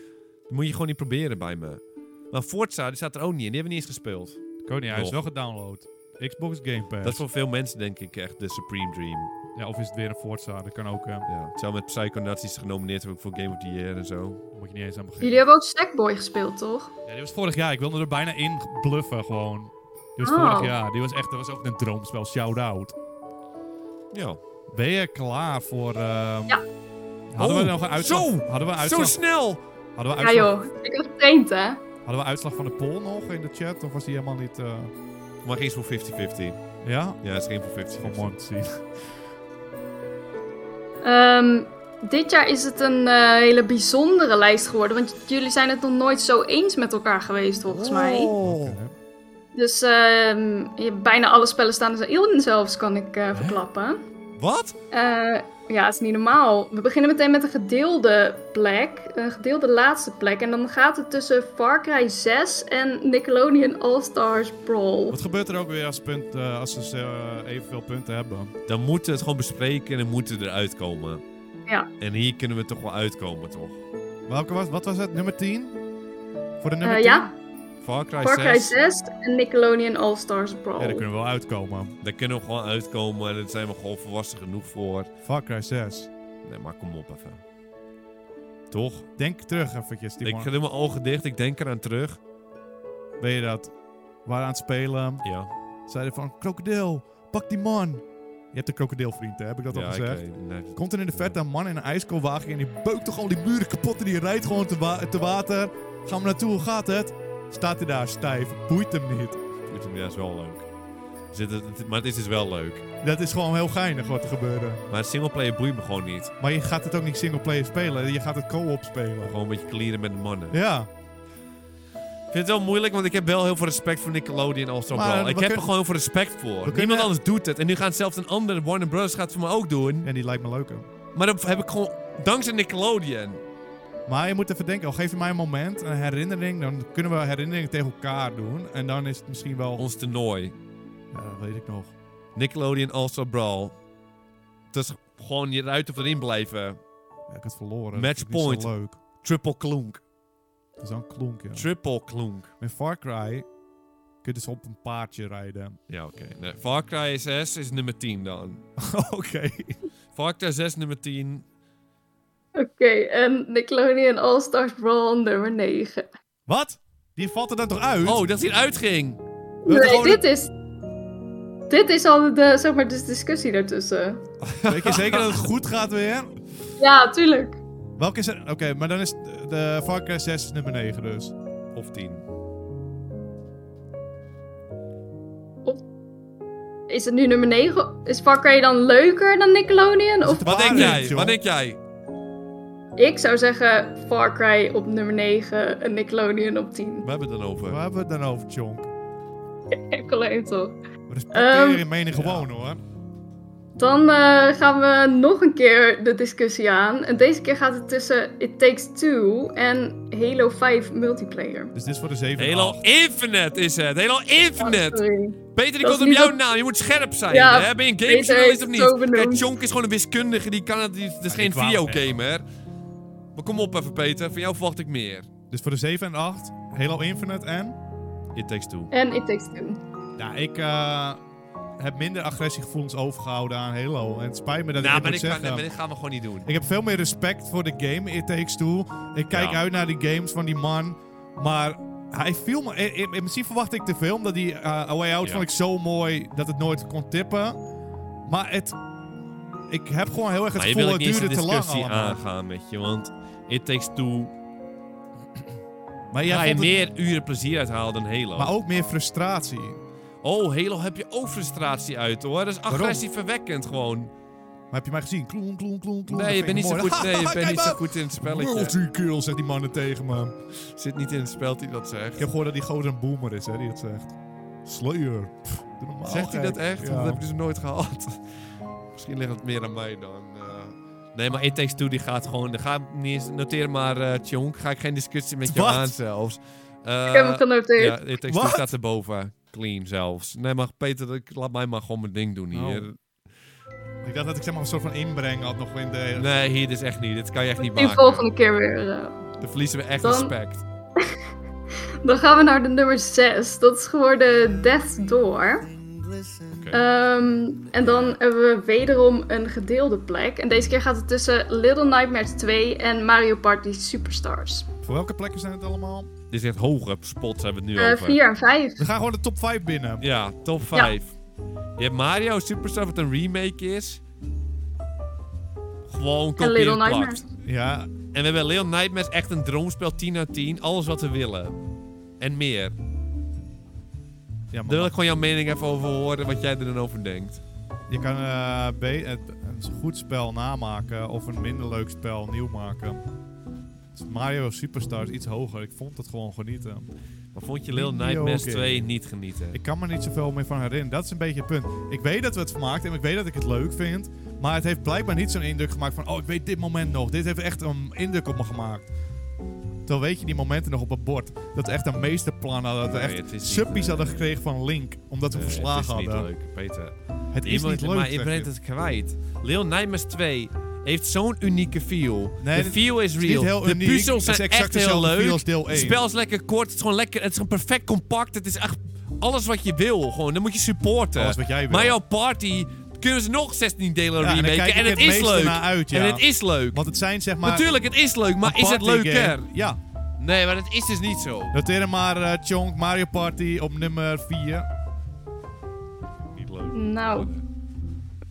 [SPEAKER 2] Dat moet je gewoon niet proberen bij me. Maar Forza, die staat er ook niet in. Die hebben we niet eens gespeeld.
[SPEAKER 1] Ik ook niet, hij is
[SPEAKER 2] Nog.
[SPEAKER 1] wel gedownload. Xbox Game Pass.
[SPEAKER 2] Dat is voor veel mensen denk ik echt de supreme dream.
[SPEAKER 1] Ja, of is het weer een Forza, dat kan ook. eh,
[SPEAKER 2] Ja. Hetzelfde met Psychonauts die is genomineerd ook voor Game of the Year en zo.
[SPEAKER 1] daar moet je niet eens aan beginnen.
[SPEAKER 3] Jullie hebben ook Sackboy gespeeld, toch?
[SPEAKER 1] Ja, die was vorig jaar, ik wilde er bijna in bluffen gewoon. Die was
[SPEAKER 3] Oh.
[SPEAKER 1] vorig jaar, die was echt, dat was ook een droomspel, shout-out.
[SPEAKER 2] Ja.
[SPEAKER 1] Ben je klaar voor... ehm,
[SPEAKER 3] Ja.
[SPEAKER 1] Hadden we
[SPEAKER 2] Oh,
[SPEAKER 1] nog een uitslag?
[SPEAKER 2] zo!
[SPEAKER 1] Hadden we een
[SPEAKER 2] Zo
[SPEAKER 1] uitslag,
[SPEAKER 2] snel!
[SPEAKER 1] hadden we
[SPEAKER 3] Ja
[SPEAKER 1] uitslag,
[SPEAKER 3] joh, ik had getraind hè.
[SPEAKER 1] hadden we uitslag van de poll nog in de chat? Of was die helemaal niet... eh,
[SPEAKER 2] Maar ging voor 50-50.
[SPEAKER 1] Ja?
[SPEAKER 2] Ja, het ging voor 50-50.
[SPEAKER 1] Gewoon mooi om te zien.
[SPEAKER 3] Ehm, dit jaar is het een eh, hele bijzondere lijst geworden, want j- jullie zijn het nog nooit zo eens met elkaar geweest
[SPEAKER 1] Oh.
[SPEAKER 3] volgens mij.
[SPEAKER 1] Oké.
[SPEAKER 3] Dus ehm, je- bijna alle spellen staan er in zelfs, kan ik eh, verklappen.
[SPEAKER 2] Wat?
[SPEAKER 3] Eh, ja, het is niet normaal. We beginnen meteen met een gedeelde plek. Een gedeelde laatste plek. En dan gaat het tussen Far Cry 6 en Nickelodeon All-Stars Brawl.
[SPEAKER 1] Wat gebeurt er ook weer als, punt, eh, als ze eh, evenveel punten hebben?
[SPEAKER 2] Dan moeten we het gewoon bespreken en dan moeten we eruit komen.
[SPEAKER 3] Ja.
[SPEAKER 2] En hier kunnen we toch wel uitkomen, toch?
[SPEAKER 1] Welke was, wat was het? Nummer 10? Voor de nummer
[SPEAKER 3] Eh,
[SPEAKER 1] 10?
[SPEAKER 3] ja,
[SPEAKER 2] Far Cry
[SPEAKER 3] Far
[SPEAKER 2] 6.
[SPEAKER 3] Cry 6 en Nickelodeon All-Stars Brawl.
[SPEAKER 1] Ja, daar kunnen we wel uitkomen.
[SPEAKER 2] Daar kunnen we gewoon uitkomen en daar zijn we gewoon volwassen genoeg voor.
[SPEAKER 1] Far Cry 6.
[SPEAKER 2] Nee, maar kom op even. Toch?
[SPEAKER 1] Denk terug eventjes,
[SPEAKER 2] Ik
[SPEAKER 1] Timon.
[SPEAKER 2] doe mijn ogen dicht, ik denk eraan terug.
[SPEAKER 1] Ben je dat? We waren aan het spelen.
[SPEAKER 2] Ja.
[SPEAKER 1] Zeiden van, krokodil, pak die man. Je hebt een krokodilvriend, hè? Heb ik dat al
[SPEAKER 2] ja,
[SPEAKER 1] gezegd?
[SPEAKER 2] oké. Nee.
[SPEAKER 1] Komt er in de verte een man in een ijskoolwagen en die beukt toch gewoon die muren kapot en die rijdt gewoon te, wa- te water. Gaan we naartoe, hoe gaat het? Staat hij daar stijf, boeit hem niet.
[SPEAKER 2] Ik vind- Ja, is wel leuk. Zit het- Maar het is dus wel leuk.
[SPEAKER 1] Dat is gewoon heel geinig wat er gebeurde.
[SPEAKER 2] Maar singleplayer boeit me gewoon niet.
[SPEAKER 1] Maar je gaat het ook niet singleplayer spelen, je gaat het co-op spelen.
[SPEAKER 2] Gewoon een beetje clearen met de mannen.
[SPEAKER 1] Ja,
[SPEAKER 2] Ik vind het wel moeilijk, want ik heb wel heel veel respect voor Nickelodeon als zo'n
[SPEAKER 1] Maar,
[SPEAKER 2] bal.
[SPEAKER 1] we
[SPEAKER 2] Ik heb
[SPEAKER 1] kunnen-
[SPEAKER 2] er gewoon heel veel respect voor.
[SPEAKER 1] kunnen-
[SPEAKER 2] Niemand anders doet het. En nu gaat zelfs een ander, Warner Bros. gaat het voor me ook doen.
[SPEAKER 1] en die lijkt me leuker.
[SPEAKER 2] Maar dat heb ik gewoon dankzij Nickelodeon.
[SPEAKER 1] Maar je moet even denken, oh, geef je mij een moment, een herinnering, dan kunnen we herinneringen tegen elkaar doen. En dan is het misschien wel...
[SPEAKER 2] Ons toernooi.
[SPEAKER 1] Ja, dat weet ik nog.
[SPEAKER 2] Nickelodeon also Brawl. Het is gewoon je eruit of erin blijven.
[SPEAKER 1] Ja, ik had verloren.
[SPEAKER 2] Match
[SPEAKER 1] Dat vind ik niet zo
[SPEAKER 2] point.
[SPEAKER 1] leuk.
[SPEAKER 2] Triple klonk.
[SPEAKER 1] Dat is wel een klonk, ja.
[SPEAKER 2] Triple klonk.
[SPEAKER 1] Met Far Cry kun je dus op een paardje rijden.
[SPEAKER 2] Ja, oké. Nee, Far Cry 6 is nummer 10 (laughs) dan.
[SPEAKER 1] Oké.
[SPEAKER 2] Far Cry 6 nummer 10.
[SPEAKER 3] Oké, en Nickelodeon All-Stars Brawl nummer 9.
[SPEAKER 1] Wat? Die valt er dan toch uit?
[SPEAKER 2] Oh, dat hij eruit ging.
[SPEAKER 3] Nee,
[SPEAKER 1] gewoon-
[SPEAKER 3] dit is... Dit is al de, zeg maar, de discussie daartussen.
[SPEAKER 1] Weet je zeker dat het goed gaat weer?
[SPEAKER 3] Ja, tuurlijk.
[SPEAKER 1] Welke is er? Oké, maar dan is de- de Far Cry 6 is nummer 9 dus.
[SPEAKER 2] Of 10.
[SPEAKER 3] Is het nu nummer 9? Is Far Cry dan leuker dan Nickelodeon? Of
[SPEAKER 2] Wat denk
[SPEAKER 1] Waar
[SPEAKER 2] jij?
[SPEAKER 1] is, joh?
[SPEAKER 2] Wat denk jij?
[SPEAKER 3] ik zou zeggen Far Cry op nummer 9 en Nickelodeon op 10.
[SPEAKER 2] We hebben het dan over.
[SPEAKER 1] Waar hebben we het dan over, Chonk?
[SPEAKER 3] Nickelodeon toch?
[SPEAKER 1] We respecteren
[SPEAKER 3] Ehm,
[SPEAKER 1] je mening gewoon hoor.
[SPEAKER 3] Dan eh, gaan we nog een keer de discussie aan. En deze keer gaat het tussen It Takes Two en Halo 5 multiplayer.
[SPEAKER 1] Dus dit is voor de 7 en
[SPEAKER 2] Halo
[SPEAKER 1] 8.
[SPEAKER 2] Infinite is het. Halo Infinite.
[SPEAKER 3] Sorry.
[SPEAKER 2] Peter, ik wil
[SPEAKER 3] Dat is
[SPEAKER 2] op
[SPEAKER 3] niet
[SPEAKER 2] jouw
[SPEAKER 3] dat-
[SPEAKER 2] naam. Je moet scherp zijn.
[SPEAKER 3] Ja,
[SPEAKER 2] hè? Ben je een
[SPEAKER 3] Peter
[SPEAKER 2] gamejournalist
[SPEAKER 3] heeft
[SPEAKER 2] of
[SPEAKER 3] het
[SPEAKER 2] niet?
[SPEAKER 3] zo
[SPEAKER 2] Kijk,
[SPEAKER 3] benoemd.
[SPEAKER 2] Chonk is gewoon een wiskundige. Die kan het niet. Het Ah, is
[SPEAKER 1] die
[SPEAKER 2] geen
[SPEAKER 1] kwamen
[SPEAKER 2] videogamer. Maar kom op even, Peter. Van jou verwacht ik meer.
[SPEAKER 1] Dus voor de 7 en 8, Halo Infinite en?
[SPEAKER 2] It takes two.
[SPEAKER 3] En It Takes Two.
[SPEAKER 1] Nou, ik eh, heb minder agressiegevoelens overgehouden aan Halo. En het spijt me dat
[SPEAKER 2] nou,
[SPEAKER 1] ik dit
[SPEAKER 2] maar
[SPEAKER 1] moet
[SPEAKER 2] dit, gaan,
[SPEAKER 1] zeggen.
[SPEAKER 2] maar dit gaan we gewoon niet doen.
[SPEAKER 1] Ik heb veel meer respect voor de game It Takes Two. Ik kijk
[SPEAKER 2] Ja.
[SPEAKER 1] uit naar die games van die man. Maar hij viel me... eh, eh, Misschien verwacht ik te veel, omdat die eh, A Way Out
[SPEAKER 2] Ja.
[SPEAKER 1] vond ik zo mooi dat het nooit kon tippen. Maar het... ik heb gewoon heel erg het
[SPEAKER 2] Maar je
[SPEAKER 1] gevoel
[SPEAKER 2] wil
[SPEAKER 1] het
[SPEAKER 2] ik niet eens
[SPEAKER 1] duurde
[SPEAKER 2] een
[SPEAKER 1] te lang
[SPEAKER 2] discussie
[SPEAKER 1] allemaal.
[SPEAKER 2] aangaan met je, want It Takes Two
[SPEAKER 1] Maar, jij
[SPEAKER 2] ga je
[SPEAKER 1] vond het-
[SPEAKER 2] meer uren plezier uithalen dan Halo.
[SPEAKER 1] maar ook meer frustratie.
[SPEAKER 2] Oh, Halo heb je ook frustratie uit hoor. Dat is
[SPEAKER 1] Waarom?
[SPEAKER 2] agressieverwekkend gewoon.
[SPEAKER 1] Maar heb je mij gezien? Kloen, kloen, kloen, kloen.
[SPEAKER 2] Nee, je bent niet,
[SPEAKER 1] (laughs)
[SPEAKER 2] zo goed, (laughs) nee, je bent niet zo goed in het spelletje.
[SPEAKER 1] Multikill, zegt die mannen tegen me.
[SPEAKER 2] Zit niet in het spel die dat zegt.
[SPEAKER 1] Ik heb gehoord dat die gozer een boomer is, hè, die het zegt. Slayer. Pff, doe normaal,
[SPEAKER 2] Zegt hij
[SPEAKER 1] gek.
[SPEAKER 2] dat echt?
[SPEAKER 1] Ja.
[SPEAKER 2] Dat heb ik dus nooit gehad. (laughs) Misschien ligt het meer aan mij dan. eh. Nee, maar It Takes Two die gaat gewoon... die Gaat niet eens, noteer maar, eh Tjonk. Ga ik geen discussie met jou
[SPEAKER 1] Wat?
[SPEAKER 2] aan zelfs.
[SPEAKER 3] Ik heb hem
[SPEAKER 2] Eh
[SPEAKER 3] genoteerd.
[SPEAKER 2] ja, It Takes Two
[SPEAKER 1] Wat?
[SPEAKER 2] staat erboven. Clean zelfs. Nee, maar Peter, ik, laat mij maar gewoon mijn ding doen hier.
[SPEAKER 1] Ik dacht dat ik zeg maar een soort van inbreng had nog in de...
[SPEAKER 2] Nee, hier dit is echt niet. Dit kan je echt niet
[SPEAKER 3] Die
[SPEAKER 2] maken.
[SPEAKER 3] volgende keer weer. eh.
[SPEAKER 2] Dan verliezen we echt
[SPEAKER 3] Dan-
[SPEAKER 2] respect.
[SPEAKER 3] Dan gaan we naar de nummer 6. Dat is geworden Death Door.
[SPEAKER 2] Oké.
[SPEAKER 3] Ehm, en dan hebben we wederom een gedeelde plek. En deze keer gaat het tussen Little Nightmares 2 en Mario Party Superstars.
[SPEAKER 1] Voor welke plekken zijn het allemaal?
[SPEAKER 2] Dit is echt hoge spots hebben we het nu
[SPEAKER 3] Eh,
[SPEAKER 2] over.
[SPEAKER 3] 4 en 5.
[SPEAKER 1] We gaan gewoon de top 5 binnen.
[SPEAKER 2] Ja, top 5. Je hebt Mario Superstar, wat een remake is. Gewoon
[SPEAKER 3] En
[SPEAKER 2] kopie
[SPEAKER 3] Little
[SPEAKER 2] en
[SPEAKER 3] Nightmares.
[SPEAKER 2] plakt.
[SPEAKER 1] Ja,
[SPEAKER 2] En we hebben Little Nightmares, echt een droomspel, 10 uit 10. Alles wat we willen. En meer.
[SPEAKER 1] ja
[SPEAKER 2] Daar wil
[SPEAKER 1] maar
[SPEAKER 2] ik gewoon jouw mening even over horen, wat jij er dan over denkt.
[SPEAKER 1] je kan eh, be- het, een goed spel namaken of een minder leuk spel nieuw maken. Dus Mario Superstars iets hoger. Ik vond het gewoon genieten.
[SPEAKER 2] Maar vond je Little
[SPEAKER 1] Video
[SPEAKER 2] Nightmares
[SPEAKER 1] game.
[SPEAKER 2] 2 niet genieten?
[SPEAKER 1] Ik kan me niet zoveel meer van herinneren. Dat is een beetje het punt. Ik weet dat we het vermaakt hebben. Ik weet dat ik het leuk vind. Maar het heeft blijkbaar niet zo'n indruk gemaakt van... Oh, ik weet dit moment nog. Dit heeft echt een indruk op me gemaakt. Terwijl weet je die momenten nog op het bord. Dat we echt een meesterplan hadden. Dat we
[SPEAKER 2] Nee, het is
[SPEAKER 1] echt
[SPEAKER 2] niet,
[SPEAKER 1] suppies
[SPEAKER 2] eh,
[SPEAKER 1] hadden gekregen van Link. Omdat we
[SPEAKER 2] Nee,
[SPEAKER 1] verslagen
[SPEAKER 2] eh, het is
[SPEAKER 1] hadden.
[SPEAKER 2] niet leuk, Peter.
[SPEAKER 1] Het is
[SPEAKER 2] Iemand-
[SPEAKER 1] niet leuk.
[SPEAKER 2] maar je
[SPEAKER 1] zeg
[SPEAKER 2] bent
[SPEAKER 1] je.
[SPEAKER 2] het kwijt. Little Nightmares 2 heeft zo'n unieke feel.
[SPEAKER 1] Nee,
[SPEAKER 2] de
[SPEAKER 1] dit-
[SPEAKER 2] feel is
[SPEAKER 1] het is niet
[SPEAKER 2] real.
[SPEAKER 1] heel
[SPEAKER 2] de
[SPEAKER 1] uniek.
[SPEAKER 2] puzzels
[SPEAKER 1] Het is
[SPEAKER 2] zijn
[SPEAKER 1] exact
[SPEAKER 2] echt heel
[SPEAKER 1] dezelfde feel
[SPEAKER 2] leuk.
[SPEAKER 1] als deel
[SPEAKER 2] Het
[SPEAKER 1] 1.
[SPEAKER 2] spel is lekker kort. Het is gewoon lekker. Het is gewoon perfect compact. Het is echt alles wat je wil. Gewoon, dan moet je supporten.
[SPEAKER 1] Alles wat jij wil.
[SPEAKER 2] Mario Party kunnen ze nog 16 delen
[SPEAKER 1] Ja, en dan
[SPEAKER 2] remaken.
[SPEAKER 1] kijk ik
[SPEAKER 2] En het
[SPEAKER 1] het
[SPEAKER 2] is
[SPEAKER 1] meeste
[SPEAKER 2] leuk.
[SPEAKER 1] naar uit,
[SPEAKER 2] En
[SPEAKER 1] ja.
[SPEAKER 2] het is leuk.
[SPEAKER 1] Want het zijn zeg maar...
[SPEAKER 2] Natuurlijk, het is leuk, maar
[SPEAKER 1] een
[SPEAKER 2] is het
[SPEAKER 1] partygame.
[SPEAKER 2] leuker?
[SPEAKER 1] Ja.
[SPEAKER 2] Nee, maar dat is dus niet zo.
[SPEAKER 1] Noteer maar eh Chonk Mario Party op nummer 4.
[SPEAKER 2] Niet leuk.
[SPEAKER 3] Nou,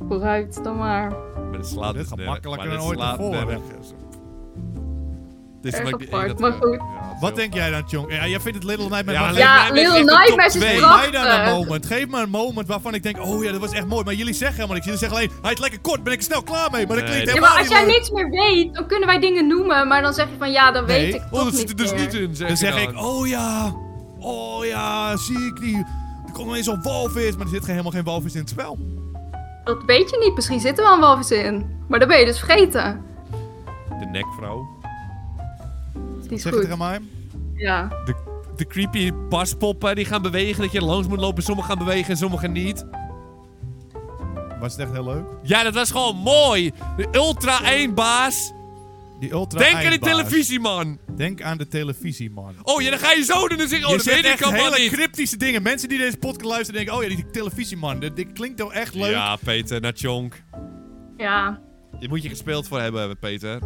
[SPEAKER 3] vooruit dan maar.
[SPEAKER 2] Maar dat slaat
[SPEAKER 1] Dit
[SPEAKER 2] dus
[SPEAKER 1] gaat
[SPEAKER 2] nergens-
[SPEAKER 1] makkelijker
[SPEAKER 2] maar
[SPEAKER 1] dan
[SPEAKER 2] dat
[SPEAKER 1] ooit
[SPEAKER 2] slaat
[SPEAKER 1] tevoren.
[SPEAKER 2] nergens op. Dit is
[SPEAKER 3] Erg
[SPEAKER 2] wat ik-
[SPEAKER 3] apart,
[SPEAKER 2] dat-
[SPEAKER 3] maar goed.
[SPEAKER 2] Ja, dat is
[SPEAKER 1] Wat
[SPEAKER 2] heel-
[SPEAKER 1] denk jij dan, Chonk? Ja, jij vindt het Little Nightmare...
[SPEAKER 2] Ja,
[SPEAKER 1] maar
[SPEAKER 2] Little
[SPEAKER 3] Ja,
[SPEAKER 2] Nightmares
[SPEAKER 3] Little
[SPEAKER 2] heeft een top
[SPEAKER 3] Nightmares is
[SPEAKER 2] twee.
[SPEAKER 1] Geef mij dan een
[SPEAKER 3] prachtig.
[SPEAKER 1] moment. Geef me een moment waarvan ik denk, oh ja, dat was echt mooi. Maar jullie zeggen helemaal niks. Jullie zeggen alleen, hij is lekker kort, ben ik snel klaar mee. Maar dat
[SPEAKER 2] Nee,
[SPEAKER 1] klinkt
[SPEAKER 2] dat-
[SPEAKER 3] Ja,
[SPEAKER 1] helemaal
[SPEAKER 3] maar als jij
[SPEAKER 1] niet leuk.
[SPEAKER 3] niks meer weet, dan kunnen wij dingen noemen. Maar dan zeg je van ja, dan
[SPEAKER 1] Nee.
[SPEAKER 3] weet ik
[SPEAKER 2] Oh,
[SPEAKER 3] toch
[SPEAKER 2] dat zit er
[SPEAKER 3] niet
[SPEAKER 2] dus
[SPEAKER 3] meer.
[SPEAKER 2] niet in, zeg
[SPEAKER 1] Dan zeg
[SPEAKER 2] je
[SPEAKER 1] ik, oh ja, oh ja, zie ik die... Er komt ineens zo'n walvis, maar er zit geen- helemaal geen walvis in het spel.
[SPEAKER 3] Dat weet je niet. Misschien zit er wel een walvis in. Maar dat ben je dus vergeten.
[SPEAKER 2] oh, De nekvrouw.
[SPEAKER 3] Die is
[SPEAKER 1] Zeg het
[SPEAKER 3] goed.
[SPEAKER 1] tegen mij.
[SPEAKER 3] Ja.
[SPEAKER 2] De, de creepy paspoppen die gaan bewegen, dat je er langs moet lopen. Sommigen gaan bewegen en sommigen niet.
[SPEAKER 1] Was het echt heel leuk?
[SPEAKER 2] Ja, dat was gewoon mooi. De ultra 1 baas.
[SPEAKER 1] Die ultra
[SPEAKER 2] Denk aan die
[SPEAKER 1] eindbaas.
[SPEAKER 2] televisie, man.
[SPEAKER 1] Denk aan de televisie, man.
[SPEAKER 2] Oh ja, dan ga je zo doen en zeggen, oh,
[SPEAKER 1] je
[SPEAKER 2] dat
[SPEAKER 1] zegt
[SPEAKER 2] weet ik
[SPEAKER 1] echt
[SPEAKER 2] allemaal
[SPEAKER 1] hele
[SPEAKER 2] niet.
[SPEAKER 1] cryptische dingen. Mensen die deze podcast luisteren denken, oh ja, die televisieman, dit, dit klinkt wel echt leuk.
[SPEAKER 2] Ja, Peter, naar Chonk.
[SPEAKER 3] Ja.
[SPEAKER 2] Je moet je gespeeld voor hebben, Peter.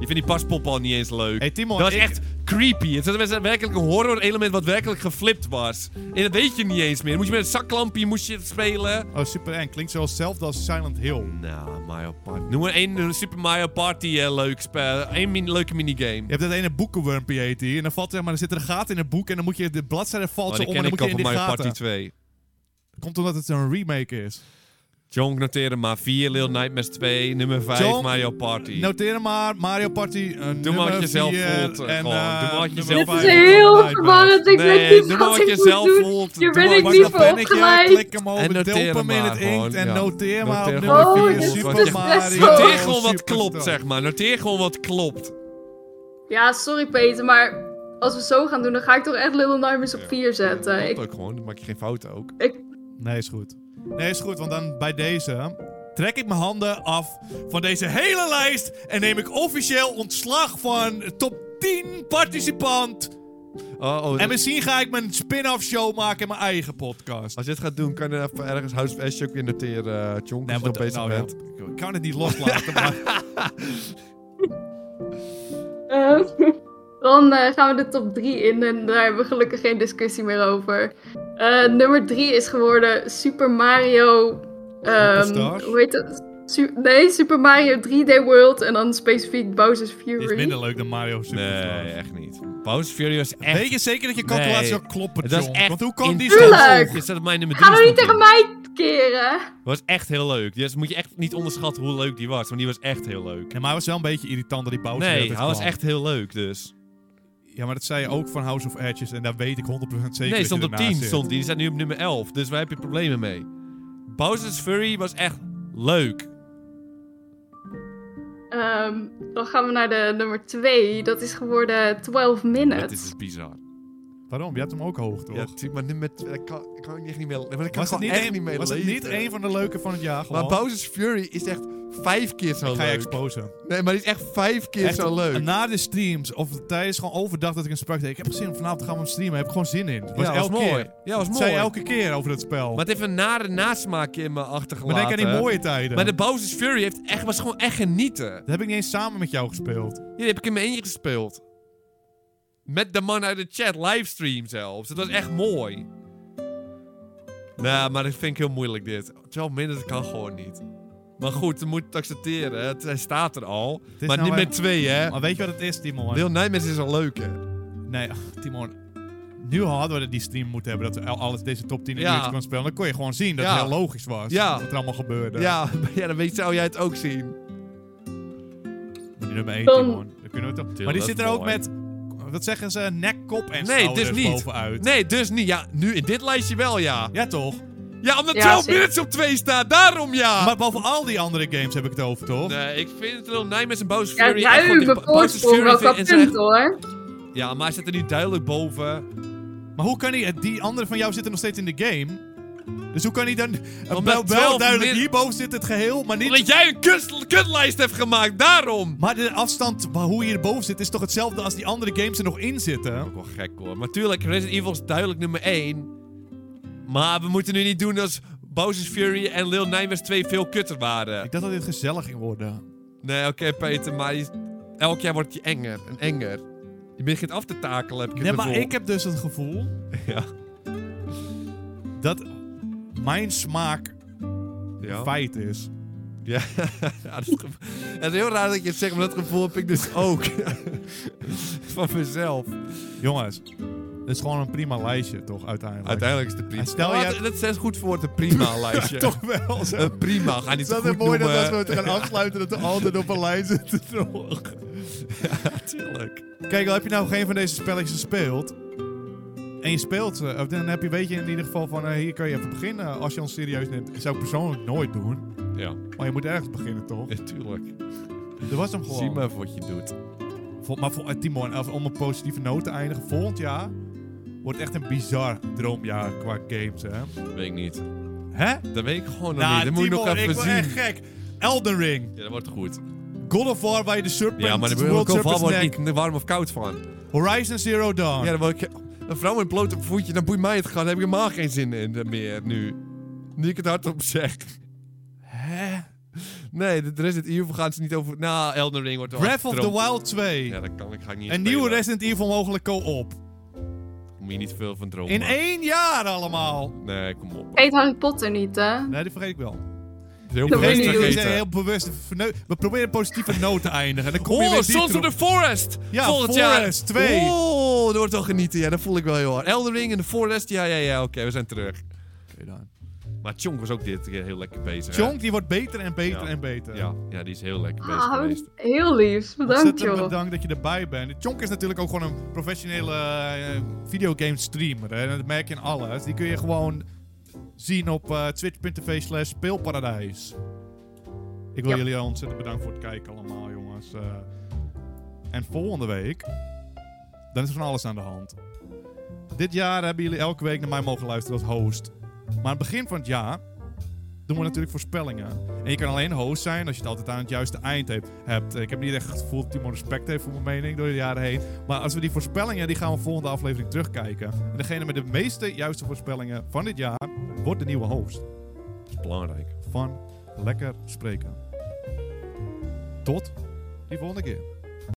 [SPEAKER 2] Je vindt die paspop al niet eens leuk.
[SPEAKER 1] Hey, Timo,
[SPEAKER 2] dat was
[SPEAKER 1] ik-
[SPEAKER 2] echt creepy. Het was werkelijk een horror element wat werkelijk geflipt was. En dat weet je niet eens meer. Moest je met een zaklampje moest je het spelen.
[SPEAKER 1] Oh, super eng. Klinkt zoals hetzelfde als Silent Hill.
[SPEAKER 2] Nou, Mario Party. Noem maar één eh, Super Mario Party eh, leuk spel. Eén min- leuke minigame.
[SPEAKER 1] Je hebt dat ene boekenwormpje heet die. En dan valt zeg maar, er zit er een gat in het boek. En dan moet je de bladzijde valt
[SPEAKER 2] Oh,
[SPEAKER 1] zo
[SPEAKER 2] die
[SPEAKER 1] om. En
[SPEAKER 2] ken
[SPEAKER 1] dan
[SPEAKER 2] ik
[SPEAKER 1] moet je
[SPEAKER 2] al
[SPEAKER 1] in
[SPEAKER 2] van
[SPEAKER 1] die
[SPEAKER 2] Mario Party
[SPEAKER 1] gaten.
[SPEAKER 2] 2.
[SPEAKER 1] Komt omdat het een remake is.
[SPEAKER 2] Jonk noteerde maar 4, Little Nightmares 2, nummer 5,
[SPEAKER 1] Jonk,
[SPEAKER 2] Mario Party.
[SPEAKER 1] Noteer maar Mario Party. eh,
[SPEAKER 2] Doe maar
[SPEAKER 1] nummer
[SPEAKER 2] wat je zelf
[SPEAKER 1] vier
[SPEAKER 2] voelt, eh,
[SPEAKER 1] en,
[SPEAKER 2] gewoon.
[SPEAKER 1] eh,
[SPEAKER 2] Doe maar wat je
[SPEAKER 1] nummer
[SPEAKER 2] zelf
[SPEAKER 3] Dit
[SPEAKER 1] vijf,
[SPEAKER 3] is
[SPEAKER 2] voelt.
[SPEAKER 3] heel
[SPEAKER 1] Little Nightmares.
[SPEAKER 3] verwarrend. Ik weet
[SPEAKER 2] Nee,
[SPEAKER 3] niet
[SPEAKER 2] doe maar
[SPEAKER 3] wat
[SPEAKER 2] wat je
[SPEAKER 3] ik
[SPEAKER 2] zelf
[SPEAKER 3] moet doen.
[SPEAKER 2] voelt.
[SPEAKER 3] Hier
[SPEAKER 2] Doe
[SPEAKER 3] ben
[SPEAKER 2] maar
[SPEAKER 3] ik
[SPEAKER 1] Pak
[SPEAKER 2] wat je
[SPEAKER 3] niet
[SPEAKER 1] dat
[SPEAKER 3] voor
[SPEAKER 1] pennetje,
[SPEAKER 3] opgeleid.
[SPEAKER 1] klik hem
[SPEAKER 2] En
[SPEAKER 1] over,
[SPEAKER 2] noteer
[SPEAKER 1] dump hem in
[SPEAKER 2] maar
[SPEAKER 1] het
[SPEAKER 2] gewoon,
[SPEAKER 1] inkt en
[SPEAKER 2] ja.
[SPEAKER 1] noteer maar op
[SPEAKER 2] Noteer
[SPEAKER 1] nummer
[SPEAKER 2] gewoon
[SPEAKER 3] Oh,
[SPEAKER 1] 4
[SPEAKER 3] dit is
[SPEAKER 1] Super
[SPEAKER 3] te
[SPEAKER 1] Mario.
[SPEAKER 3] stressvol.
[SPEAKER 2] Noteer gewoon wat
[SPEAKER 1] Superstar.
[SPEAKER 2] klopt, zeg maar. Noteer gewoon wat klopt.
[SPEAKER 3] Ja, sorry Peter, maar als we zo gaan doen, dan ga ik toch echt Little Nightmares op 4 zetten.
[SPEAKER 2] Klopt
[SPEAKER 3] Ik,
[SPEAKER 2] ook gewoon, dan maak je geen fouten ook.
[SPEAKER 1] Nee, is goed. Nee, is goed, want dan bij deze trek ik mijn handen af van deze hele lijst en neem ik officieel ontslag van top 10 participant.
[SPEAKER 2] Oh, oh,
[SPEAKER 1] En
[SPEAKER 2] dat-
[SPEAKER 1] misschien ga ik mijn spin-off show maken in mijn eigen podcast.
[SPEAKER 2] als je het gaat doen, kan je even ergens House of Ashok weer noteren, uh, Chonk, als je
[SPEAKER 1] wat-
[SPEAKER 2] al bezig
[SPEAKER 1] nou ja,
[SPEAKER 2] bent.
[SPEAKER 1] ik kan het niet loslaten, maar
[SPEAKER 3] eh, (laughs) dan eh, gaan we de top 3 in en daar hebben we gelukkig geen discussie meer over. Eh, nummer 3 is geworden Super Mario... ehm,
[SPEAKER 1] Superstars?
[SPEAKER 3] hoe heet het? Su- nee, Super Mario 3D World en dan specifiek Bowser's Fury.
[SPEAKER 1] Is
[SPEAKER 3] (laughs)
[SPEAKER 1] minder leuk dan Mario Super Smash.
[SPEAKER 2] Nee, echt niet. Bowser's Fury was
[SPEAKER 1] Weet
[SPEAKER 2] echt...
[SPEAKER 1] je zeker dat je calculatie
[SPEAKER 2] Nee.
[SPEAKER 1] ook kloppen,
[SPEAKER 2] Dat is
[SPEAKER 1] John?
[SPEAKER 2] echt
[SPEAKER 1] Want hoe kan die
[SPEAKER 2] intens.
[SPEAKER 1] zo...
[SPEAKER 3] Tuurlijk!
[SPEAKER 2] Je staat op mijn nummer
[SPEAKER 3] Ga
[SPEAKER 2] drie
[SPEAKER 3] nou niet
[SPEAKER 2] stond
[SPEAKER 3] tegen
[SPEAKER 2] die.
[SPEAKER 3] mij keren!
[SPEAKER 2] was echt heel leuk. Dus moet je echt niet onderschatten hoe leuk die was. Want die was echt heel leuk.
[SPEAKER 1] Nee, maar hij was wel een beetje irritant dat die Bowser de hele
[SPEAKER 2] Nee,
[SPEAKER 1] tijd
[SPEAKER 2] hij was
[SPEAKER 1] kwam.
[SPEAKER 2] echt heel leuk dus.
[SPEAKER 1] Ja, maar dat zei je ook van House of Edges. En daar weet ik 100% zeker
[SPEAKER 2] Nee,
[SPEAKER 1] dat je
[SPEAKER 2] stond op
[SPEAKER 1] ernaast
[SPEAKER 2] 10
[SPEAKER 1] zit.
[SPEAKER 2] stond die. Die staat nu op nummer 11. Dus waar heb je problemen mee? Bowser's Fury was echt leuk.
[SPEAKER 3] Ehm, dan gaan we naar de nummer 2. Dat is geworden 12
[SPEAKER 2] Dat is
[SPEAKER 3] Minutes.
[SPEAKER 2] dus bizar.
[SPEAKER 1] Waarom? Je had hem ook hoog, toch?
[SPEAKER 2] Ja, natuurlijk, maar nummer 2, daar kan, daar kan ik echt niet mee. Maar daar kan
[SPEAKER 1] was
[SPEAKER 2] ik
[SPEAKER 1] het niet,
[SPEAKER 2] gewoon echt
[SPEAKER 1] een,
[SPEAKER 2] niet mee
[SPEAKER 1] was het niet
[SPEAKER 2] leven.
[SPEAKER 1] een van de leuke van het jaar gewoon?
[SPEAKER 4] Maar Bowser's Fury is echt vijf keer zo
[SPEAKER 1] Ik ga je
[SPEAKER 4] leuk.
[SPEAKER 1] exposen.
[SPEAKER 4] nee, maar die is echt vijf keer
[SPEAKER 1] Echt,
[SPEAKER 4] zo leuk.
[SPEAKER 1] Na de streams, of tijdens gewoon overdag dat ik een sprak deed. Ik heb gezien, vanavond gaan we hem streamen. Heb ik gewoon zin in. Het Was
[SPEAKER 2] Ja, was
[SPEAKER 1] elke
[SPEAKER 2] mooi.
[SPEAKER 1] keer.
[SPEAKER 2] Ja, was
[SPEAKER 1] Het zei
[SPEAKER 2] mooi.
[SPEAKER 1] elke keer over dat spel.
[SPEAKER 2] Maar het heeft een nare nasmaakje in me achtergelaten.
[SPEAKER 1] maar denk aan die mooie tijden.
[SPEAKER 2] Maar de Bowser's Fury heeft echt, was gewoon echt genieten.
[SPEAKER 1] Dat heb ik niet eens samen met jou gespeeld.
[SPEAKER 2] Hier heb ik in mijn eentje gespeeld. Met de man uit de chat, livestream zelfs. Het was echt mooi. Nou, maar dat vind ik heel moeilijk dit. 12 minuten kan gewoon niet. Maar goed, we moeten het accepteren. hè. Het, hij staat er al.
[SPEAKER 1] is
[SPEAKER 2] maar
[SPEAKER 1] nou
[SPEAKER 2] nummer
[SPEAKER 1] een-
[SPEAKER 2] 2, hè.
[SPEAKER 1] Maar weet je wat het is, Timon?
[SPEAKER 4] Deel Nijmegen is al leuk, hè?
[SPEAKER 1] Nee, ach, Timon. Nu hadden we die stream moeten hebben. Dat we al- alles deze top 10 in
[SPEAKER 2] Ja.
[SPEAKER 1] ja. kon spelen. Dan kon je gewoon zien dat
[SPEAKER 2] Ja.
[SPEAKER 1] het heel logisch was.
[SPEAKER 2] Ja.
[SPEAKER 1] Wat er allemaal gebeurde.
[SPEAKER 2] Ja, (laughs) ja dan weet, zou jij het ook zien.
[SPEAKER 1] Maar die nummer 1,
[SPEAKER 3] Dan-
[SPEAKER 1] Timon. Dat kunnen we toch. maar die
[SPEAKER 2] dat
[SPEAKER 1] zit er
[SPEAKER 2] is
[SPEAKER 1] ook
[SPEAKER 2] mooi.
[SPEAKER 1] met... Wat zeggen ze? Nek, kop en
[SPEAKER 2] Nee,
[SPEAKER 1] schouders
[SPEAKER 2] dus niet.
[SPEAKER 1] bovenuit.
[SPEAKER 2] Nee, dus niet. Ja, nu in dit lijstje wel, ja.
[SPEAKER 1] Ja, toch?
[SPEAKER 2] Ja, omdat
[SPEAKER 3] Ja,
[SPEAKER 2] 12
[SPEAKER 3] zeker.
[SPEAKER 2] minuten op 2 staat. Daarom, ja.
[SPEAKER 1] Maar boven al die andere games heb ik het over, toch?
[SPEAKER 2] Nee, ik vind Little Nijmegen en Bowser's
[SPEAKER 3] Ja,
[SPEAKER 2] Fury... echt wel
[SPEAKER 3] ruime
[SPEAKER 2] dik- Bowser's
[SPEAKER 3] voorsprong
[SPEAKER 2] Fury
[SPEAKER 3] ook qua
[SPEAKER 2] vind- en zijn
[SPEAKER 3] punt hoor.
[SPEAKER 2] echt- Ja, maar hij zit er nu duidelijk boven.
[SPEAKER 1] Maar hoe kan hij... Die andere van jou zitten nog steeds in de game. Dus hoe kan hij dan... Wel,
[SPEAKER 2] met
[SPEAKER 1] wel
[SPEAKER 2] 12
[SPEAKER 1] duidelijk,
[SPEAKER 2] min-
[SPEAKER 1] hierboven zit het geheel, maar niet...
[SPEAKER 2] Omdat jij een kut- kutlijst hebt gemaakt, daarom!
[SPEAKER 1] Maar de afstand waar hoe je erboven zit is toch hetzelfde als die andere games er nog in zitten?
[SPEAKER 2] Ook wel gek hoor. Maar tuurlijk, Resident Evil is duidelijk nummer 1. Maar we moeten nu niet doen als Bowser's Fury en Lil Nijmers 2 veel kutter waren.
[SPEAKER 1] Ik dacht dat dit gezellig ging worden.
[SPEAKER 2] Nee, oké Peter, maar je- elk jaar wordt je enger en enger. Je begint af te takelen, heb ik het
[SPEAKER 1] Nee, maar
[SPEAKER 2] gevoel.
[SPEAKER 1] ik heb dus het gevoel
[SPEAKER 2] Ja.
[SPEAKER 1] dat mijn smaak
[SPEAKER 2] Ja.
[SPEAKER 1] feit is.
[SPEAKER 2] (laughs) Ja, ja, dat is ge- het is heel raar dat je het zegt, maar dat gevoel heb ik dus ook. (laughs) Van mezelf.
[SPEAKER 1] Jongens, dat is gewoon een prima lijstje, toch, uiteindelijk?
[SPEAKER 2] Uiteindelijk is het prima.
[SPEAKER 1] En Ah, stel
[SPEAKER 2] Ja,
[SPEAKER 1] jij-
[SPEAKER 2] Dat is goed voor
[SPEAKER 1] (laughs)
[SPEAKER 2] het prima lijstje.
[SPEAKER 1] Toch wel, zo.
[SPEAKER 2] Een prima, ga niet
[SPEAKER 1] Het is
[SPEAKER 2] te
[SPEAKER 1] altijd
[SPEAKER 2] goed
[SPEAKER 1] mooi dat
[SPEAKER 2] noemen.
[SPEAKER 1] als we het gaan afsluiten, dat de altijd op een lijn zit te drogen.
[SPEAKER 2] (laughs) Tuurlijk.
[SPEAKER 1] Kijk, al heb je nou geen van deze spelletjes gespeeld. En je speelt ze, of dan heb je, weet je in ieder geval van eh, hier kan je even beginnen als je ons serieus neemt. Dat zou ik persoonlijk nooit doen.
[SPEAKER 2] Ja,
[SPEAKER 1] Maar je moet ergens beginnen, toch?
[SPEAKER 2] natuurlijk.
[SPEAKER 1] Dat was hem
[SPEAKER 2] Zie
[SPEAKER 1] gewoon.
[SPEAKER 2] maar wat je doet.
[SPEAKER 1] Vol- maar voor, eh, Timon, even om een positieve noot te eindigen. Volgend jaar wordt echt een bizar droomjaar qua games, hè?
[SPEAKER 2] Weet ik niet.
[SPEAKER 1] Hè?
[SPEAKER 2] Dat weet ik gewoon nog
[SPEAKER 1] Nou,
[SPEAKER 2] niet. Dat moet je nog
[SPEAKER 1] Timon, ik
[SPEAKER 2] even
[SPEAKER 1] word
[SPEAKER 2] zien.
[SPEAKER 1] echt gek. Elden Ring,
[SPEAKER 2] Ja, dat wordt goed.
[SPEAKER 1] God of War waar je de Serpent,
[SPEAKER 2] Ja, maar daar
[SPEAKER 1] World
[SPEAKER 2] word ik
[SPEAKER 1] Serpent's
[SPEAKER 2] overal word
[SPEAKER 1] Neck,
[SPEAKER 2] ik niet warm of koud van.
[SPEAKER 1] Ah. Horizon Zero Dawn.
[SPEAKER 2] Ja, dan word ik... Een vrouw met blote voetje, dan boeit mij het gaan. Daar heb ik helemaal geen zin in eh, meer nu. Nu ik het hardop zeg. Hè? Nee, de de Resident Evil gaan ze niet over... Nou, Elden Ring wordt wel
[SPEAKER 1] Breath of the
[SPEAKER 2] afgetrokken.
[SPEAKER 1] Wild 2.
[SPEAKER 2] Ja, dat kan ik, ga ik niet
[SPEAKER 1] Een
[SPEAKER 2] spelen.
[SPEAKER 1] nieuwe Resident Evil mogelijk co-op.
[SPEAKER 2] Moet je niet veel van dromen.
[SPEAKER 1] In één jaar allemaal.
[SPEAKER 2] Nee, kom op.
[SPEAKER 3] Eet Harry Potter niet, hè?
[SPEAKER 1] Nee, die vergeet ik wel.
[SPEAKER 2] Het is heel
[SPEAKER 3] Dat weet
[SPEAKER 1] Rest
[SPEAKER 2] bewust
[SPEAKER 3] ik niet.
[SPEAKER 1] is
[SPEAKER 2] vergeten.
[SPEAKER 1] heel bewust. verneu- We proberen een positieve noot te eindigen. En dan kom je
[SPEAKER 2] Oh,
[SPEAKER 1] weer die
[SPEAKER 2] Sons of
[SPEAKER 1] troep.
[SPEAKER 2] the Forest!
[SPEAKER 1] Ja,
[SPEAKER 2] Volgend
[SPEAKER 1] Forest
[SPEAKER 2] jaar.
[SPEAKER 1] 2.
[SPEAKER 2] Oh, dat wordt wel genieten. Ja, dat voel ik wel heel hard. Elden Ring en de Forest. Ja, ja, ja. Oké, we zijn terug.
[SPEAKER 1] Oké dan.
[SPEAKER 2] Maar Chonk was ook dit keer heel lekker bezig. hè?
[SPEAKER 1] Chonk, die wordt beter en beter
[SPEAKER 2] Ja.
[SPEAKER 1] en beter.
[SPEAKER 2] Ja, ja, die is heel lekker bezig
[SPEAKER 3] Ah,
[SPEAKER 2] geweest.
[SPEAKER 3] heel lief. Bedankt,
[SPEAKER 1] Ontzettend
[SPEAKER 3] joh.
[SPEAKER 1] bedankt dat je erbij bent. Chonk is natuurlijk ook gewoon een professionele eh, videogame streamer. Hè? En dat merk je in alles. Die kun je gewoon zien op eh, twitch.tv slash speelparadijs. Ik wil
[SPEAKER 3] Ja.
[SPEAKER 1] jullie ontzettend bedanken voor het kijken allemaal, jongens. Eh, en volgende week, dan is er van alles aan de hand. Dit jaar hebben jullie elke week naar mij mogen luisteren als host. Maar aan het begin van het jaar doen we natuurlijk voorspellingen. En je kan alleen host zijn als je het altijd aan het juiste eind heb- hebt. Ik heb niet echt het gevoel dat Timo respect heeft voor mijn mening door de jaren heen. Maar als we die voorspellingen, die gaan we volgende aflevering terugkijken. En degene met de meeste juiste voorspellingen van dit jaar, wordt de nieuwe host
[SPEAKER 2] Dat is belangrijk.
[SPEAKER 1] van Lekker Spreken. Tot die volgende keer.